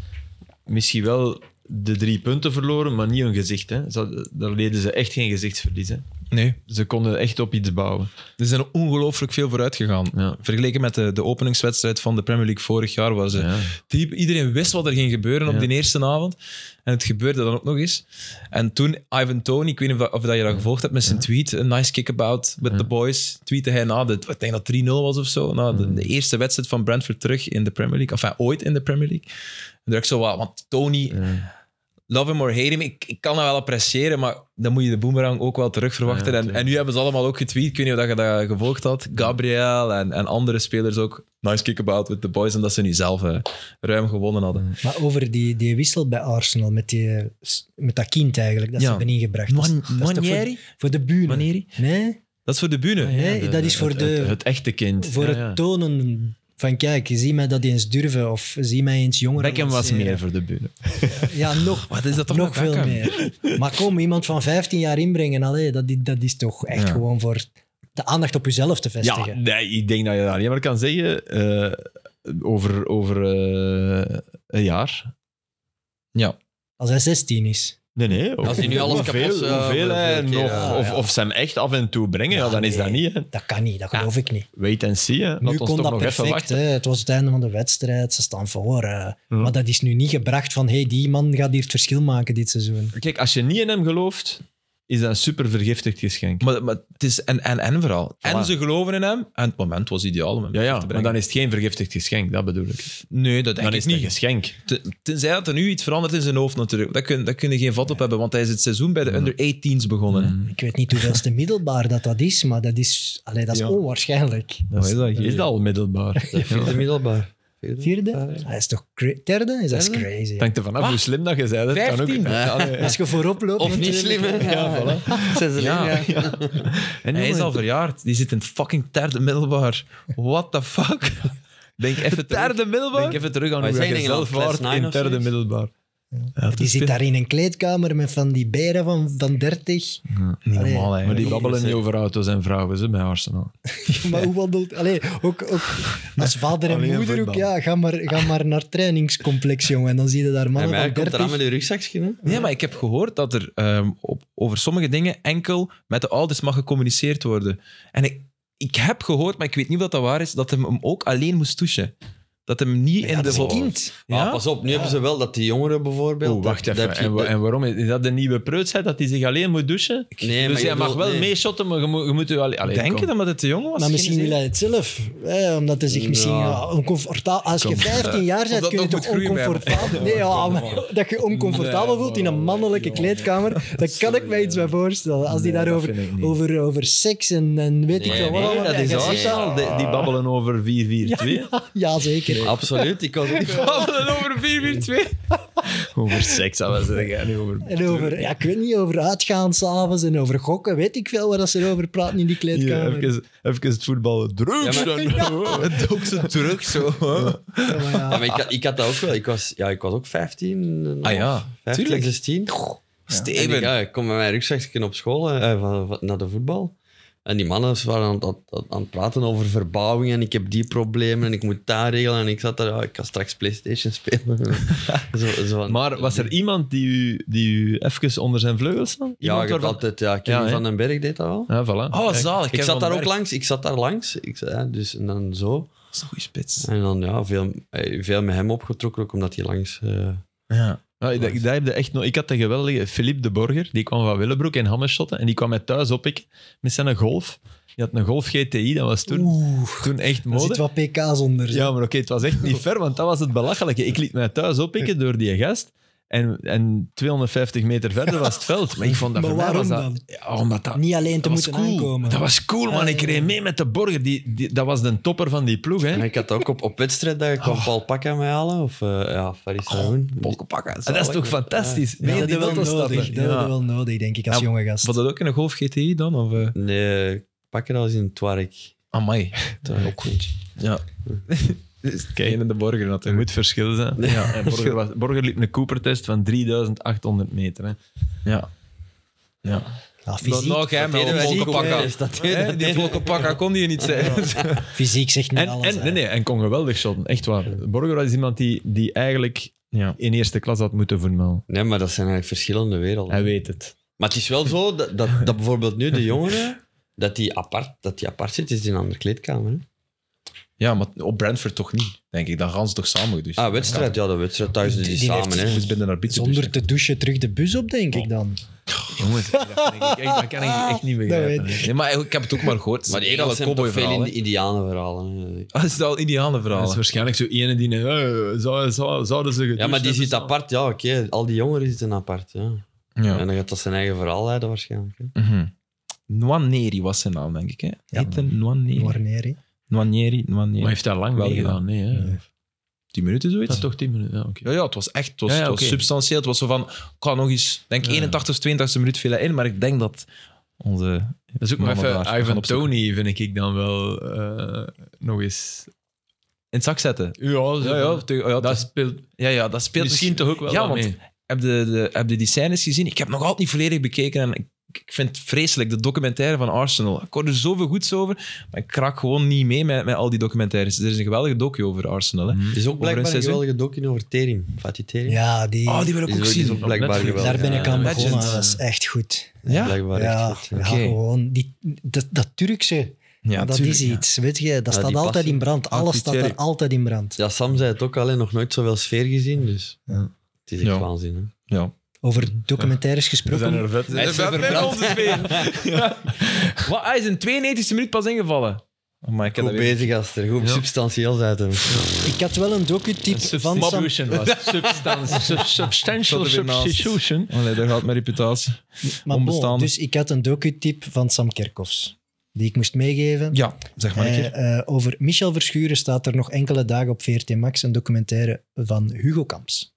misschien wel de drie punten verloren, maar niet hun gezicht. Hè. Ze hadden- Daar leden ze echt geen gezichtsverlies. Hè. Nee, Ze konden echt op iets bouwen. er zijn ongelooflijk veel vooruit gegaan. Ja. Vergeleken met de, de openingswedstrijd van de Premier League vorig jaar, waar ze Ja. Die, iedereen wist wat er ging gebeuren Ja. op die eerste avond. En het gebeurde dan ook nog eens. En toen Ivan Tony, ik weet niet of, of dat je dat gevolgd hebt met zijn tweet, een nice kickabout with Ja. the boys, tweette hij na de, ik denk dat 3-0 was of zo, na Hmm. de, de eerste wedstrijd van Brentford terug in de Premier League. Enfin, ooit in de Premier League. En toen dacht ik zo, wat, want Tony, Ja. love him or hate him, ik, ik kan dat wel appreciëren, maar dan moet je de boomerang ook wel terug verwachten. Ja, en, tuurlijk. en nu hebben ze allemaal ook getweet, ik weet niet of dat je dat gevolgd had, Gabriel en, en andere spelers ook, nice kickabout with the boys, en dat ze nu zelf eh, ruim gewonnen hadden. Maar over die, die wissel bij Arsenal, met, die, met dat kind eigenlijk, dat Ja. ze hebben ingebracht. Dat is- dat is toch voor- Manieri? Voor de buren. Manieri? Nee, Dat is voor de Ah, bühne. nee dat is voor, Eh, het, de, het, het echte kind. voor Ja, het ja. tonen van kijk, zie mij dat eens durven of zie mij eens jonger. Beckham was lanceren. meer voor de bühne. Ja, nog, Wat is dat toch nog met veel Beckham? meer. Maar kom, iemand van 15 jaar inbrengen, allee, dat, i- dat is toch echt Ja. gewoon voor de aandacht op jezelf te Ja, vestigen. nee, ik denk dat je dat alleen maar kan zeggen eh, over, over eh, een jaar. Ja. Als hij 16 is. Nee, nee. Als hij nu alles kapot hoeveel, zou hoeveel hebben hij voor de nog, keer, ja. of, of ze hem echt af en toe brengen, ja, Ja, dan is dat nee. niet. Hè. Dat kan niet, dat geloof ik niet. Wait and see. Hè. Laat nu ons kon toch dat nog even perfect. wachten. Hè? Het was het einde van de wedstrijd, ze staan voor. eh. Maar dat is nu niet gebracht van hey, die man gaat hier het verschil maken dit seizoen. Kijk, als je niet in hem gelooft, is dat een super vergiftigd geschenk. Maar, maar het is en, en, en verhaal. En ze geloven in hem. En het moment was ideaal om hem Ja, terug ja, te maar brengen. dan is het geen vergiftigd geschenk, dat bedoel ik. nee, dat denk Dan ik is het een niet. geschenk. Te- Tenzij dat er nu iets verandert in zijn hoofd natuurlijk. Daar kun, daar kun je geen vat op hebben, want hij is het seizoen bij de under-18s begonnen. hè. Mm. Ik weet niet hoeveelste middelbaar dat dat is, maar dat is, allee, dat is Ja. onwaarschijnlijk. Dat is- dat Is dat al middelbaar? De vierde middelbaar. Vierde? Vierde? Ja, ja. Dat is toch cra- Derde? Is dat is Derde? crazy. Het hangt er vanaf hoe slim dat je zei. Dat kan ook. Vijftien. Ja, nee. Als je voorop loopt... Of niet slim, hè? Ja, voilà. Zesde Ja. lijn, ja. En Hij is jongen, al verjaard. Die zit in het fucking derde middelbaar. What the fuck? Denk even terug, Derde middelbaar? denk even terug aan Maar hoe zijn je dingen zelf al waard class nine in of derde zoiets? middelbaar. Die zit daar in een kleedkamer met van die beren van, van 30. Niet Allee. normaal, Maar eigenlijk. die babbelen niet over auto's en vrouwen ze, bij Arsenal. Maar hoe wandelt... Allee, ook, ook als vader en Alleen moeder ook, voetbal. ja, ga maar, ga maar naar trainingscomplex, jongen. En dan zie je daar En mannen mij van komt eraan 30. met uw rugzakje, hè? Nee, maar ik heb gehoord dat er ehm, op, over sommige dingen enkel met de ouders mag gecommuniceerd worden. En ik, ik heb gehoord, maar ik weet niet of dat waar is, dat hem hem ook alleen moest douchen. Dat hem niet in de... dat is een vol- kind. Ja? Maar Ah, pas op, nu hebben ze wel dat die jongeren bijvoorbeeld... Oh, wacht dat- even. dat je- En, wa- en waarom? Is dat de nieuwe preutsheid dat hij zich alleen moet douchen? Nee, maar dus je hij mag bedoelt- wel nee. meeshotten, maar je moet, je moet je alleen... Allee, Denk je kom. dat het te jong was? Maar misschien Geen wil idee. hij het zelf. Hè, omdat hij zich misschien Ja. ja, oncomfortabel... Als je 15 jaar Of bent, dat kun je nog toch moet groeien bij hem. oncomfortabel... Nee, ja, maar dat je oncomfortabel Nee, voelt in een man, mannelijke nee, kleedkamer, daar kan ik mij iets bij voorstellen. Als die Nee, dat daarover vind ik niet. over, over seks en, en weet ik Nee, veel wat... nee, allemaal- dat Ja, is je waar. zit daar al- Die, die babbelen over 4-4-2. Ja, zeker. Absoluut, ik was niet... Babbelen over 4-4-2. Over seks, dat was het. Ja, niet over... En over, ja, ik weet niet, over uitgaan s'avonds en over gokken, weet ik veel waar dat ze erover praten in die Hier, kleedkamer. even, even het voetbal. Drugs! Ja, maar- en- Het dook ze terug zo. Ja, maar Ja, ja. maar ik, had- ik had dat ook wel. Ik was, ja, ik was ook 15. en Ah half. ja, 15, tuurlijk. 16. En ik, Steven. ja, ik kom met mijn rugzakje op school eh, eh, van- van- naar de voetbal. En die mannen waren aan, het- aan, aan het praten over verbouwing en ik heb die problemen en ik moet daar regelen. En ik zat daar, ja, ik kan straks Playstation spelen. zo, zo van- Maar was er iemand die u, die u even onder zijn vleugels nam? Ja, ik Iemand heb waarvan- altijd... Ja, Kevin Ja, hè? van den Berg deed dat wel. Ja, voilà. Oh, zalig. Ik Kevin zat van daar ook Berg. langs. Ik zat daar langs. Ik, zat- ja, dus, en dan zo. Dat is een goede spits. En dan ja, veel, eh, veel met hem opgetrokken, ook omdat hij langs... eh, Ja. Ja, ik, dacht- daar heb je echt nog, ik had de geweldige Philippe de Borger, die kwam van Willebroek in Hammerschotten en die kwam mij thuis oppikken met zijn Golf. Die had een Golf GTI, dat was toen, Oeh, toen echt er zit mode. wat pk's onder. Ja, maar oké, het was echt niet ver, want dat was het belachelijke. Ik liet mij thuis oppikken door die gast en, en 250 meter verder was het veld. Maar ik vond dat Maar voor mij waarom was dat... dan? Ja, omdat dat... Niet alleen te dat was moeten cool. aankomen. Dat was cool, man. Ik reed mee met de Borger. Die, die, dat was de topper van die ploeg, hè. Ja, ik had ook op, op wedstrijd dat ik kwam Paul Pakka mij halen. Of eh ja, Faris Haroun. pakken. Ah, Dat is toch fantastisch? Ja, Nee, dat de is wel nodig. Weltenstad. Dat hadden we wel nodig, denk ik, als Ja, jonge gast. Was dat ook in een Golf GTI dan? Of, eh? nee, Pakka dat was in Twark. Amai. Twark. Ja. Kijk. Geen in de borger Er natuurlijk. moet verschil zijn. Ja, en Borger, was- Borger liep een Cooper-test van 3800 meter. Hè. Ja. Ja. Ja, Dat fysiek, nog hem, wel volken pakken. Dat Hè, Die volken pakken kon die niet zijn. fysiek zegt niet En, alles. en, hè. nee, nee, en kon geweldig shotten, echt waar. Borger was iemand die, die eigenlijk Ja. in eerste klas had moeten voetballen. Nee, maar dat zijn eigenlijk verschillende werelden. Hij weet het. Maar het is wel zo dat, dat, dat bijvoorbeeld nu de jongeren, dat die apart, dat die apart zit, is in een andere kleedkamer. hè. Ja, maar op Brentford toch niet, denk ik. Dan gaan ze toch samen dus. Ah, wedstrijd. Ja, de wedstrijd thuis is die Die heeft- samen. Je Hè. moet binnen dus, naar bieten Zonder te douchen terug de bus op, denk ik dan. Jongens, dat, vind ik echt, dat kan ik echt niet begrijpen. weet Nee, maar ik heb het ook maar gehoord. Maar die al Engels een zijn toch cowboy veel verhaal. in de Indianenverhalen. hè. Dat is al indianen Dat is verhaal. waarschijnlijk zo ene die... eh, zou, zou, zouden ze gedoucht Ja, maar die hebben zit samen? apart. Ja, oké. Al die jongeren zitten apart. Ja. En dan gaat dat zijn eigen verhaal leiden waarschijnlijk. hè. Mhm. Nwaneri was zijn naam, denk ik. Hè? Heette Nwaneri. Warneri. Nwaneri, Maar Nwaneri. heeft dat lang Wel wel gedaan? Nee, hè? Nee. Tien minuten Is dat zoiets. toch 10 minuten? Ja, oké. Ja, ja, het was echt het was, Ja, ja, het was oké. substantieel. Het was zo van, ik kan nog eens, denk Ja. 81 of 82 minuut viel hij in, maar ik denk dat onze... Dat is ook nog Mannen even... daar, we gaan Ivan opzoeken. Tony vind ik dan wel eh, nog eens... In het zak zetten. Ja, zo Ja, ja, van- te- ja, dat dat, speelt ja, ja, dat speelt misschien toch ook wel Ja, wat want mee. heb je, de, heb je die scènes gezien? Ik heb nog altijd niet volledig bekeken. En ik, ik vind het vreselijk, de documentaire van Arsenal. Ik hoor er zoveel goeds over, maar ik kraak gewoon niet mee met, met al die documentaires. Er is een geweldige docu over Arsenal. Hè? Mhm. Er is ook een blijkbaar een seizoen. geweldige docu over Terim. Fatih Terim. Ja, die, Oh, die wil ik Die ook is ook- die is zien. ook blijkbaar dus Netflix. geweldig. daar ben ik aan Legend. begonnen. Dat was echt goed. Ja? Blijkbaar Ja, echt ja, goed, ja. Oké. gewoon. Die, dat, dat Turkse, Ja, dat tuurlijk, is ja. iets. Weet je, dat Ja, staat die altijd passie. in brand. Ah, Alles die staat er Turk. altijd in brand. Ja, Sam zei het ook al, hè, nog nooit zoveel sfeer gezien. Dus Ja. het is echt Ja. waanzin. Hè? Ja. Over documentaires gesproken. er vet. Hij is verbrand. onze sfeer. Ja. Wat, hij is in 92e minuut pas ingevallen. Oh, Maar ik heb Goed dat weer- bezig, Aster. Goed substantieel zijn hem. Ik had wel een docu-tip van Sam... was substance, sub- substantial Tot er weer naast. substitution. Allee, daar gaat mijn reputatie. Maar bon, onbestaande. dus ik had een docu-tip van Sam Kerkhoffs. Die ik moest meegeven. Ja, zeg maar een keer. Eh, eh, over Michel Verschuren staat er nog enkele dagen op VRT Max een documentaire van Hugo Kamps.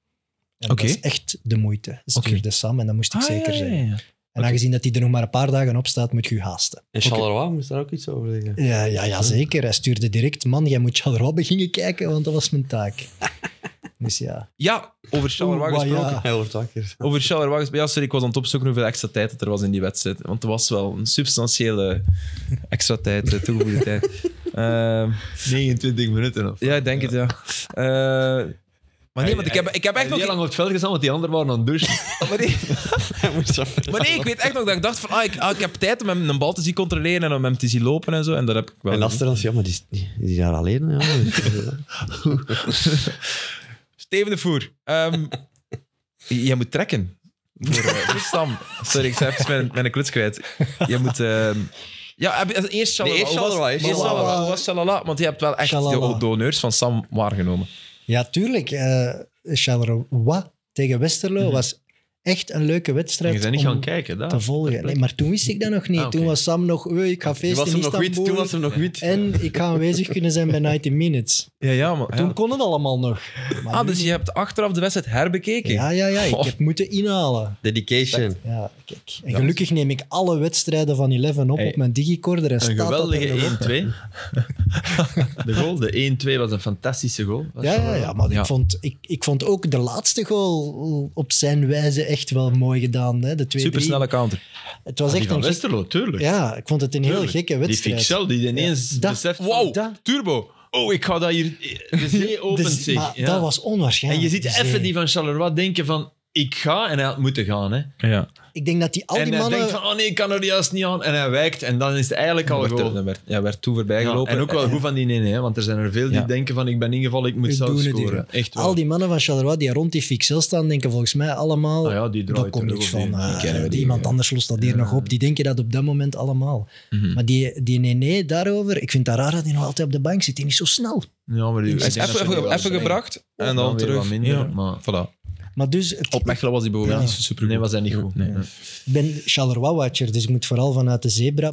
En Oké. Dat is echt de moeite, stuurde Oké. Sam en dat moest ik Ah, zeker ja, ja, zeggen. ja. En aangezien dat hij er nog maar een paar dagen op staat, moet je je haasten. En Charleroi moest daar ook iets over zeggen. Ja, ja, Hm. ja, zeker. Hij stuurde direct, man, jij moet Charleroi beginnen kijken, want dat was mijn taak. dus ja. Ja, over Charleroi Oeh, wat gesproken. ja. Hij wordt wakker. Over Charleroi gesproken. Ja, sorry, ik was aan het opzoeken hoeveel extra tijd dat er was in die wedstrijd. Want er was wel een substantiële extra tijd, eh, toegevoegde tijd. Ehm, 29 minuten of. ja, ik denk het, ja. Eh, maar nee, want ik heb, ik heb echt Echt nog... heel lang op het veld gestaan, want die anderen waren aan het douchen. Maar nee, Hij moest af- maar nee, ik weet echt nog dat ik dacht van... Ah, ik, ah, ik heb tijd om hem een bal te zien controleren en om hem te zien lopen en zo. En dat heb ik wel... En niet. Aster als ja, maar die is, die is daar alleen. Ja. Dus, eh, Steven de Voer. ehm, j- jij moet trekken. Voor, eh, voor Sam. Sorry, ik zei even mijn, mijn kluts kwijt. Jij moet... ehm, ja, heb je- eerst Shalala. Nee, eerst Hoe was- Shalala, eerst Shalala. Shalala. Hoe was Shalala? Want je hebt wel echt de, Shalala. de honneurs van Sam waargenomen. ja, tuurlijk. eh, Charleroi tegen Westerlo Mhm. was echt een leuke wedstrijd Je bent niet om gaan kijken, daar. te volgen. Nee, maar toen wist ik dat nog niet. Ah, oké. Toen was Sam nog, "Oei, ik ga Toen feesten was hem in nog wit. Istanbul. Toen was hem nog wit. En ik ga aanwezig kunnen zijn bij 90 Minutes. Ja, ja, maar... Toen kon het allemaal nog. Maar Ah, nu- dus je hebt achteraf de wedstrijd herbekeken. Ja, ja, ja. Ik Oh. heb moeten inhalen. Dedication. Ja, kijk. En gelukkig neem ik alle wedstrijden van Eleven op Hey, op mijn digicorder en Een staat dat er nog op. geweldige 1-2. De goal, de 1-2 was een fantastische goal. Ja, ja, ja, maar Ja. Ik, vond, ik, ik vond ook de laatste goal op zijn wijze echt wel mooi gedaan. Hè? De twee, Supersnelle counter. Het was Ah, Die echt van een gek- Westerlo, tuurlijk. Ja, ik vond het een heel Tuurlijk. gekke Die wedstrijd. Dus Fixel, die ineens Ja. Dat- beseft... van, Wauw. dat- turbo. Oh, ik ga dat hier... De zee opent Dus- zich. maar ja. dat was en onwaarschijnlijk. je ziet Dus, even eh, die van Charleroi denken van... Ik ga, en hij had moeten gaan. Hè. Ja. Ik denk dat die al en die hij mannen... denkt van, oh nee, ik kan er juist niet aan. En hij wijkt, en dan is het eigenlijk al Werd, goal. er- werd, ja, werd toe voorbij Ja, gelopen. en ook wel goed van die nee, nee, want er zijn er veel die Ja. denken van ik ben ingevallen, ik moet Ik zelf doe het scoren. hier. Echt waar. Al die mannen van Charleroi die rond die fixel staan, denken volgens mij allemaal... Ah ja, die draait daar komt er niks ook van. in. eh, Die kennen we die niet, iemand ja. Mhm. anders lost dat hier nog op. Die denken dat op dat moment allemaal. Maar die, die nee, nee daarover, ik vind dat raar dat hij nog altijd op de bank zit. Die is zo snel. Ja, maar die- Hij is Dus ik denk even, dat ze die even, wel zijn. gebracht en Dan dan, weer terug. wat minder, Ja. maar- Voilà. Maar dus, het- Op Mechelen was hij bijvoorbeeld Ja. niet zo super Nee, was hij niet goed. Nee. Ja. ik ben Charleroi-watcher, dus ik moet vooral vanuit de zebra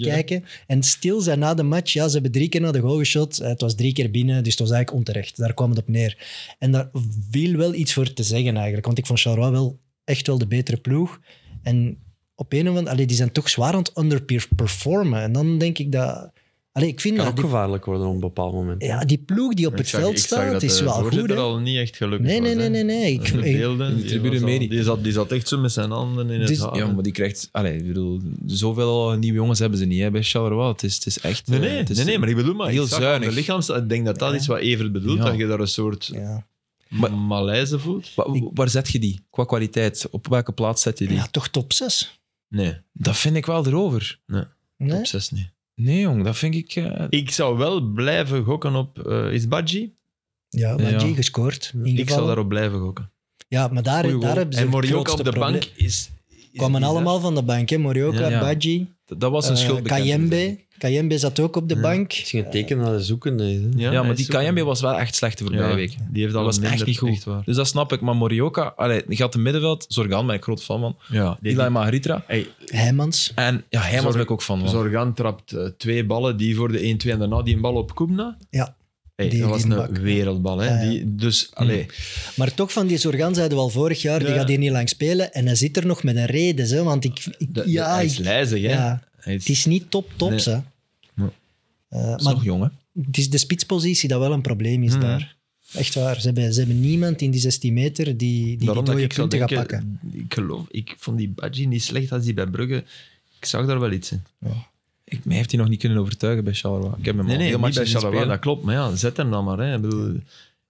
kijken. En stil zijn na de match, ja, ze hebben drie keer naar de goal geschot. Eh, Het was drie keer binnen, dus het was eigenlijk onterecht. Daar kwam het op neer. En daar viel wel iets voor te zeggen eigenlijk, want ik vond Charleroi wel echt wel de betere ploeg. En op een of andere allee, die zijn toch zwaar aan het underperformen. En dan denk ik dat... Allee, ik vind Kan dat ook die, gevaarlijk worden op een bepaald moment. ja, die ploeg die op Ik het zag- veld ik zag staat, dat is de wel goed. voorzitter hè? al niet echt gelukkig Nee, was, nee, hè. nee, nee, nee. Ik, De ik- beelden, in de die tribune was al- media. Die zat, die zat echt zo met zijn handen in Dus- het haar. Ja, maar die krijgt... Allee, ik bedoel, zoveel nieuwe jongens hebben ze niet hè, bij Charleroi. Het is, het is echt... Nee, eh, nee, het is, nee, nee, maar ik bedoel maar... heel ik zag zuinig. aan De lichaams, ik denk dat dat Ja. is wat Evert bedoelt, Ja. dat je daar een soort ja. Maar- malaise voelt. Wa- wa- waar zet je die? Qua kwaliteit? Op welke plaats zet je die? Ja, toch top 6. Nee, Dat vind ik wel erover. Nee? op zes niet. Nee, jong, dat vind ik... eh, Ik zou wel blijven gokken op... eh is Badji? Ja, maar Ja. G gescoord. Ik zou ingevallen. daarop blijven gokken. Ja, maar daar, Goeie daar goal. hebben ze En het Morioka grootste op de probleem. bank is... is kwamen bizar. allemaal van de bank, hè? Morioka, Ja. Badji, dat- dat was een eh, schuld. Kayembe. Kayembe zat ook op de bank. Misschien een teken dat hij zoekende is. hè. Ja, Ja, hij maar is die zo- Kayembe was wel echt slecht de voorbije Ja, week. Die heeft al Dat was minder, echt niet goed. waar. Dus dat snap ik. Maar Morioka... Allee, je gaat de middenveld. Zorgan ben ik groot fan van. Ja, die- Ilai Magritra. Hey, Heijmans. En ja, hij was Zorg- ik ook van. man. Zorgan trapt eh, twee ballen, die voor de 1-2 en daarna die een bal op Koemna. Ja. Hey, Die- dat was die een bak. wereldbal. Hè? Ja, ja. Die, dus, allee, Maar toch van die Zorgan zeiden we al vorig jaar, die Ja. gaat hier niet lang spelen. En hij zit er nog met een reden, hè? want ik... ik- de- de- ja, hij is ik- lijzig. Hè? ja, Hij is- het is niet top tops, Nee. hè. Nee. Eh, Dat is maar nog jong, hè? het is de spitspositie dat wel een probleem is Mhm. daar. Echt waar. Ze hebben, ze hebben niemand in die 16 meter die die, die daarom dat dode ik zou punten gaat denken, pakken. ik geloof, ik vond die Badji niet slecht als die bij Brugge. Ik zag daar wel iets in. Ik, mij heeft hij nog niet kunnen overtuigen bij Charleroi. Ik heb hem Nee, al nee, heel niet bij matches zien Charleroi, spelen. dat klopt. Maar ja, zet hem dan maar. Hè. Ik bedoel,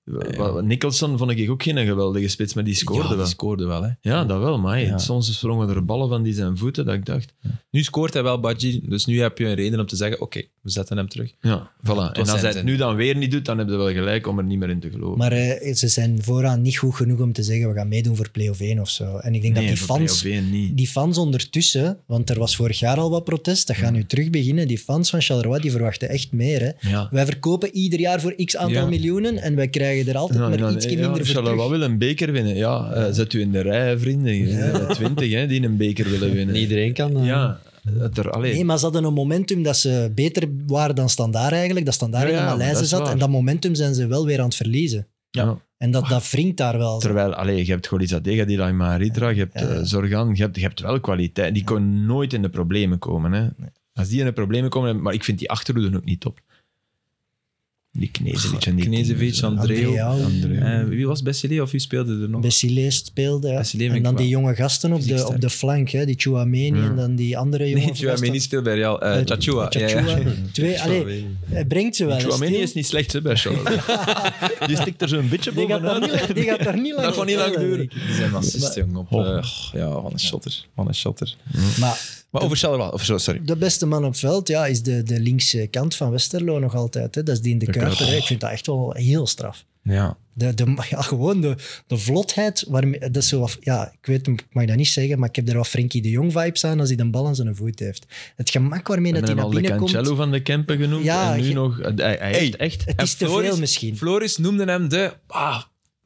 Wa- Nicholson vond ik ook geen geweldige spits, maar die ja, scoorde wel. die scoorde wel, hè. Ja, dat wel, maar hey, Ja. soms sprongen er ballen van die zijn voeten dat ik dacht. Nu scoort hij wel, Badji. Dus nu heb je een reden om te zeggen, oké, we zetten hem terug. Ja, voilà. En zijn als hij het zin. nu dan weer niet doet, dan heb je wel gelijk om er niet meer in te geloven. Maar eh, ze zijn vooraan niet goed genoeg om te zeggen we gaan meedoen voor play-off 1 of zo. En ik denk nee, dat die voor fans, PSV niet. die fans ondertussen, want er was vorig jaar al wat protest, dat gaan Mm. nu terug beginnen. Die fans van Charleroi die verwachten echt meer. Hè. Ja. Wij verkopen ieder jaar voor x aantal Ja. miljoenen en wij krijgen er altijd Ja, en maar dan, iets ja, minder voor Charleroi terug. wil een beker winnen. Ja, eh, zet u in de rij, vrienden. Twintig hè, die een beker willen winnen. Niet iedereen kan. eh, Ja, dat er, allee, Nee, maar ze hadden een momentum dat ze beter waren dan standaard eigenlijk. Dat standaard Ja, in de ja, maar malaise dat is zat. waar. Ah, En dat momentum zijn ze wel weer aan het verliezen. ja. En dat, dat wringt daar wel. Terwijl, allee, je hebt Golizadega, die Laima Ritra, je hebt Ja. eh, Zorgan, je hebt, je hebt wel kwaliteit. Die kon nooit in de problemen komen. Hè. Als die in de problemen komen, maar ik vind die achterhoede ook niet top. Die Knezevic en die... Knezevic, Andreu. Andreu. Andreu. Eh, wie was Bessilé of wie speelde er nog? Bessile speelde. ja. Bessile vind En ik dan die wel jonge gasten op fysiek de, sterk. op de flank. Hè? Die Chouameni Ja. en dan die andere jonge Nee, Chouameni niet gasten. speelt bij Real. Eh, Eh, Chachua. Ja, ja. Chachua. Twee, zou allee, weten. hij brengt ze wel. hè, Chouameni stil. is niet slecht hè, bij Charleroi. die stikt er zo'n beetje Die gaat daar bovenuit. niet, die gaat daar niet lang Dat gaat niet lang spelen, duren. denk ik. Die zijn racist, Maar- jong. Op, Oh. eh, ja, wat een shotter. Wat een shotter. Maar Maar over Charleroi. Of, zo, sorry. de beste man op veld ja, is de, de linkse kant van Westerlo nog altijd. Hè? Dat is die in de Kuiper. hè. Ik vind dat echt wel heel straf. Ja. De, de, ja, gewoon de, de vlotheid. Waarmee, dat is zo, wat- ja, ik weet, ik mag dat niet zeggen, maar ik heb daar wat Frenkie de Jong vibes aan als hij de bal aan zijn voet heeft. Het gemak waarmee We dat hij hebben naar al de binnen komt. Cancelo van de Kempen genoemd. Ja, en nu ge- nog... Hij, hij heeft echt... Het is En te Floris- veel misschien. Floris noemde hem de... Ah,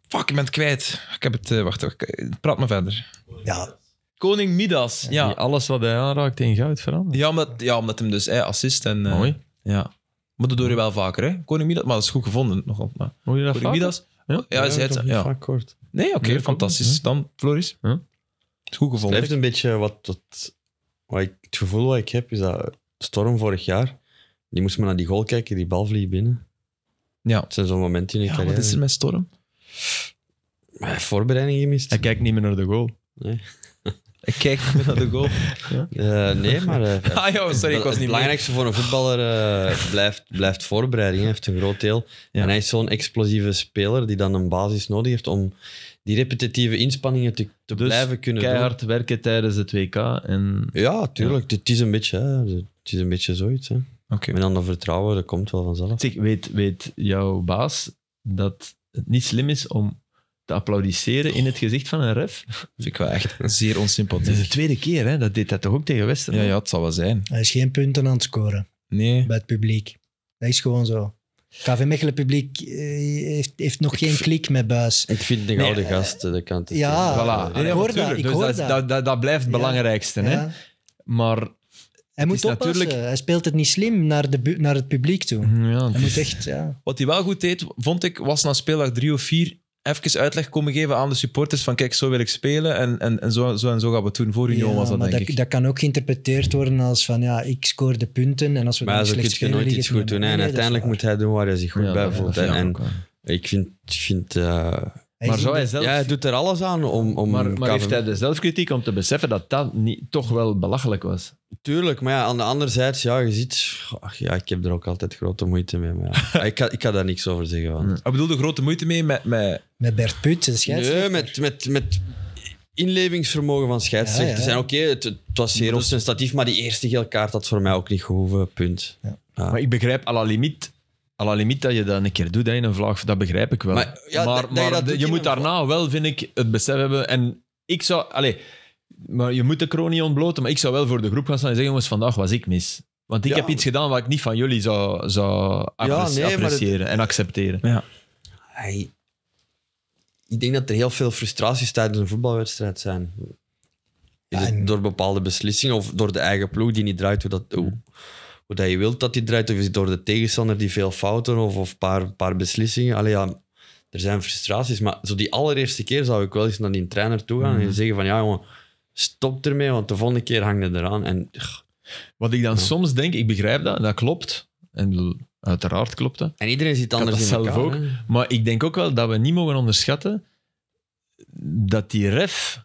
fuck, ik ben het kwijt. Ik heb het... eh, wacht, wacht, praat maar verder. Ja, Koning Midas. Ja. Ja, Alles wat hij aanraakt in goud verandert. ja, omdat, ja omdat hem dus eh, assist en... eh, Mooi. Ja. Maar dat doe je wel vaker, hè? Koning Midas. Maar dat is goed gevonden, nogal. Maar Hoor je dat Koning vaak? Midas... Ja? Ja, hij zei het. toch niet Ja. Vaak kort. Nee, oké, Nee, ik ook fantastisch. niet. Dan, Floris. Huh? Is goed Het gevonden. blijft een beetje wat, wat, wat ik, het gevoel wat ik heb, is dat Storm vorig jaar, die moest maar naar die goal kijken, die bal vliegt binnen. Ja. Het zijn zo'n momenten in je Ja, wat carrière. is er met Storm? Maar hij heeft voorbereiding gemist. Hij kijkt niet meer naar de goal. Ik kijk naar de goal. Eh, nee, maar... eh, ah, ja, sorry, ik was het niet mee. belangrijkste voor een voetballer eh, blijft, blijft voorbereiding. Hij heeft een groot deel. Ja. En hij is zo'n explosieve speler die dan een basis nodig heeft om die repetitieve inspanningen te, te Dus blijven kunnen doen. Keihard werken tijdens het WK. En Ja, tuurlijk. Het is een beetje, hè. Het is een beetje zoiets. Hè. Oké. En dan dat vertrouwen, dat komt wel vanzelf. Zeg, weet, weet jouw baas dat het niet slim is om te applaudisseren in het gezicht van een ref? Vind ik wel echt zeer Dat is de onsympathiek. tweede keer, hè? Dat deed hij toch ook tegen Westen? Ja, ja, het zal wel zijn. hij is geen punten aan het scoren Nee. bij het publiek. Dat is gewoon zo. KV Mechelen publiek eh, heeft, heeft nog geen klik met Buis. Ik vind de gouden gast, dat kan het Ja, Voilà. ik hoor dat. natuurlijk. Ik Dus hoor dat, dat. Dat, dat, dat blijft het Ja. belangrijkste, hè? Ja. Maar Hij moet is oppassen. natuurlijk- Hij speelt het niet slim naar, de bu- naar het publiek toe. ja, Hij moet echt, ja. Wat hij wel goed deed, vond ik, was na speeldag drie of vier even uitleg komen geven aan de supporters van kijk, zo wil ik spelen en, en, en zo, zo en zo gaan we het doen. Voor Union Ja, was dat, maar denk dat, ik. dat kan ook geïnterpreteerd worden als van ja, ik scoor de punten en als we Maar dan zo kun slecht je spelen... nooit ligt iets het goed niet doen. aan hè. mij. Nee, En dat is uiteindelijk waar. moet hij doen waar hij zich goed ja, bij dat- voelt. dat En, vind ik en ook wel. ik vind... ik vind eh, Hij maar is zou in hij de- zelf... ja, hij doet er alles aan om... om maar, maar heeft KV hij de zelfkritiek om te beseffen dat dat niet, toch wel belachelijk was? Tuurlijk, maar ja, aan de andere zijde, ja, je ziet... Ach, ja, ik heb er ook altijd grote moeite mee. Maar ja, Ah, ik, kan, ik kan daar niks over zeggen. Want... Ik bedoelde grote moeite mee met... met Met Bert Put, de scheidsrechter. Nee, met, met, met inlevingsvermogen van scheidsrechter. Ja, ja. zijn. Oké, het, het was zeer ostentatief, maar die eerste gele kaart had voor mij ook niet gehoeven. Punt. Ja. Maar ik begrijp à la limiet, à la limiet dat je dat een keer doet hè, in een vlag, dat begrijp ik wel. Maar- Maar, ja, maar, dat- dat je dat de- doet je in moet een daarna wel, vind ik, het besef hebben. En ik zou, allez, maar je moet de kroon niet ontbloten, maar ik zou wel voor de groep gaan staan en zeggen: jongens, vandaag was ik mis. Want ik Ja. heb iets gedaan wat ik niet van jullie zou, zou appre- nee, maar het- appreciëren en accepteren. Hij- ik denk dat er heel veel frustraties tijdens een voetbalwedstrijd zijn. Is Ja, en- het door bepaalde beslissingen of door de eigen ploeg die niet draait hoe, dat, hoe, hoe dat je wilt dat die draait? Of is het door de tegenstander die veel fouten of een paar, paar beslissingen? Allee, ja, er zijn frustraties, maar zo die allereerste keer zou ik wel eens naar die trainer toe gaan Mhm. en zeggen van ja jongen, stop ermee, want de volgende keer hangt het eraan. En Wat ik dan soms denk, ik begrijp dat, dat klopt. En bedoel, uiteraard klopt dat. En iedereen zit had anders dat in zelf elkaar, ook. hè. Maar ik denk ook wel dat we niet mogen onderschatten dat die ref,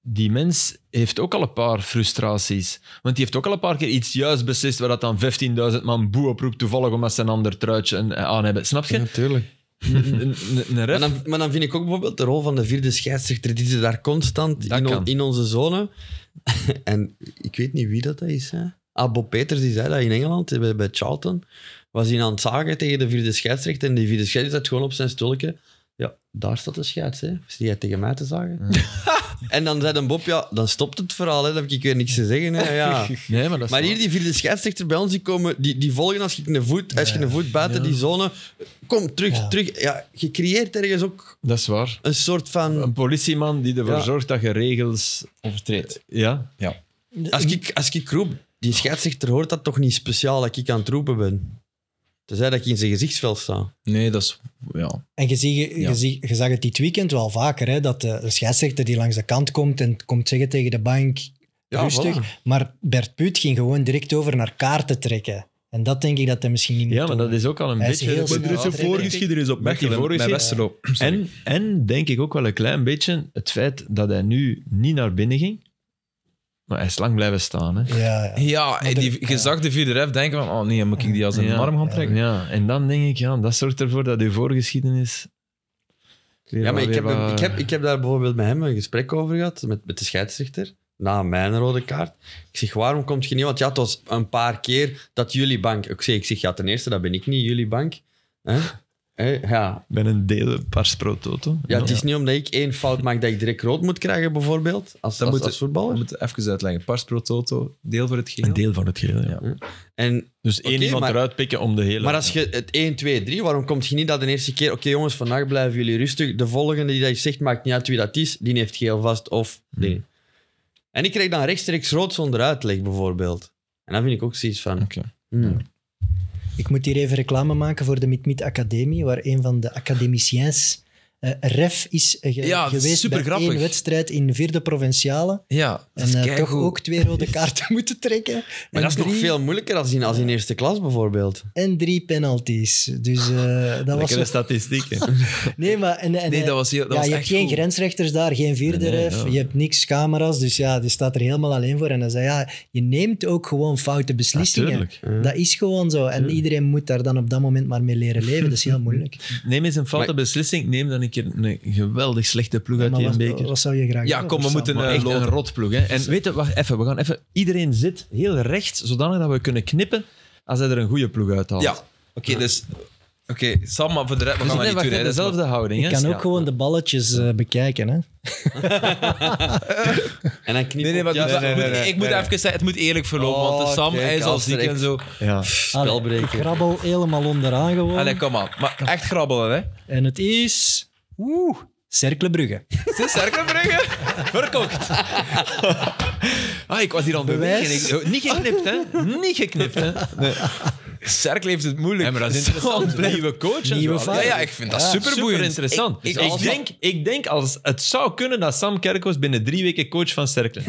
die mens, heeft ook al een paar frustraties. Want die heeft ook al een paar keer iets juist beslist waar dat dan 15.000 man boe oproept, toevallig omdat ze een ander truitje eh, aan hebben. Snap je? Ja, tuurlijk. Een- Een een Maar ref. dan, maar dan vind ik ook bijvoorbeeld de rol van de vierde scheidsrechter, die zit daar constant Dat in, on- kan. in onze zone. en ik weet niet wie dat is. Hè. Ah, Bob Peters die zei dat in Engeland, eh, bij, bij Charlton. Was hij aan het zagen tegen de vierde scheidsrechter en die vierde scheidsrechter zat gewoon op zijn stulke. Ja, daar staat de scheids, hè. Zie jij tegen mij te zagen? en dan zei dan Bob, ja, dan stopt het verhaal, hè. Dan heb ik weer niks te zeggen, hè. Ja. Nee, maar dat is Maar hier, die vierde scheidsrechter bij ons, die, komen, die, die volgen als je een voet, als je een voet buiten die zone... Kom, terug, Ja. terug. Ja, je creëert ergens ook Dat is waar. een soort van... Een politieman die ervoor Ja. zorgt dat je regels... Overtreed. Ja. Als ik, als ik roep, die scheidsrechter hoort dat toch niet speciaal dat ik aan het roepen ben. Tenzij dat ik in zijn gezichtsveld sta. Nee, dat is... Ja. En je, zie, je, Ja. zie- je zag het dit weekend wel vaker, hè, dat eh, de, de scheidsrechter die langs de kant komt en komt zeggen tegen de bank, Ja, rustig. voilà. Maar Bert Puut ging gewoon direct over naar kaarten trekken. En dat denk ik dat hij misschien niet moet ja, maar doen. dat is ook al een Hij is beetje... heel dat snel. Maar er is een Ja, voorgeschiedenis op Met die Mechelen. vorige Met zin- Westerlo. Sorry. En, en denk ik ook wel een klein beetje het feit dat hij nu niet naar binnen ging. Maar hij is lang blijven staan. Hè. Ja, ja. Ja, Maar die, er- je zag de vierde ref denken van, oh nee, moet ik die als een Ja. arm gaan trekken? Ja, en dan denk ik, ja, dat zorgt ervoor dat uw voorgeschiedenis... weer Ja, maar wat- ik weer heb, wat- ik, heb, ik heb daar bijvoorbeeld met hem een gesprek over gehad, met, met de scheidsrechter, na mijn rode kaart. Ik zeg, waarom komt je niet? Want ja, het was een paar keer dat jullie bank... Ik zeg, ik zeg ja, ten eerste, dat ben ik niet, jullie bank. Hè? Hè? Ja, Ik ben een deel pars pro toto. Ja, het is niet omdat ik één fout maak dat ik direct rood moet krijgen, bijvoorbeeld. Als, Dat als, moet- als We voetballer. moeten even uitleggen. Pars pro toto, deel voor het geel. Een deel van het geheel, ja. Ja. En, Dus één Oké, iemand maar- eruit pikken om de hele... maar als je het 1, 2, 3, waarom komt je niet dat de eerste keer... Oké jongens, vandaag blijven jullie rustig. De volgende die dat je zegt, maakt niet uit wie dat is. Die heeft geel vast of dingen. En ik krijg dan rechtstreeks rood zonder uitleg, bijvoorbeeld. En dan vind ik ook zoiets van... Oké. hmm. Ik moet hier even reclame maken voor de Mid-Mid Academie, waar een van de academiciens eh, ref is eh, ge- Ja, dat is geweest supergrappig. bij één wedstrijd in vierde provinciale. Ja, dat En is eh, keigoed. toch ook twee rode kaarten moeten trekken. Maar en dat is nog drie- veel moeilijker als in, als in eerste klas, bijvoorbeeld. En drie penalties. Dus eh, dat was... Lekkere statistieken. zo- Nee, maar... En, en, Nee, eh, dat was, heel, dat ja, was je hebt echt geen goed. grensrechters daar, geen vierde Nee, nee, ref, ja. je hebt niks camera's, dus ja, die staat er helemaal alleen voor. En hij zei, ja, je neemt ook gewoon foute beslissingen. Natuurlijk. Dat is gewoon zo. En iedereen moet daar dan op dat moment maar mee leren leven. Dat is heel moeilijk. Neem eens een foute Maar- beslissing. Neem dan een keer een geweldig slechte ploeg uit Maar die wat, beker. wat zou je graag Ja, doen, kom, we Sam? moeten... Maar eh, echt loten. een Dus- rotploeg. Hè? En weet je, wacht even. We gaan even... Iedereen zit heel recht, zodanig dat we kunnen knippen als hij er een goede ploeg uithaalt. Ja, oké, dus... Oké, Sam, maar voor de rest, we Dus gaan dat niet nee, wacht, doen. hè. Dat is dezelfde houding. Ik hè? kan ook Ja. gewoon de balletjes eh, bekijken. Hè? En dan knip Nee, nee, op maar juist het moet- op- het moet- ik moet even zeggen, het moet eerlijk verlopen, want de Oh, Sam, kijk, hij is al ziek Asterix. en zo. Ja. Spelbreker. Ik grabbel helemaal onderaan gewoon. Allee, kom maar. Maar echt grabbelen, hè. En het is... Oeh, Cercle Brugge. Is dit Cerkelbrugge? Verkocht. Ah, ik was hier al Bewijs. bewegen. Ik- oh, Niet geknipt, hè? Niet geknipt, hè? Cerkel heeft het moeilijk. Ja, maar dat is Sam interessant. blijft- Nieuwe coach en Nieuwe zo. Ja, ja, ik vind dat Ja, superboeiend. interessant. Ik- Ik, ik- ik denk, ik denk als het zou kunnen dat Sam Kerkhoos binnen drie weken coach van Cercle.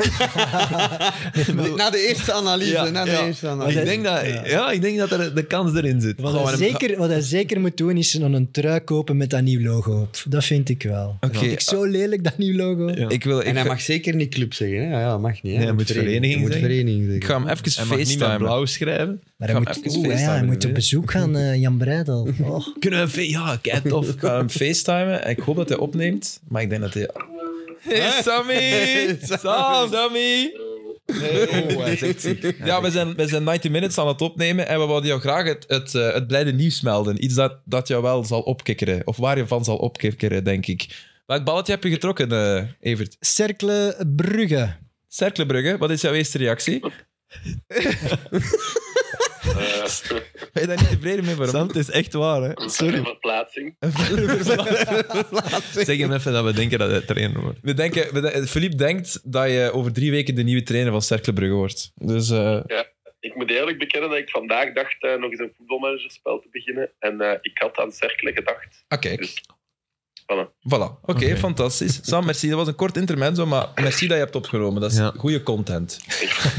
Na de eerste analyse, na de eerste analyse. Ik denk dat, ja. ik denk dat er de kans erin zit. Wat hij, zeker, wat hij zeker moet doen, is nog een trui kopen met dat nieuw logo op. Dat vind ik wel. Dat Oké. vind ik zo lelijk, dat nieuw logo. Ja. Ik wil... Ik, En hij ga- mag zeker niet club zeggen. Hè? Ja, ja, dat mag niet. Hè? Nee, hij moet vereniging Hij zeggen. moet vereniging zeggen. ik ga hem even Hij mag niet met facetimen. blauw schrijven. Maar Ik ga hij hem moet, even oeh, ja, hij facetimen, moet hè. op bezoek gaan, eh, Jan Breidel. Oh. Kunnen we een fe- Ja, kijk tof. Ik ga hem facetimen en ik hoop dat hij opneemt, maar ik denk dat hij... Hey, Sammy! Sam, Sammy! Oh, hij is echt ziek. Ja, we zijn, we zijn 90 Minutes aan het opnemen en we wilden jou graag het, het, eh, het blijde nieuws melden. Iets dat, dat jou wel zal opkikkeren, of waar je van zal opkikkeren, denk ik. Welk balletje heb je getrokken, eh, Evert? Cercle Brugge. Cerkelenbrugge, wat is jouw eerste reactie? Eh. Ben je daar niet tevreden mee? Waarom? Sam, het is echt waar, hè? Sorry. Verplaatsing. Zeg hem even dat we denken dat hij trainer wordt. We denken, we de- Philippe denkt dat je over drie weken de nieuwe trainer van Cerkelenbrugge wordt. Dus eh, Ik moet eerlijk bekennen dat ik vandaag dacht eh, nog eens een voetbalmanagerspel te beginnen. En eh, ik had aan cerkelen gedacht. Ah, kijk. Voilà. Voilà. Oké, Oké. fantastisch. Sam, merci. Dat was een kort intermezzo, maar merci dat je hebt opgenomen. Dat is Ja. goede content.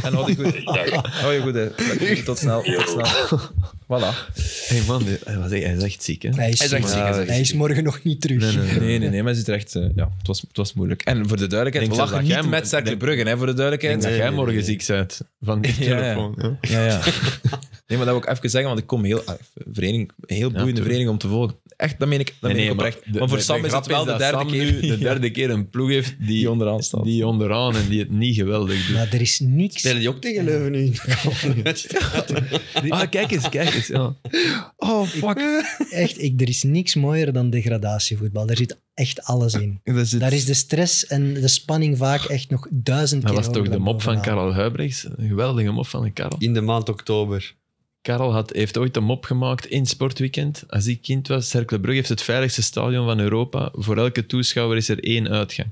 En hou je goed. Dag. Hou je goed. hè. Tot snel. Tot snel. Voilà. Hé man, die- hij, was, hij is echt ziek, hè? Hij is, Hij is echt ziek. ziek, hij is echt Hij is ziek. morgen nog niet terug. Nee, nee, nee, maar hij zit er echt... eh, ja, het was, het was moeilijk. En voor de duidelijkheid, Denk we zelfs lachen dat niet jij- met Cercle denk- Brugge, hè, voor de Ik duidelijkheid. denk dat Nee, jij nee, morgen nee. ziek bent van die Ja, ja. telefoon. Ja. Ja, ja. Nee, maar dat wil ik even zeggen, want ik kom heel... ah, Vereniging, een heel boeiende tuurlijk. vereniging om te volgen. Echt, dat meen ik, dat meen ik oprecht. Maar, voor Sam is het wel de derde keer de derde keer een ploeg heeft die, die die, onderaan staat. onderaan en die het niet geweldig doet. Maar er is niks. Spelen die ook tegen Leuven nu? in de wedstrijd? Ah, kijk eens, kijk eens. Ja. Oh, fuck. Echt, ik, er is niks mooier dan degradatievoetbal. Daar zit echt alles in. Daar zit- Daar is de stress en de spanning vaak echt nog duizend Dat keer was toch hoger de dan mop van bovenaan. Karel Huibrechts? Een geweldige mop van Karel. In de maand oktober. Karel had, heeft ooit een mop gemaakt in Sportweekend. Als ik kind was, Cercle Brugge heeft het veiligste stadion van Europa. Voor elke toeschouwer is er één uitgang.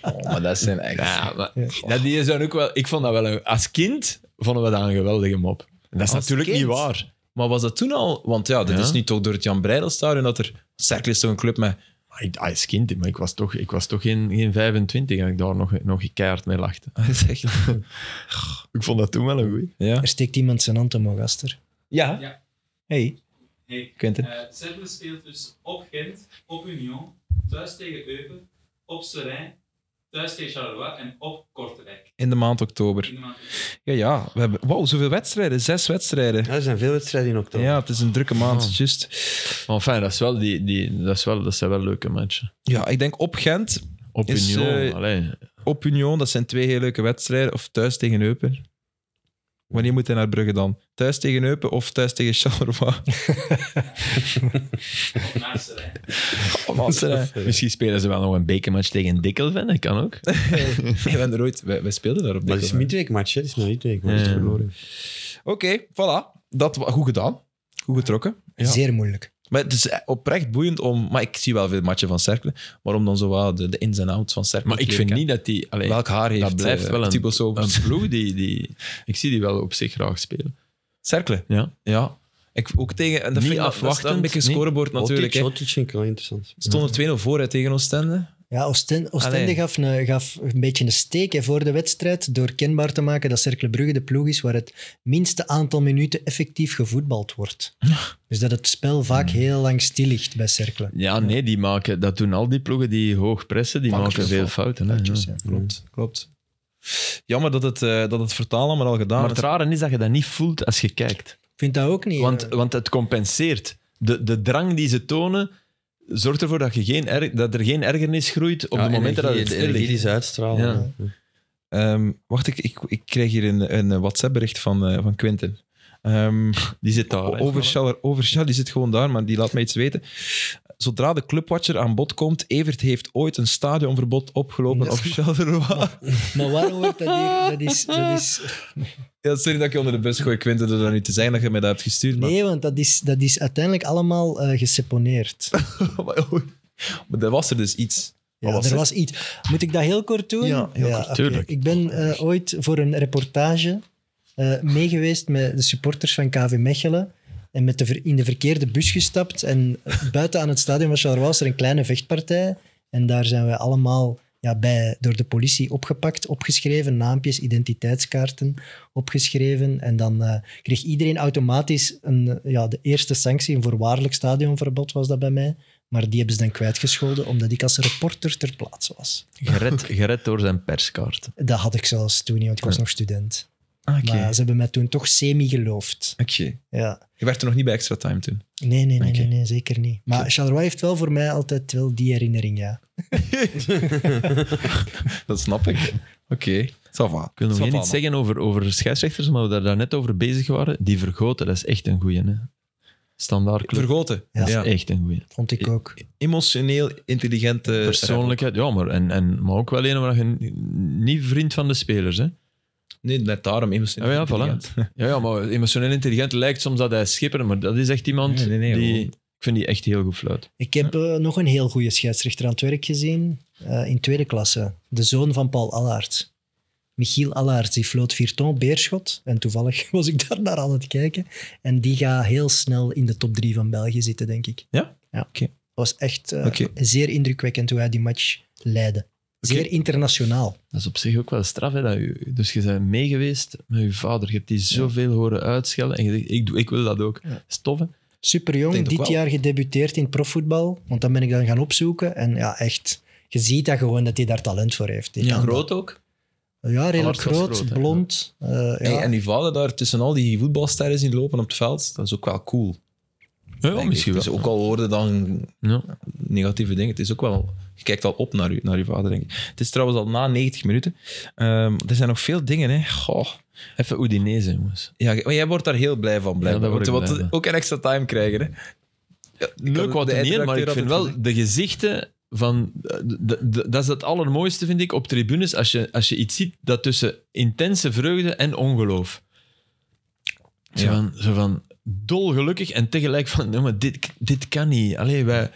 Oh, maar dat zijn echt... Ja, maar dat die is dan ook wel... Ik vond dat wel... Een, als kind vonden we dat een geweldige mop. En dat is Als natuurlijk kind? niet waar. Maar was dat toen al... Want ja, dat Ja. is nu toch door het Jan Breidelstadion dat er... Cercle is toch een club met... Maar Ah, ik, als kind, maar ik was toch, ik was toch geen, geen 25 en ik daar nog, nog keihard mee lachte. Dat is echt- Ik vond dat toen wel een goeie. Ja. Er steekt iemand zijn hand omhoog, Aster. Ja. Ja. Hey, Hey, Quinten. eh, Cercle speelt dus op Gent, op Union, thuis tegen Eupen, op Serijn, thuis tegen Charleroi en op Kortrijk. In de maand oktober. In de maand- Ja, ja. We hebben... Wow, zoveel wedstrijden. Zes wedstrijden. Ja, er zijn veel wedstrijden in oktober. Ja, het is een drukke maand. Just. Maar fijn, dat, is wel die, die, dat, is wel, dat zijn wel leuke matchen. Ja, ik denk op Gent, Op Is, Union, eh, allee. op Union. Dat zijn twee heel leuke wedstrijden. Of thuis tegen Eupen. Wanneer moet hij naar Brugge dan? Thuis tegen Eupen of thuis tegen Charleroi? op naar Serijn. Oh, man, Serijn. eh, Misschien spelen ze wel nog een bekermatch tegen Dikkelven, dat kan ook. Nee, we hebben er ooit... Wij, wij speelden daar op Maar dit het is een moment. midweekmatch, hè? Het is een midweekmatch. Ja. verloren. Oké, voilà. Dat wa- goed gedaan. Goed getrokken. Ja. Zeer moeilijk. Maar het is eh, oprecht boeiend om... Maar ik zie wel veel matchen van Cercle. Maar om dan zo wat de, de ins en outs van Cercle Maar ik te vind leren niet dat die... allee, kennen. Welk haar heeft dat blijft eh, wel een, Thibaut Sobers? een ploeg die, die... Ik zie die wel op zich graag spelen. Cercle? Ja. Ja. Ik, ook tegen... En dat Niet vind ik afwachten. afwachtend, Een beetje niet? scorebord natuurlijk. Otic, hè. Otic vind ik wel interessant. Stond er 2-0 voor hè, tegen Oostende. Ja, Oosten- Oostende Allee. gaf een, gaf een beetje een steek hè, voor de wedstrijd door kenbaar te maken dat Cercle Brugge de ploeg is waar het minste aantal minuten effectief gevoetbald wordt. Dus dat het spel vaak heel lang stil ligt bij Cercle. Mm. Ja, nee, die maken... Dat doen al die ploegen die hoog pressen, die Maken maken, veel veel fouten. hè, Foutjes, ja. ja. Mm. Klopt, klopt. Jammer dat het, eh, dat het vertalen maar al gedaan Maar is. het rare is dat je dat niet voelt als je kijkt. Ik vind dat ook niet. Want, eh, want het compenseert. De, de drang die ze tonen, zorgt ervoor dat, je geen er- dat er geen ergernis groeit op Ja, de momenten dat energie- het de stil energie ligt. die ze uitstralen. Ja. ja. Ehm, wacht, ik, ik, ik kreeg hier een, een WhatsApp-bericht van, eh, van Quinten. Ehm, Die zit daar. hè. Over Schaller, over Schaller, die zit gewoon daar, maar die laat mij iets weten. Zodra de clubwatcher aan bod komt, Evert heeft ooit een stadionverbod opgelopen Dat op is niet- Charleroi. Maar waarom wordt dat hier? Dat is, dat is, Ja, sorry dat ik je onder de bus gooi, Quinten, door dat nu te zeggen dat je mij dat hebt gestuurd. Maar, nee, want dat is, dat is uiteindelijk allemaal eh, geseponeerd. Oh, maar, er was er dus iets. Ja, was er het? was iets. Moet ik dat heel kort doen? Ja, heel kort. oké. Tuurlijk. Ik ben eh, ooit voor een reportage eh, meegeweest met de supporters van KV Mechelen. En met de ver- in de verkeerde bus gestapt. En buiten aan het stadion van Charleroi was er een kleine vechtpartij. En daar zijn we allemaal ja, bij, door de politie opgepakt, opgeschreven. Naampjes, identiteitskaarten opgeschreven. En dan eh, kreeg iedereen automatisch een, eh, ja, de eerste sanctie. Een voorwaardelijk stadionverbod was dat bij mij. Maar die hebben ze dan kwijtgescholden omdat ik als reporter ter plaatse was. Gered, gered door zijn perskaart. Dat had ik zelfs toen niet, want ik was nog student. Ah, Oké. Maar ze hebben mij toen toch semi-geloofd. Oké. Ja. Je werd er nog niet bij extra time toen. Nee, nee, nee, Oké. nee, nee, zeker niet. Maar Charleroi heeft wel voor mij altijd wel die herinnering, ja. Dat snap ik. Oké. Ça va. Ik wil nog Ça één va, iets man. zeggen over, over scheidsrechters, maar we daar daarnet over bezig waren. Die vergoten, dat is echt een goeie. Hè? Standaard club. Vergoten. Ja. Ja. Dat is echt een goeie. Vond ik ook. Emotioneel intelligente... eh, Persoonlijkheid, ja, maar, en, en, maar ook wel een waar je n- niet vriend van de spelers. Hè? Nee, net daarom. Emotioneel Oh Ja, ja, voilà. intelligent. Ja, ja, maar emotioneel intelligent lijkt soms dat hij schipper, maar dat is echt iemand Nee, nee, nee, die... gewoon. Ik vind die echt heel goed fluit. Ik heb eh, nog een heel goede scheidsrechter aan het werk gezien eh, in tweede klasse. De zoon van Paul Allaert. Michiel Allaert, die floot Vierton, Beerschot. En toevallig was ik daar naar aan het kijken. En die gaat heel snel in de top drie van België zitten, denk ik. Ja? Ja. Oké. Dat was echt eh, Oké. zeer indrukwekkend hoe hij die match leidde. Zeer internationaal. Dat is op zich ook wel straf. Hè, dat je, dus je bent meegeweest met je vader. Je hebt die zoveel horen uitschelden. En je zegt, ik, doe, ik wil dat ook. Ja. Stoffen. Super jong, Denk toch dit wel. jaar gedebuteerd in profvoetbal. Want dan ben ik dan gaan opzoeken. En ja, echt, je ziet dat gewoon dat hij daar talent voor heeft. Die Ja. kan dat. ook. Ja, redelijk Allard was groot, groot, hè. blond. eh, ja. Hey, en die vader daar tussen al die voetbalsterren zien lopen op het veld, dat is ook wel cool. Ja, denk ik. misschien Het wel. is ook al hoorde dan Ja. negatieve dingen. Het is ook wel... Je kijkt al op naar, u, naar je vader, denk ik. Het is trouwens al na 90 minuten. Ehm, er zijn nog veel dingen, hè. Goh. Even Udinese, jongens. Ja, maar jij wordt daar heel blij van, blijkbaar. daar word ik Want- blij want van. ook een extra time krijgen, hè. Leuk had wat de er niet, eindredacteur maar ik altijd vind wel gezegd. de gezichten van... eh, d- d- d- Dat is het allermooiste, vind ik, op tribunes. Als je, als je iets ziet dat tussen intense vreugde en ongeloof. Zo Ja. van, zo van dolgelukkig en tegelijk van... Nee, maar dit, dit kan niet. Allee, wij,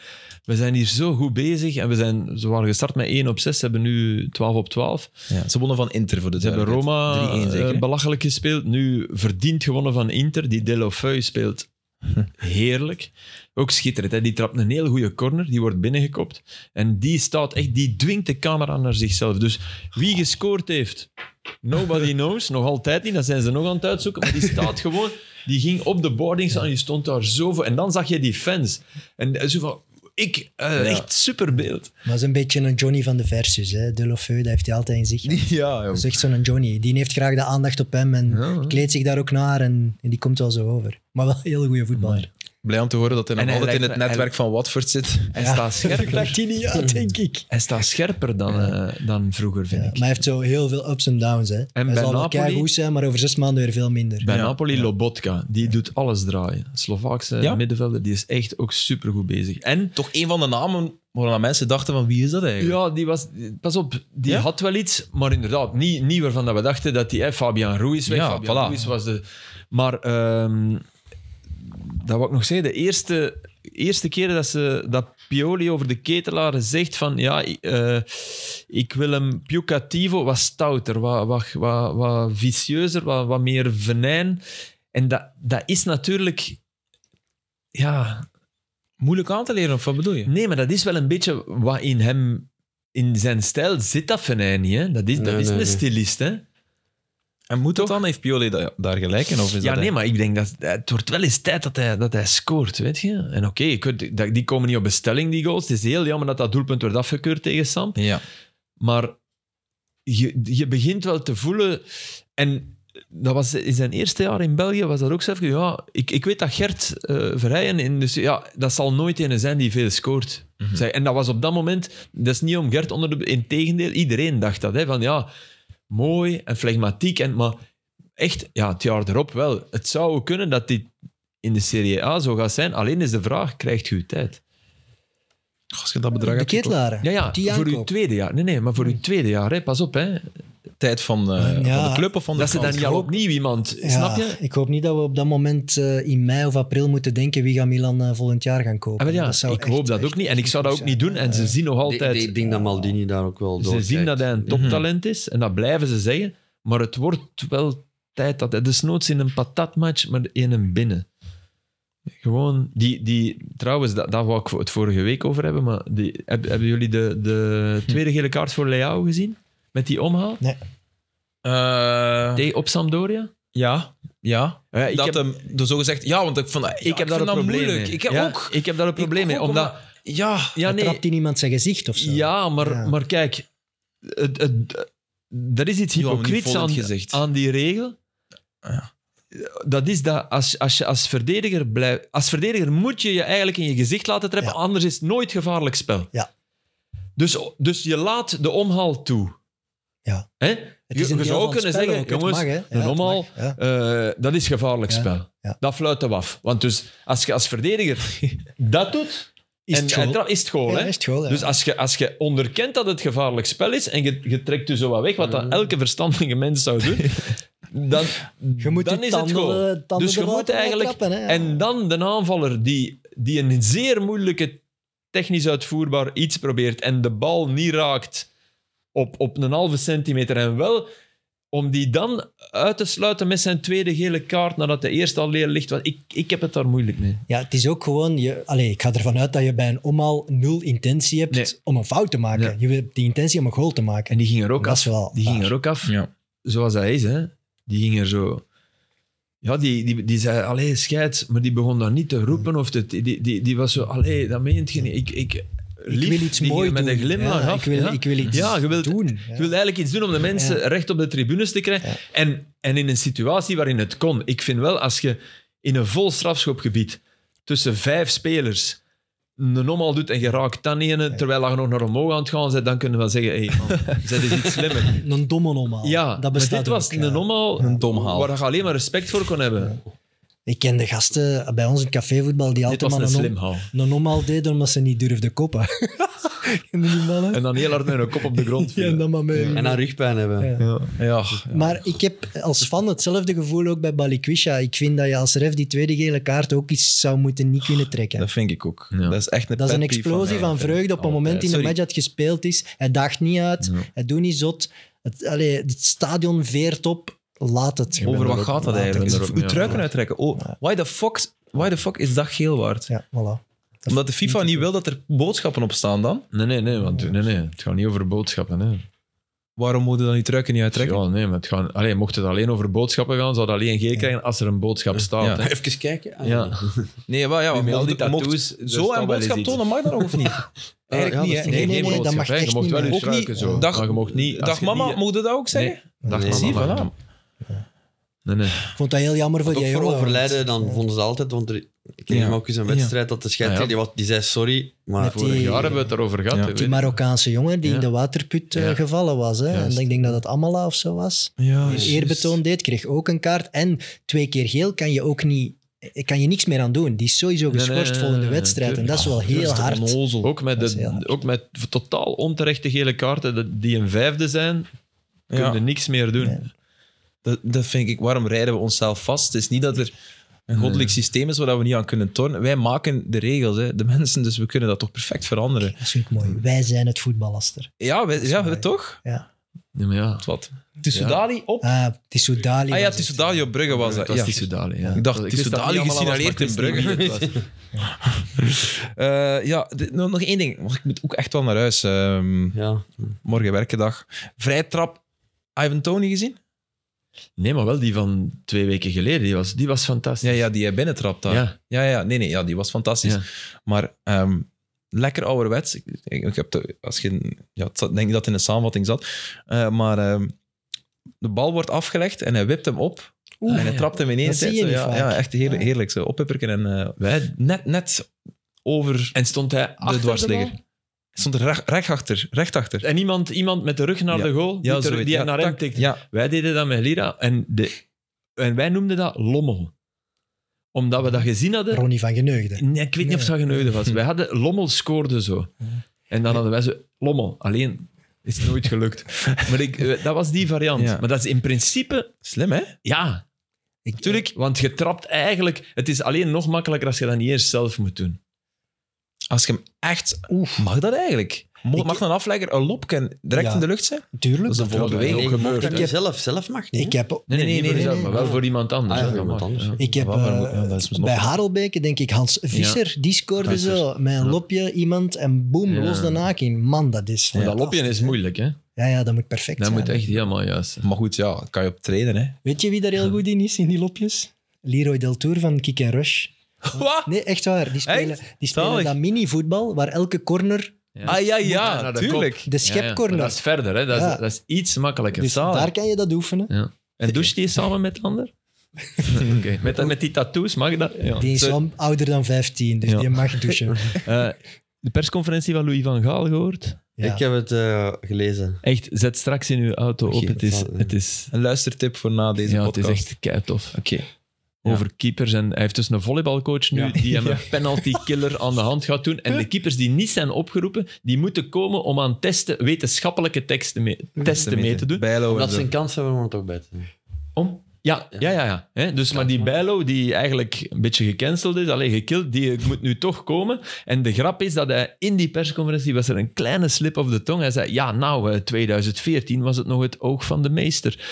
wij zijn hier zo goed bezig. En we zijn, ze waren gestart met 1 op 6, ze hebben nu 12 op 12. Ja, ze wonnen van Inter voor de Ze hebben Roma duidelijkheid. 3-1 zeker, eh, hè? belachelijk gespeeld. Nu verdiend gewonnen van Inter. Die Delofeu speelt heerlijk. Ook schitterend. Hè? Die trapt een heel goede corner. Die wordt binnengekopt. En die staat echt... Die dwingt de camera naar zichzelf. Dus wie gescoord heeft... Nobody knows. Nog altijd niet. Dat zijn ze nog aan het uitzoeken. Maar die staat gewoon... Die ging op de boarding staan. Die stond daar zo voor. En dan zag je die fans. En eh, zo van... Ik... eh, Echt superbeeld. Maar dat is een beetje een Johnny van de versus. Hè. De Lofeu, dat heeft hij altijd in zich. Ja, Dat is echt zo'n Johnny. Die heeft graag de aandacht op hem en kleedt zich daar ook naar. En, en die komt wel zo over. Maar wel een hele goede voetballer. Blij om te horen dat hij nog En hij altijd in het lijkt me- netwerk van Watford zit. Hij Ja. staat scherp. Dat die niet uit, denk ik. Hij staat scherper dan, eh, dan vroeger, vind Ja, ik. maar hij heeft zo heel veel ups en downs. Hè. hij bij zal wel Napoli- keigoed zijn, maar over zes maanden weer veel minder. Bij Ja, Napoli, Lobotka, die doet alles draaien. Slovaakse Ja? middenvelder, die is echt ook supergoed bezig. En Toch een van de namen waarvan mensen dachten van wie is dat eigenlijk? ja, die was, pas op, die Ja? had wel iets, maar inderdaad, niet, niet waarvan dat we dachten dat die, hè, Fabian Ruiz weg, Ja, Fabian voilà. Ruiz was de... Maar, ehm, dat wil ik nog zeggen, de eerste, eerste keer dat, ze, dat Pioli over de ketelaren zegt van, ja, eh, ik wil hem pjocativo, wat stouter, wat, wat, wat, wat vicieuzer, wat, wat meer venijn. En dat, dat is natuurlijk... Ja, Moeilijk aan te leren, of wat bedoel je? Nee, maar dat is wel een beetje wat in hem, in zijn stijl zit dat venijn niet. Hè? Dat is, dat Nee, is nee, een nee. stilist. Hè? En moet dat dan? Heeft Pioli da- daar gelijk in? Of is Ja, dat nee, maar ik denk dat eh, het wordt wel eens tijd dat hij, dat hij scoort, weet je. En oké, je kunt- dat- die komen niet op bestelling, die goals. Het is heel jammer dat dat doelpunt werd afgekeurd tegen Sam. Ja. Maar je, je begint wel te voelen. En dat was in zijn eerste jaar in België was dat ook zo even. Ja, ik, ik weet dat Gert eh Verheyen in de, ja, dat zal nooit een zijn die veel scoort. Zeg, en dat was op dat moment. Dat is niet om Gert onder de. Integendeel, iedereen dacht dat. Hè, van ja, mooi en flegmatiek. En, maar echt, ja, het jaar erop wel. Het zou kunnen dat dit in de Serie A zo gaat zijn. Alleen is de vraag: krijgt u tijd? Als je dat bedrag de hebt gekocht. ketelaren. Ja, ja die voor uw aankoop. tweede jaar. Nee, nee, maar voor uw tweede jaar, hè, pas op. Hè. tijd van, eh, van Ja. de club of van de Dat ze kant? dan niet al opnieuw iemand, Ja, snap je? Ik hoop niet dat we op dat moment eh, in mei of april moeten denken wie gaat Milan eh, volgend jaar gaan kopen. Ah, wel ja, Dat zou ik echt- hoop dat ook echt niet. En ik zou dat ook zijn. niet doen. En ze zien nog altijd... Ik denk dat Maldini daar ook wel door ze zien dat hij een toptalent is. En dat blijven ze zeggen. Maar het wordt wel tijd dat hij... Desnoods in een patatmatch, maar in een binnen. Gewoon, die, die, trouwens, dat, daar wou ik het vorige week over hebben, maar die, heb- hebben jullie de, de tweede gele kaart voor Leao gezien? Met die omhaal? Eh, Die op Sampdoria? ja, ja. Ja, dat hem, dus zo gezegd, ja, want ik vond dat, ja, ik heb daar vind een dat probleem moeilijk. mee. Ik heb Ja, ook. Ik heb daar een probleem mee, ook, omdat... omdat- Ja, Ja, Hij nee, trapt in iemand zijn gezicht of zo. Ja, maar, Ja. maar kijk, het, het, er is iets Ja, maar niet hypocriets vol in aan, het gezicht. aan die regel. Dat is dat als, als je als verdediger blijft. Als verdediger moet je je eigenlijk in je gezicht laten treppen, Ja. anders is het nooit gevaarlijk spel. Ja. Dus, dus je laat de omhaal toe. Ja. Hè? Het Je- is een je deel zou van het kunnen spel zeggen, ook. Het jongens, mag, hè. Ja, een het omhaal, mag, ja. eh, dat is gevaarlijk Ja, spel. ja. Dat fluiten we af. Want dus als je als verdediger dat doet, Is en- het en goal. tra- is het goal. Ja, hè? is het goal, ja. Dus als je, als je onderkent dat het gevaarlijk spel is en je, je trekt je zo wat weg, wat Mm. dat elke verstandige mens zou doen, dan, Je moet dan je is tanden- het goal. tanden Dus je eruit moet eigenlijk... trappen, hè, ja. En dan de aanvaller die, die een zeer moeilijke, technisch uitvoerbaar iets probeert en de bal niet raakt op, op een halve centimeter en wel... Om die dan uit te sluiten met zijn tweede gele kaart nadat de eerste al leer ligt. Want ik, ik heb het daar moeilijk mee. Ja, het is ook gewoon... Je, allee, ik ga ervan uit dat je bij een omhaal nul intentie hebt Nee. om een fout te maken. Nee. Je hebt die intentie om een goal te maken. En die ging er ook Dat af. is wel die ging waar. er ook af. Ja. Zoals hij is, hè. Die ging er zo... Ja, die, die, die zei, allee, scheids. Maar die begon dan niet te roepen. Mm. Of te, die, die, die was zo, allee, dat meent je niet. Ik, ik, lief, ik wil iets die ging moois met doen. een glimlach Ja, af, ik, wil, ja. ik wil iets Ja, je wilt- doen. Ja. Je wilde eigenlijk iets doen om de mensen recht op de tribunes te krijgen. En, en in een situatie waarin het kon. Ik vind wel, als je in een vol strafschopgebied tussen vijf spelers een omhaal doet en je raakt dan een, terwijl je nog naar omhoog aan het gaan bent, dan kunnen we wel zeggen, hé hey, man, zij is iets slimmer. Een domme normaal. Ja, dat maar bestaat dit was ook, ja. een omhaal Een domhaal. waar je alleen maar respect voor kon hebben. Ik ken de gasten bij ons in cafévoetbal die dit altijd was maar een een, slim om, haal. een omhaal deden omdat ze niet durfden koppen. Ken je die mannen? En dan heel hard met een kop op de grond Ja, vielen. dan maar mee. En dan rugpijn hebben. Ja. Ja, Maar ik heb als fan hetzelfde gevoel ook bij Balikwisha. Ik vind dat je als ref die tweede gele kaart ook iets zou moeten niet kunnen trekken. dat vind ik ook. Ja. Dat is echt een Dat is een pet peeve explosie mij. Oh, van vreugde op een moment in de Sorry. match dat gespeeld is. Hij daagt niet uit, Ja. hij doet niet zot. Het, allee, het stadion veert op, laat het. Over wat gaat dat Laat eigenlijk? ben Is er ook uw mee truiken aan. uittrekken. Oh, why, the fuck, why the fuck is dat geel waard? het. Ja, voilà. Omdat de FIFA niet wil dat er boodschappen op staan dan. Nee, nee, nee, want, nee, nee. Het gaat niet over boodschappen. Hè. Waarom moeten dan die truiken niet uittrekken? Ja, nee, maar het gaan, allee, mocht het alleen over boodschappen gaan, zou het alleen geen krijgen als er een boodschap staat. Ja. hè. Even kijken. Ah, Ja. Nee, maar ja, Nu met al mocht- die mocht tattoos, dus er zo staat een wel eens boodschap iets. tonen mag dat nog of niet? ja, Eigenlijk dat niet, is hè? niet- nee, nee, dat boodschap, mag hè. echt Je mocht niet wel meer. eens Ook niet. ruiken zo. Dag, maar je mocht niet... als Dag je mama, niet- mocht je dat ook zeggen? Nee, dag Nee, Zie, mama. mag voilà. niet. Nee, nee. Ik vond dat heel jammer voor Want die ook voor jongen, want- overlijden, dan vonden ze altijd... Want er, ik kreeg Ja. hem ook eens een wedstrijd dat de scheidsrechter... Die, was- die zei sorry, maar... Met voor- Vorig jaar hebben we het erover gehad. Ja. hè, weet Die je. Marokkaanse jongen die Ja. in de waterput eh, Ja. gevallen was. Hè? Juist. En ik denk dat dat Amala of zo was. Ja, Die eerbetoon deed, kreeg ook een kaart. En twee keer geel kan je ook niet... eh, Kan je niks meer aan doen. Die is sowieso nee, geschorst nee, volgende nee, wedstrijd. En tuurlijk. dat is wel heel hard. Ook met, Dat is heel de, hard. ook met totaal onterechte gele kaarten dat- die een vijfde zijn, kunnen Ja. niks meer doen. Nee. Dat, dat vind ik, waarom rijden we onszelf vast? Het is niet dat er een goddelijk systeem is waar we niet aan kunnen tornen. Wij maken de regels, hè, de mensen, dus we kunnen dat toch perfect veranderen. Dat vind ik mooi. Wij zijn het voetballaster. Ja, we, ja, we toch? Ja, maar ja. Wat? Tissudali op? Ah, Tissoudali. Ah ja, was het. Tissudali op Brugge was dat. Het was Ja. Tissudali, ja. Ik dacht, wist Tissudali dat niet allemaal, maar gesignaleerd ik wist in Brugge. niet wie het was. Eh, ja, dit- nog, nog één ding. want Ik moet ook echt wel naar huis. ehm, Ja. morgen werkendag. Vrijtrap. Ivan Tony gezien? Nee, maar wel die van twee weken geleden. Die was, die was fantastisch. Ja, ja, die hij binnentrapt daar. Ja. Ja, ja, nee, nee, ja, die was fantastisch. Maar ehm, lekker ouderwets. Ik, ik, ik heb de, als je, ja, het zat- denk ik dat het in de samenvatting zat. Eh, maar ehm, de bal wordt afgelegd en hij wipt hem op. en hij trapt hem ineens. Dat zie je uit. Zo, niet ja, vaak. ja, echt heerlijk, Ja. heerlijk zo. Oppipperken en eh, Wij, net, net over en stond hij achter de de dwarsligger. bal? Hij stond er recht, recht achter. Recht achter. En iemand, iemand met de rug naar Ja. de goal, die, ter- zoiets. die Ja, naar hem tak. tikt. Ja, Wij deden dat met Lira en, de, en wij noemden dat lommel. Omdat we dat gezien hadden. Ronnie van Geneugde. Nee, ik weet niet of dat geneude was. Wij hadden lommel scoorde zo. En dan hadden wij zo lommel. Alleen is het nooit gelukt. Maar ik, eh, dat was die variant. Ja. Maar dat is in principe, slim hè? ja, Ik, Tuurlijk, want je trapt eigenlijk... Het is alleen nog makkelijker als je dat niet eerst zelf moet doen. Als je hem echt... Mag dat eigenlijk? Mo- Ik- Mag een aflegger een lopken direct Ja. in de lucht zijn? Tuurlijk. Dat is een volle dat is beweging. ook Nee, gebeurd, mocht hè. dat zelf, zelf mag niet. ik heb, Nee, Nee, nee, niet nee, voor nee, jezelf, nee, maar wel ja. voor iemand anders. Ah, ja, hè. voor iemand anders, Ja. dus ik heb Ja, maar- eh, ja, dat is nog- bij Harelbeke, denk ik, Hans Visser, die scoorde Visser. zo met een Ja. lopje iemand en boom, Ja. los de naak in. Man, dat is Maar dat lopje is moeilijk, hè. Ja, ja, dat moet perfect Dat zijn. moet echt helemaal juist zijn. Maar goed, ja, kan je op trainen hè? Weet je wie daar heel goed in is, in die lopjes? Leroy Del Tour van Kick and Rush. Wat? Nee, echt waar. Die spelen, die spelen Zalig. dat mini-voetbal waar elke corner... Ah ja, ja, naar de kop. tuurlijk. De Ja, ja. schepcorner. Maar Dat is verder, hè. Dat is, Ja. dat is iets makkelijker. dus Zalig. daar kan je dat oefenen. En doucht die samen met de ander? Oké. met, met die tattoos, mag je dat? Ja. Die is Zo, wel ouder dan 15, dus Ja. die mag douchen. eh, de persconferentie van Louis van Gaal gehoord? Ja. Ik heb het eh, gelezen. Echt, zet straks in uw auto Oké, op. Het is, dat zal- het is, Een luistertip voor na deze ja, het is podcast. echt keitof. Oké. Ja. over keepers. En hij heeft dus een volleybalcoach nu Ja. die hem een penalty killer aan de hand gaat doen. En de keepers die niet zijn opgeroepen, die moeten komen om aan testen, wetenschappelijke teksten mee, testen mee te doen. Bijlo en Omdat zo. ze een kans hebben om het ook bij te doen. Om? Ja, ja, ja. ja. Hè? Dus, maar die Bijlo, die eigenlijk een beetje gecanceld is, alleen gekild, die moet nu toch komen. En de grap is dat hij in die persconferentie was er een kleine slip of de tong. Hij zei, ja, nou, eh, 2014 was het nog het oog van de meester.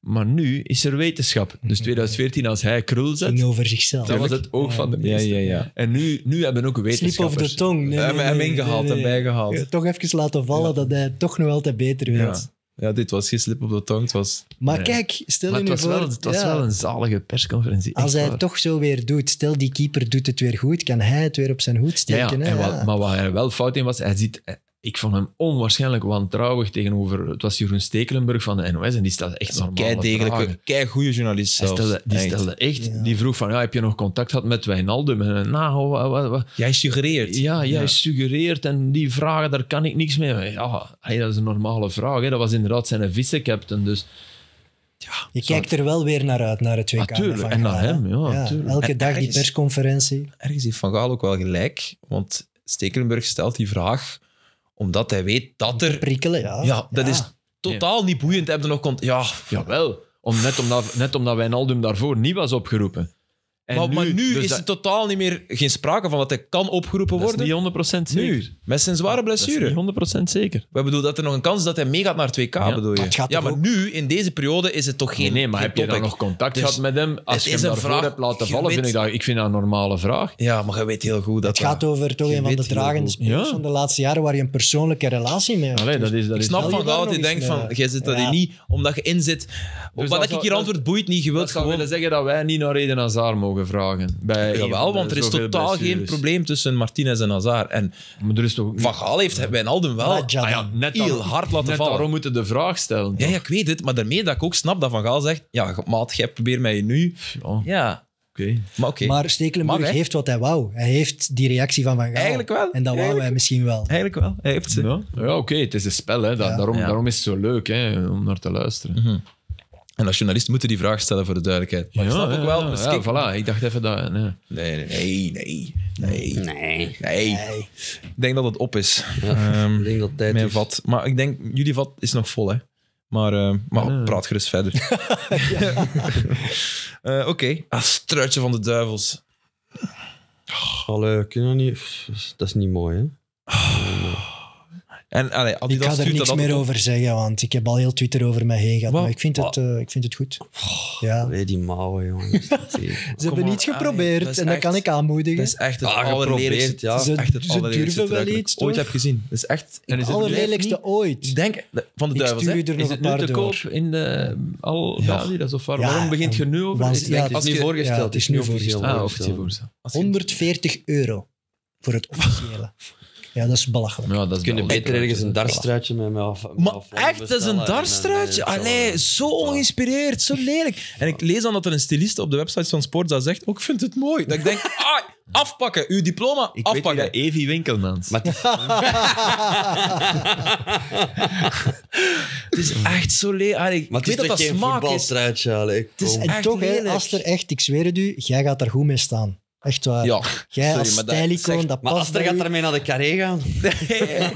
Maar nu is er wetenschap. Dus 2014, als hij krul Het ging zet, over zichzelf. dan was het oog van de Ja, meester. ja, ja. En nu, nu hebben ook Slip over wetenschappers... de tong. Nee, nee, Hem, hem nee, ingehaald nee, en nee. bijgehaald. Ja, Toch even laten vallen dat hij toch nog altijd beter Ja. weet. Ja, dit was geen slip op de tong. Het was... Maar Nee. kijk, stel Maar je het nu was, voor... wel, het was ja, wel een zalige persconferentie. Als echt hij waar. het toch zo weer doet, stel die keeper doet het weer goed, kan hij het weer op zijn hoed Ja, ja, steken. hè, en wat- ja. maar waar hij wel fout in was, hij ziet... Ik vond hem onwaarschijnlijk wantrouwig tegenover... Het was Jeroen Stekelenburg van de NOS en die stelde echt normale Kei vragen. degelijke, kei goede journalist Hij zelfs. stelde, die Echt. stelde echt... Ja. Die vroeg van, ja, heb je nog contact gehad met Wijnaldum? En, nou, wat, wat, wat, Jij suggereert. ja, jij Ja. suggereert en die vragen, daar kan ik niks mee. Maar Ja, hey, dat is een normale vraag. Hè. Dat was inderdaad zijn vice-captain. Dus Je kijkt er wel weer naar uit, naar het WK. Natuurlijk, met Van en naar Gaal, hè. hem, ja, natuurlijk. elke En dag die ergens- persconferentie. Ergens heeft Van Gaal ook wel gelijk, want Stekelenburg stelt die vraag omdat hij weet dat er... Prikkelen, ja. Ja, dat is totaal niet boeiend. Hebben nog komt Ja, jawel, om, net, omdat, net omdat Wijnaldum daarvoor niet was opgeroepen. En maar nu, maar nu dus is dat- er totaal niet meer geen sprake van dat hij kan opgeroepen dat is worden. niet 100% zeker. Nu, met zijn zware Dat is niet blessure. 100% zeker. We bedoelen dat er nog een kans is dat hij meegaat naar 2K, Ja. bedoel je? Dat gaat ja, toch maar ook- nu, in deze periode, is het toch geen Nee, nee, maar geen heb je dan topic. nog contact Dus gehad met hem? Als het je is hem een daarvoor vraag, hebt laten je vallen, weet- vind ik, dat, ik vind dat een normale vraag. Ja, maar je weet heel goed dat... Het gaat over toch Je een van de weet heel dragende goed. spelers Ja. van de laatste jaren waar je een persoonlijke relatie mee hebt. Dus Allee, dat is, dat Ik is snap Stel van je daar Gaal dat nog je eens denkt mee. van, jij zit dat Ja. hier niet, omdat je in zit. eh, Dus dat Wat ik zou- hier dat- antwoord boeit niet, je Dat wilt zou gewoon... willen zeggen dat wij niet naar Eden Hazard mogen vragen. Bij een van Jawel, de want er is zoveel totaal geen blessures. probleem tussen Martinez en Hazard. En Maar er is toch Van Gaal heeft Wijnaldum wel... Nadja Ah ja, dan. net heel daar- hard laten net vallen. daarom moeten de vraag stellen. Ja, ja, ik weet het, maar daarmee dat ik ook snap dat Van Gaal zegt... Ja, maat, jij probeert mij nu. Ja, oké. Ja, maar oké. Maar Stekelenburg Mag, hè? heeft wat hij wou. Hij heeft die reactie van Van Gaal. Eigenlijk wel. En dat wou Eigenlijk- hij misschien wel. Eigenlijk wel, hij heeft ze. Ja, ja, oké, het is een spel. Hè. Da- Ja. daarom, Ja. daarom is het zo leuk hè, om naar te luisteren. En als journalist moeten die vraag stellen voor de duidelijkheid. Maar ik snap ook wel... ja, dus ja, kijk- voilà, ik dacht even dat... Nee. Nee, nee, nee. Nee. nee. Nee. Nee. Ik denk dat het op is. Ja, Ehm, ik denk dat tijd mijn is. vat. Maar ik denk, jullie vat is nog vol, hè? Maar, eh, maar Ja. praat gerust verder. Eh, Oké. Ah, struitje van de duivels. Allee, kunnen we niet... Pff, Dat is niet mooi, hè? En allee, Ik Adidas ga er stuurt dat niks altijd meer op. over zeggen, want ik heb al heel Twitter over mij heen gehad. Wat? Maar ik vind het, eh, ik vind het goed. Oh, Ja. Allee, die mouwen, jongen. Ze Kom hebben maar, iets allee, geprobeerd dat is en dat echt- kan ik aanmoedigen. Dat is echt het Ah, geprobeerd, allerlelijkste. ja. Ze, echt het Ze allerlelijkste durven wel truc dat ik iets, ooit toch? heb gezien. Dat is echt... En is het het allerlelijkste Ik ooit. denk... de- Van de Ik duivels, stuur hè? je er Is nog een het nu paar te door. koop in de, al, Ja. ja. die dat is of waar? Ja, Waarom begint en- je nu over? want- Is het- ja, het is als nu je- voorgesteld. ja, het is nu officieel voorgesteld. Ah, of het hiervoor. Als je- 140 euro voor het officiële. Ja, dat is belachelijk. Ja, dat is Kun je wel- beter ergens een Ja. dartstruitje met mij af... dus- Maar afvallen echt, dat is bestellen een en, eh, darstruitje. hetzelfde. Allee, zo ongeïnspireerd, zo lelijk. En ik lees dan dat er een stylist op de website van Sport dat zegt, oh, ik vind het mooi. Dat ik denk, ah, afpakken, uw diploma, Ik weet afpakken. dat Evi Winkelmans. Maar het is- het is echt zo lelijk. Allee, maar ik het is weet dat toch dat geen smaak is. voetbalstruitje, allee. Het is, Kom. en echt toch, hè, lelijk. Aster, echt, ik zweer het u, jij gaat daar goed mee staan. Echt waar. Ja, jij als maar dat- stijlicoon, zeg- dat, Maar past Aster bij gaat u. daarmee naar de carré gaan.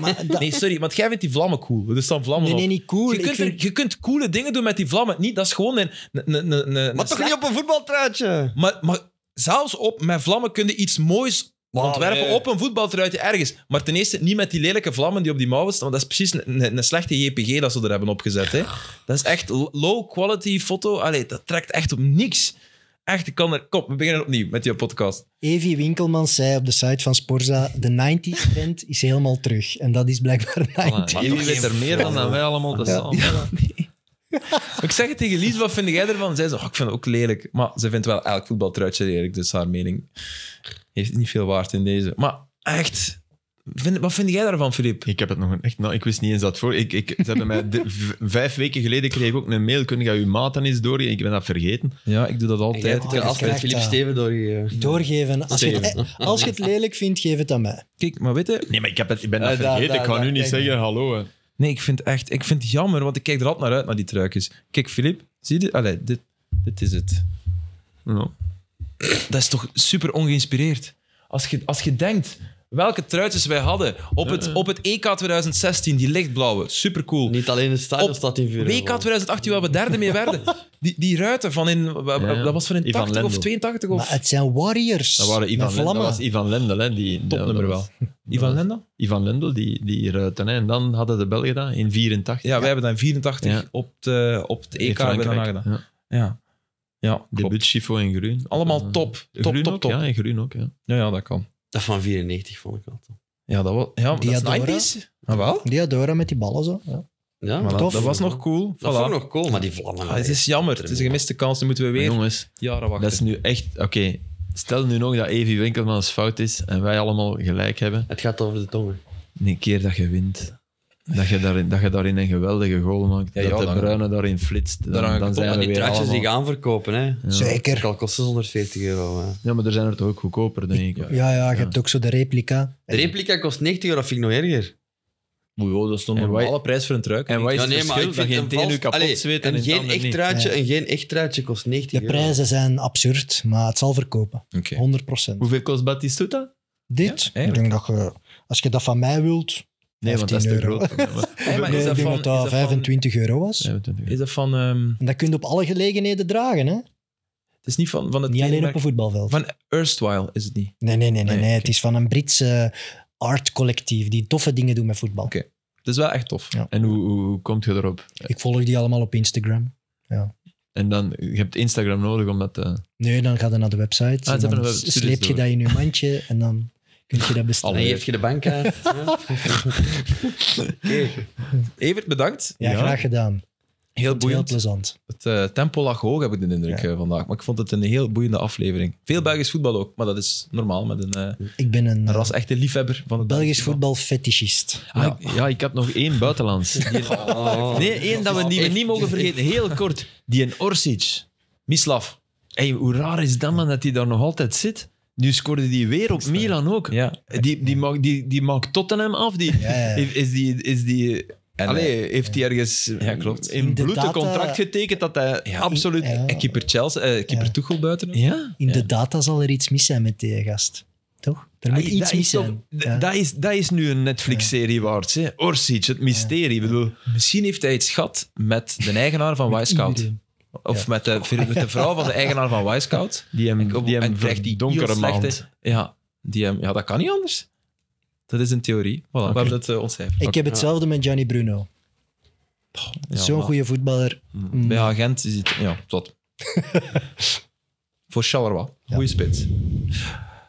Maar dat- nee, sorry, want jij vindt die vlammen cool. Er staan vlammen Nee, nee, op. niet cool. Je kunt, ik vind, er, je kunt coole dingen doen met die vlammen. Niet, dat is gewoon een... een, een, een, een- Maar toch niet op een voetbaltruitje? maar, maar zelfs op, met vlammen kun je iets moois Maar ontwerpen nee. op een voetbaltruitje ergens. Maar ten eerste niet met die lelijke vlammen die op die mouwen staan. Want dat is precies een, een- een slechte JPG dat ze er hebben opgezet. Hè. Dat is echt low-quality foto. Allee, dat trekt echt op niks. Echt, ik kan er... Kom, we beginnen opnieuw met die podcast. Evi Winkelman zei op de site van Sporza, de 90s trend is helemaal terug. En dat is blijkbaar 90. Evi weet er meer dan dat wij allemaal te samen. Maar Ik zeg het tegen Lies, wat vind jij ervan? Zij zegt, oh, ik vind het ook lelijk. Maar ze vindt wel elk voetbaltruitje lelijk, dus haar mening heeft niet veel waard in deze. Maar echt, vind- wat vind jij daarvan, Filip? Ik heb het nog een- echt, nou, ik wist niet eens dat voor. Ik, ik, ze hebben mij de- v- vijf weken geleden kreeg ik ook een mail. Kun je uw maat dan eens doorgeven? Ik ben dat vergeten. Ja, ik doe dat Ik heb altijd. het je altijd krijgt Philippe dat. Steven door je... Doorgeven. Als je, het, Steven. eh, als je het lelijk vindt, geef het aan mij. Kijk, maar weet je... Nee, maar ik, heb het, ik ben dat Eh, daar, vergeten. daar, ik ga daar, nu niet kijk. zeggen hallo. Hè. Nee, ik vind echt... Ik vind het jammer, want ik kijk er altijd naar uit, naar die truikjes. Kijk, Filip, zie je dit? Allee, dit, dit is het. Ja. Dat is toch super ongeïnspireerd? Als je, als je denkt welke truitjes wij hadden op het, op het E EK 2016, die lichtblauwe, supercool. Niet alleen het stadion Op staat in vuur. WK 2018, waar we derde mee werden. Die, die ruiten van in... wa- wa- Ja. Dat was van in Ivan 80 of Lendl. 82 Maar of... het zijn warriors. Dat, waren Met Ivan Lendel, dat vlammen. was Ivan Lendel, hè, die Topnummer dat was- Ivan Lendl? Ivan Lendel, die, die ruiten. hè. En dan hadden de Belgen dat in 84. Ja, wij hebben dan 84 Ja. op, de, op het In EK hebben we Frankrijk. dan gedaan. Ja. Ja. Ja, klopt. Debuut Chifo in groen. Allemaal Eh, top. Top, groen top, ook, top. Ja, in groen ook. Ja. Ja, ja, dat kan. Dat van 94 vond ik altijd. Ja, dat was... Ja, maar Diadora. dat is 90s. Ah, wel. Diadora met die ballen zo. Ja. Ja, Maar dat, Tof. dat was nog cool. Dat Voilà. vond ik nog cool, maar die vlammen... Ah, het is jammer. Het is een gemiste kans. Dan moeten we Maar weer jongens, jaren wachten. dat is nu echt... Oké, stel nu nog dat Evi Winkelmans fout is en wij allemaal gelijk hebben. Het gaat over de tongen. Een keer dat je wint, dat je, daar, dat je daarin een geweldige goal maakt, Ja, dat ja, de dan- Bruine daarin flitst, dan hangt dan, het dan op zijn Ja, we die weer truitjes die allemaal... gaan verkopen, hè. Zeker. Ook al kost het 140 euro. Hè. Ja, maar er zijn er toch ook goedkoper, denk ik. Ja, ja, je hebt ook zo de replica. De replica kost 90 euro, vind ik nog erger. Oei, dat stond En een wij- normale prijs voor een truik. En wat is Ja, het nee, maar verschil ik dat je vind een een teen vals... nu kapot Allee, zweet en, en een geen ander echt niet? truitje, Ja. en geen echt truitje kost 90 De euro. prijzen zijn absurd, maar het zal verkopen. Oké. 100%. Hoeveel kost Batistuta? Dit, Ja, ik denk dat je, als je dat van mij wilt, Nee, want dat is te 15 euro. groot. voor mij, maar- Hey, maar nee, is ik dat denk van- dat dat is dat van- 25 euro was. 25 euro. Is dat van... ehm, En dat kun je op alle gelegenheden dragen, hè? het is niet van, van het Niet alleen op kenmerk- een voetbalveld. Van Erstwhile is het niet. Nee, nee, nee, nee, Nee, nee. oké. Het is van een Britse artcollectief die toffe dingen doet met voetbal. Oké. Het is wel echt tof. Ja. En hoe, hoe, hoe kom je erop? Ik volg die allemaal op Instagram. En dan, je hebt Instagram nodig om dat eh, te... Nee, dan ga je naar de ze website. en hebben dan een web- studies sleep je door. dat in je mandje en dan kun je dat bestellen. Dan geef je de bankkaart. Oh. hè. Oké. Evert, bedankt. Ja, Ja. graag gedaan. Heel Heel boeiend. plezant. Het eh, tempo lag hoog, heb ik de indruk eh, vandaag. Maar ik vond het een heel boeiende aflevering. Veel Belgisch voetbal ook, maar dat is normaal met een, eh, Ik ben een een eh, ras echte liefhebber van het Belgisch voetbalfetischist. Ah, ik- ja, ik had nog één buitenlands. Oh. Nee, één dat we, die we Echt. niet mogen vergeten. Heel kort. Die in Orsic. Mislav. Hey, hoe raar is dat, man, dat hij daar nog altijd zit? Nu scoorde die weer op Milan ook. Ja. Die, die, maakt, die, die maakt Tottenham af. Die, Ja, ja. Is die... Is die En, allee, heeft hij ergens Ja, klopt. in In de bloed een data- contract getekend dat hij Ja. absoluut... Ja. eh, keeper Chelsea, eh, keeper Ja. Tuchel buiten. hem. ja. In de data zal er iets mis zijn met die gast. Toch? Er moet Ah, iets dat mis is toch- zijn. d- Ja. dat, is, dat is nu een Netflix-serie waard. Hè? Orsic, het mysterie. Ik bedoel, Misschien heeft hij iets gehad met de eigenaar van Wisecout. Iedereen. Of Ja. met, de, met de vrouw van de eigenaar van Wisecout. die hem, Mm, die hem en krijgt die donkere heel maand. slechte- Ja, die hem, ja, dat kan niet anders. Dat is een theorie. Voilà, We hebben het eh, ontcijferd. Ik heb hetzelfde met Gianni Bruno. Ja, Zo'n maar- goede voetballer. Mm. Bij agent is het... Ja, tot. Voor Charleroi. Goeie spits.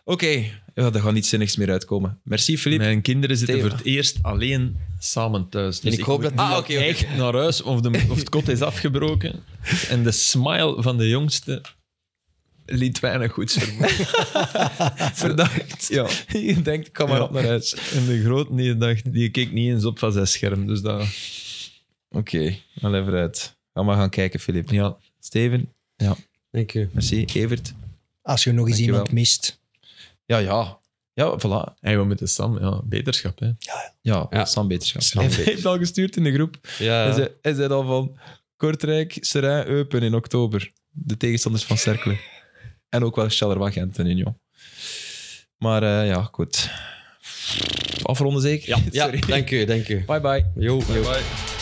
Oké, ja, daar gaat niets zinnigs meer uitkomen. Merci, Philippe. Mijn kinderen zitten Theo. voor het eerst alleen samen thuis. Dus En ik hoop dat moet die Ah, oké, oké. echt naar huis of, de, of het kot is afgebroken. En de smile van de jongste liet weinig goeds vermoeden. Verdacht. Ja. Je denkt, ik ga maar Ja. op naar huis. En de groot die, dacht, die keek niet eens op van zijn scherm. Dus dat, Oké, wel even uit. Ga maar gaan kijken, Philippe. ja. Steven, Dank u. merci. Evert. Als je nog eens Dankjewel. iemand mist. Ja, ja. Ja, voilà. Hey, we moeten Sam, ja, beterschap. Hè. Ja, Ja. Sam Beterschap. Sam Hij Beterschap. heeft al gestuurd in de groep. Hij Ja, zei- Hij zei al van Kortrijk, Seraing, Eupen in oktober. De tegenstanders van Cercle. en ook wel Charleroi, Gent en Union. Maar eh, ja, goed. Afronden zeker? ja Sorry. dank u, dank u. Bye bye. Jo, jo. bye.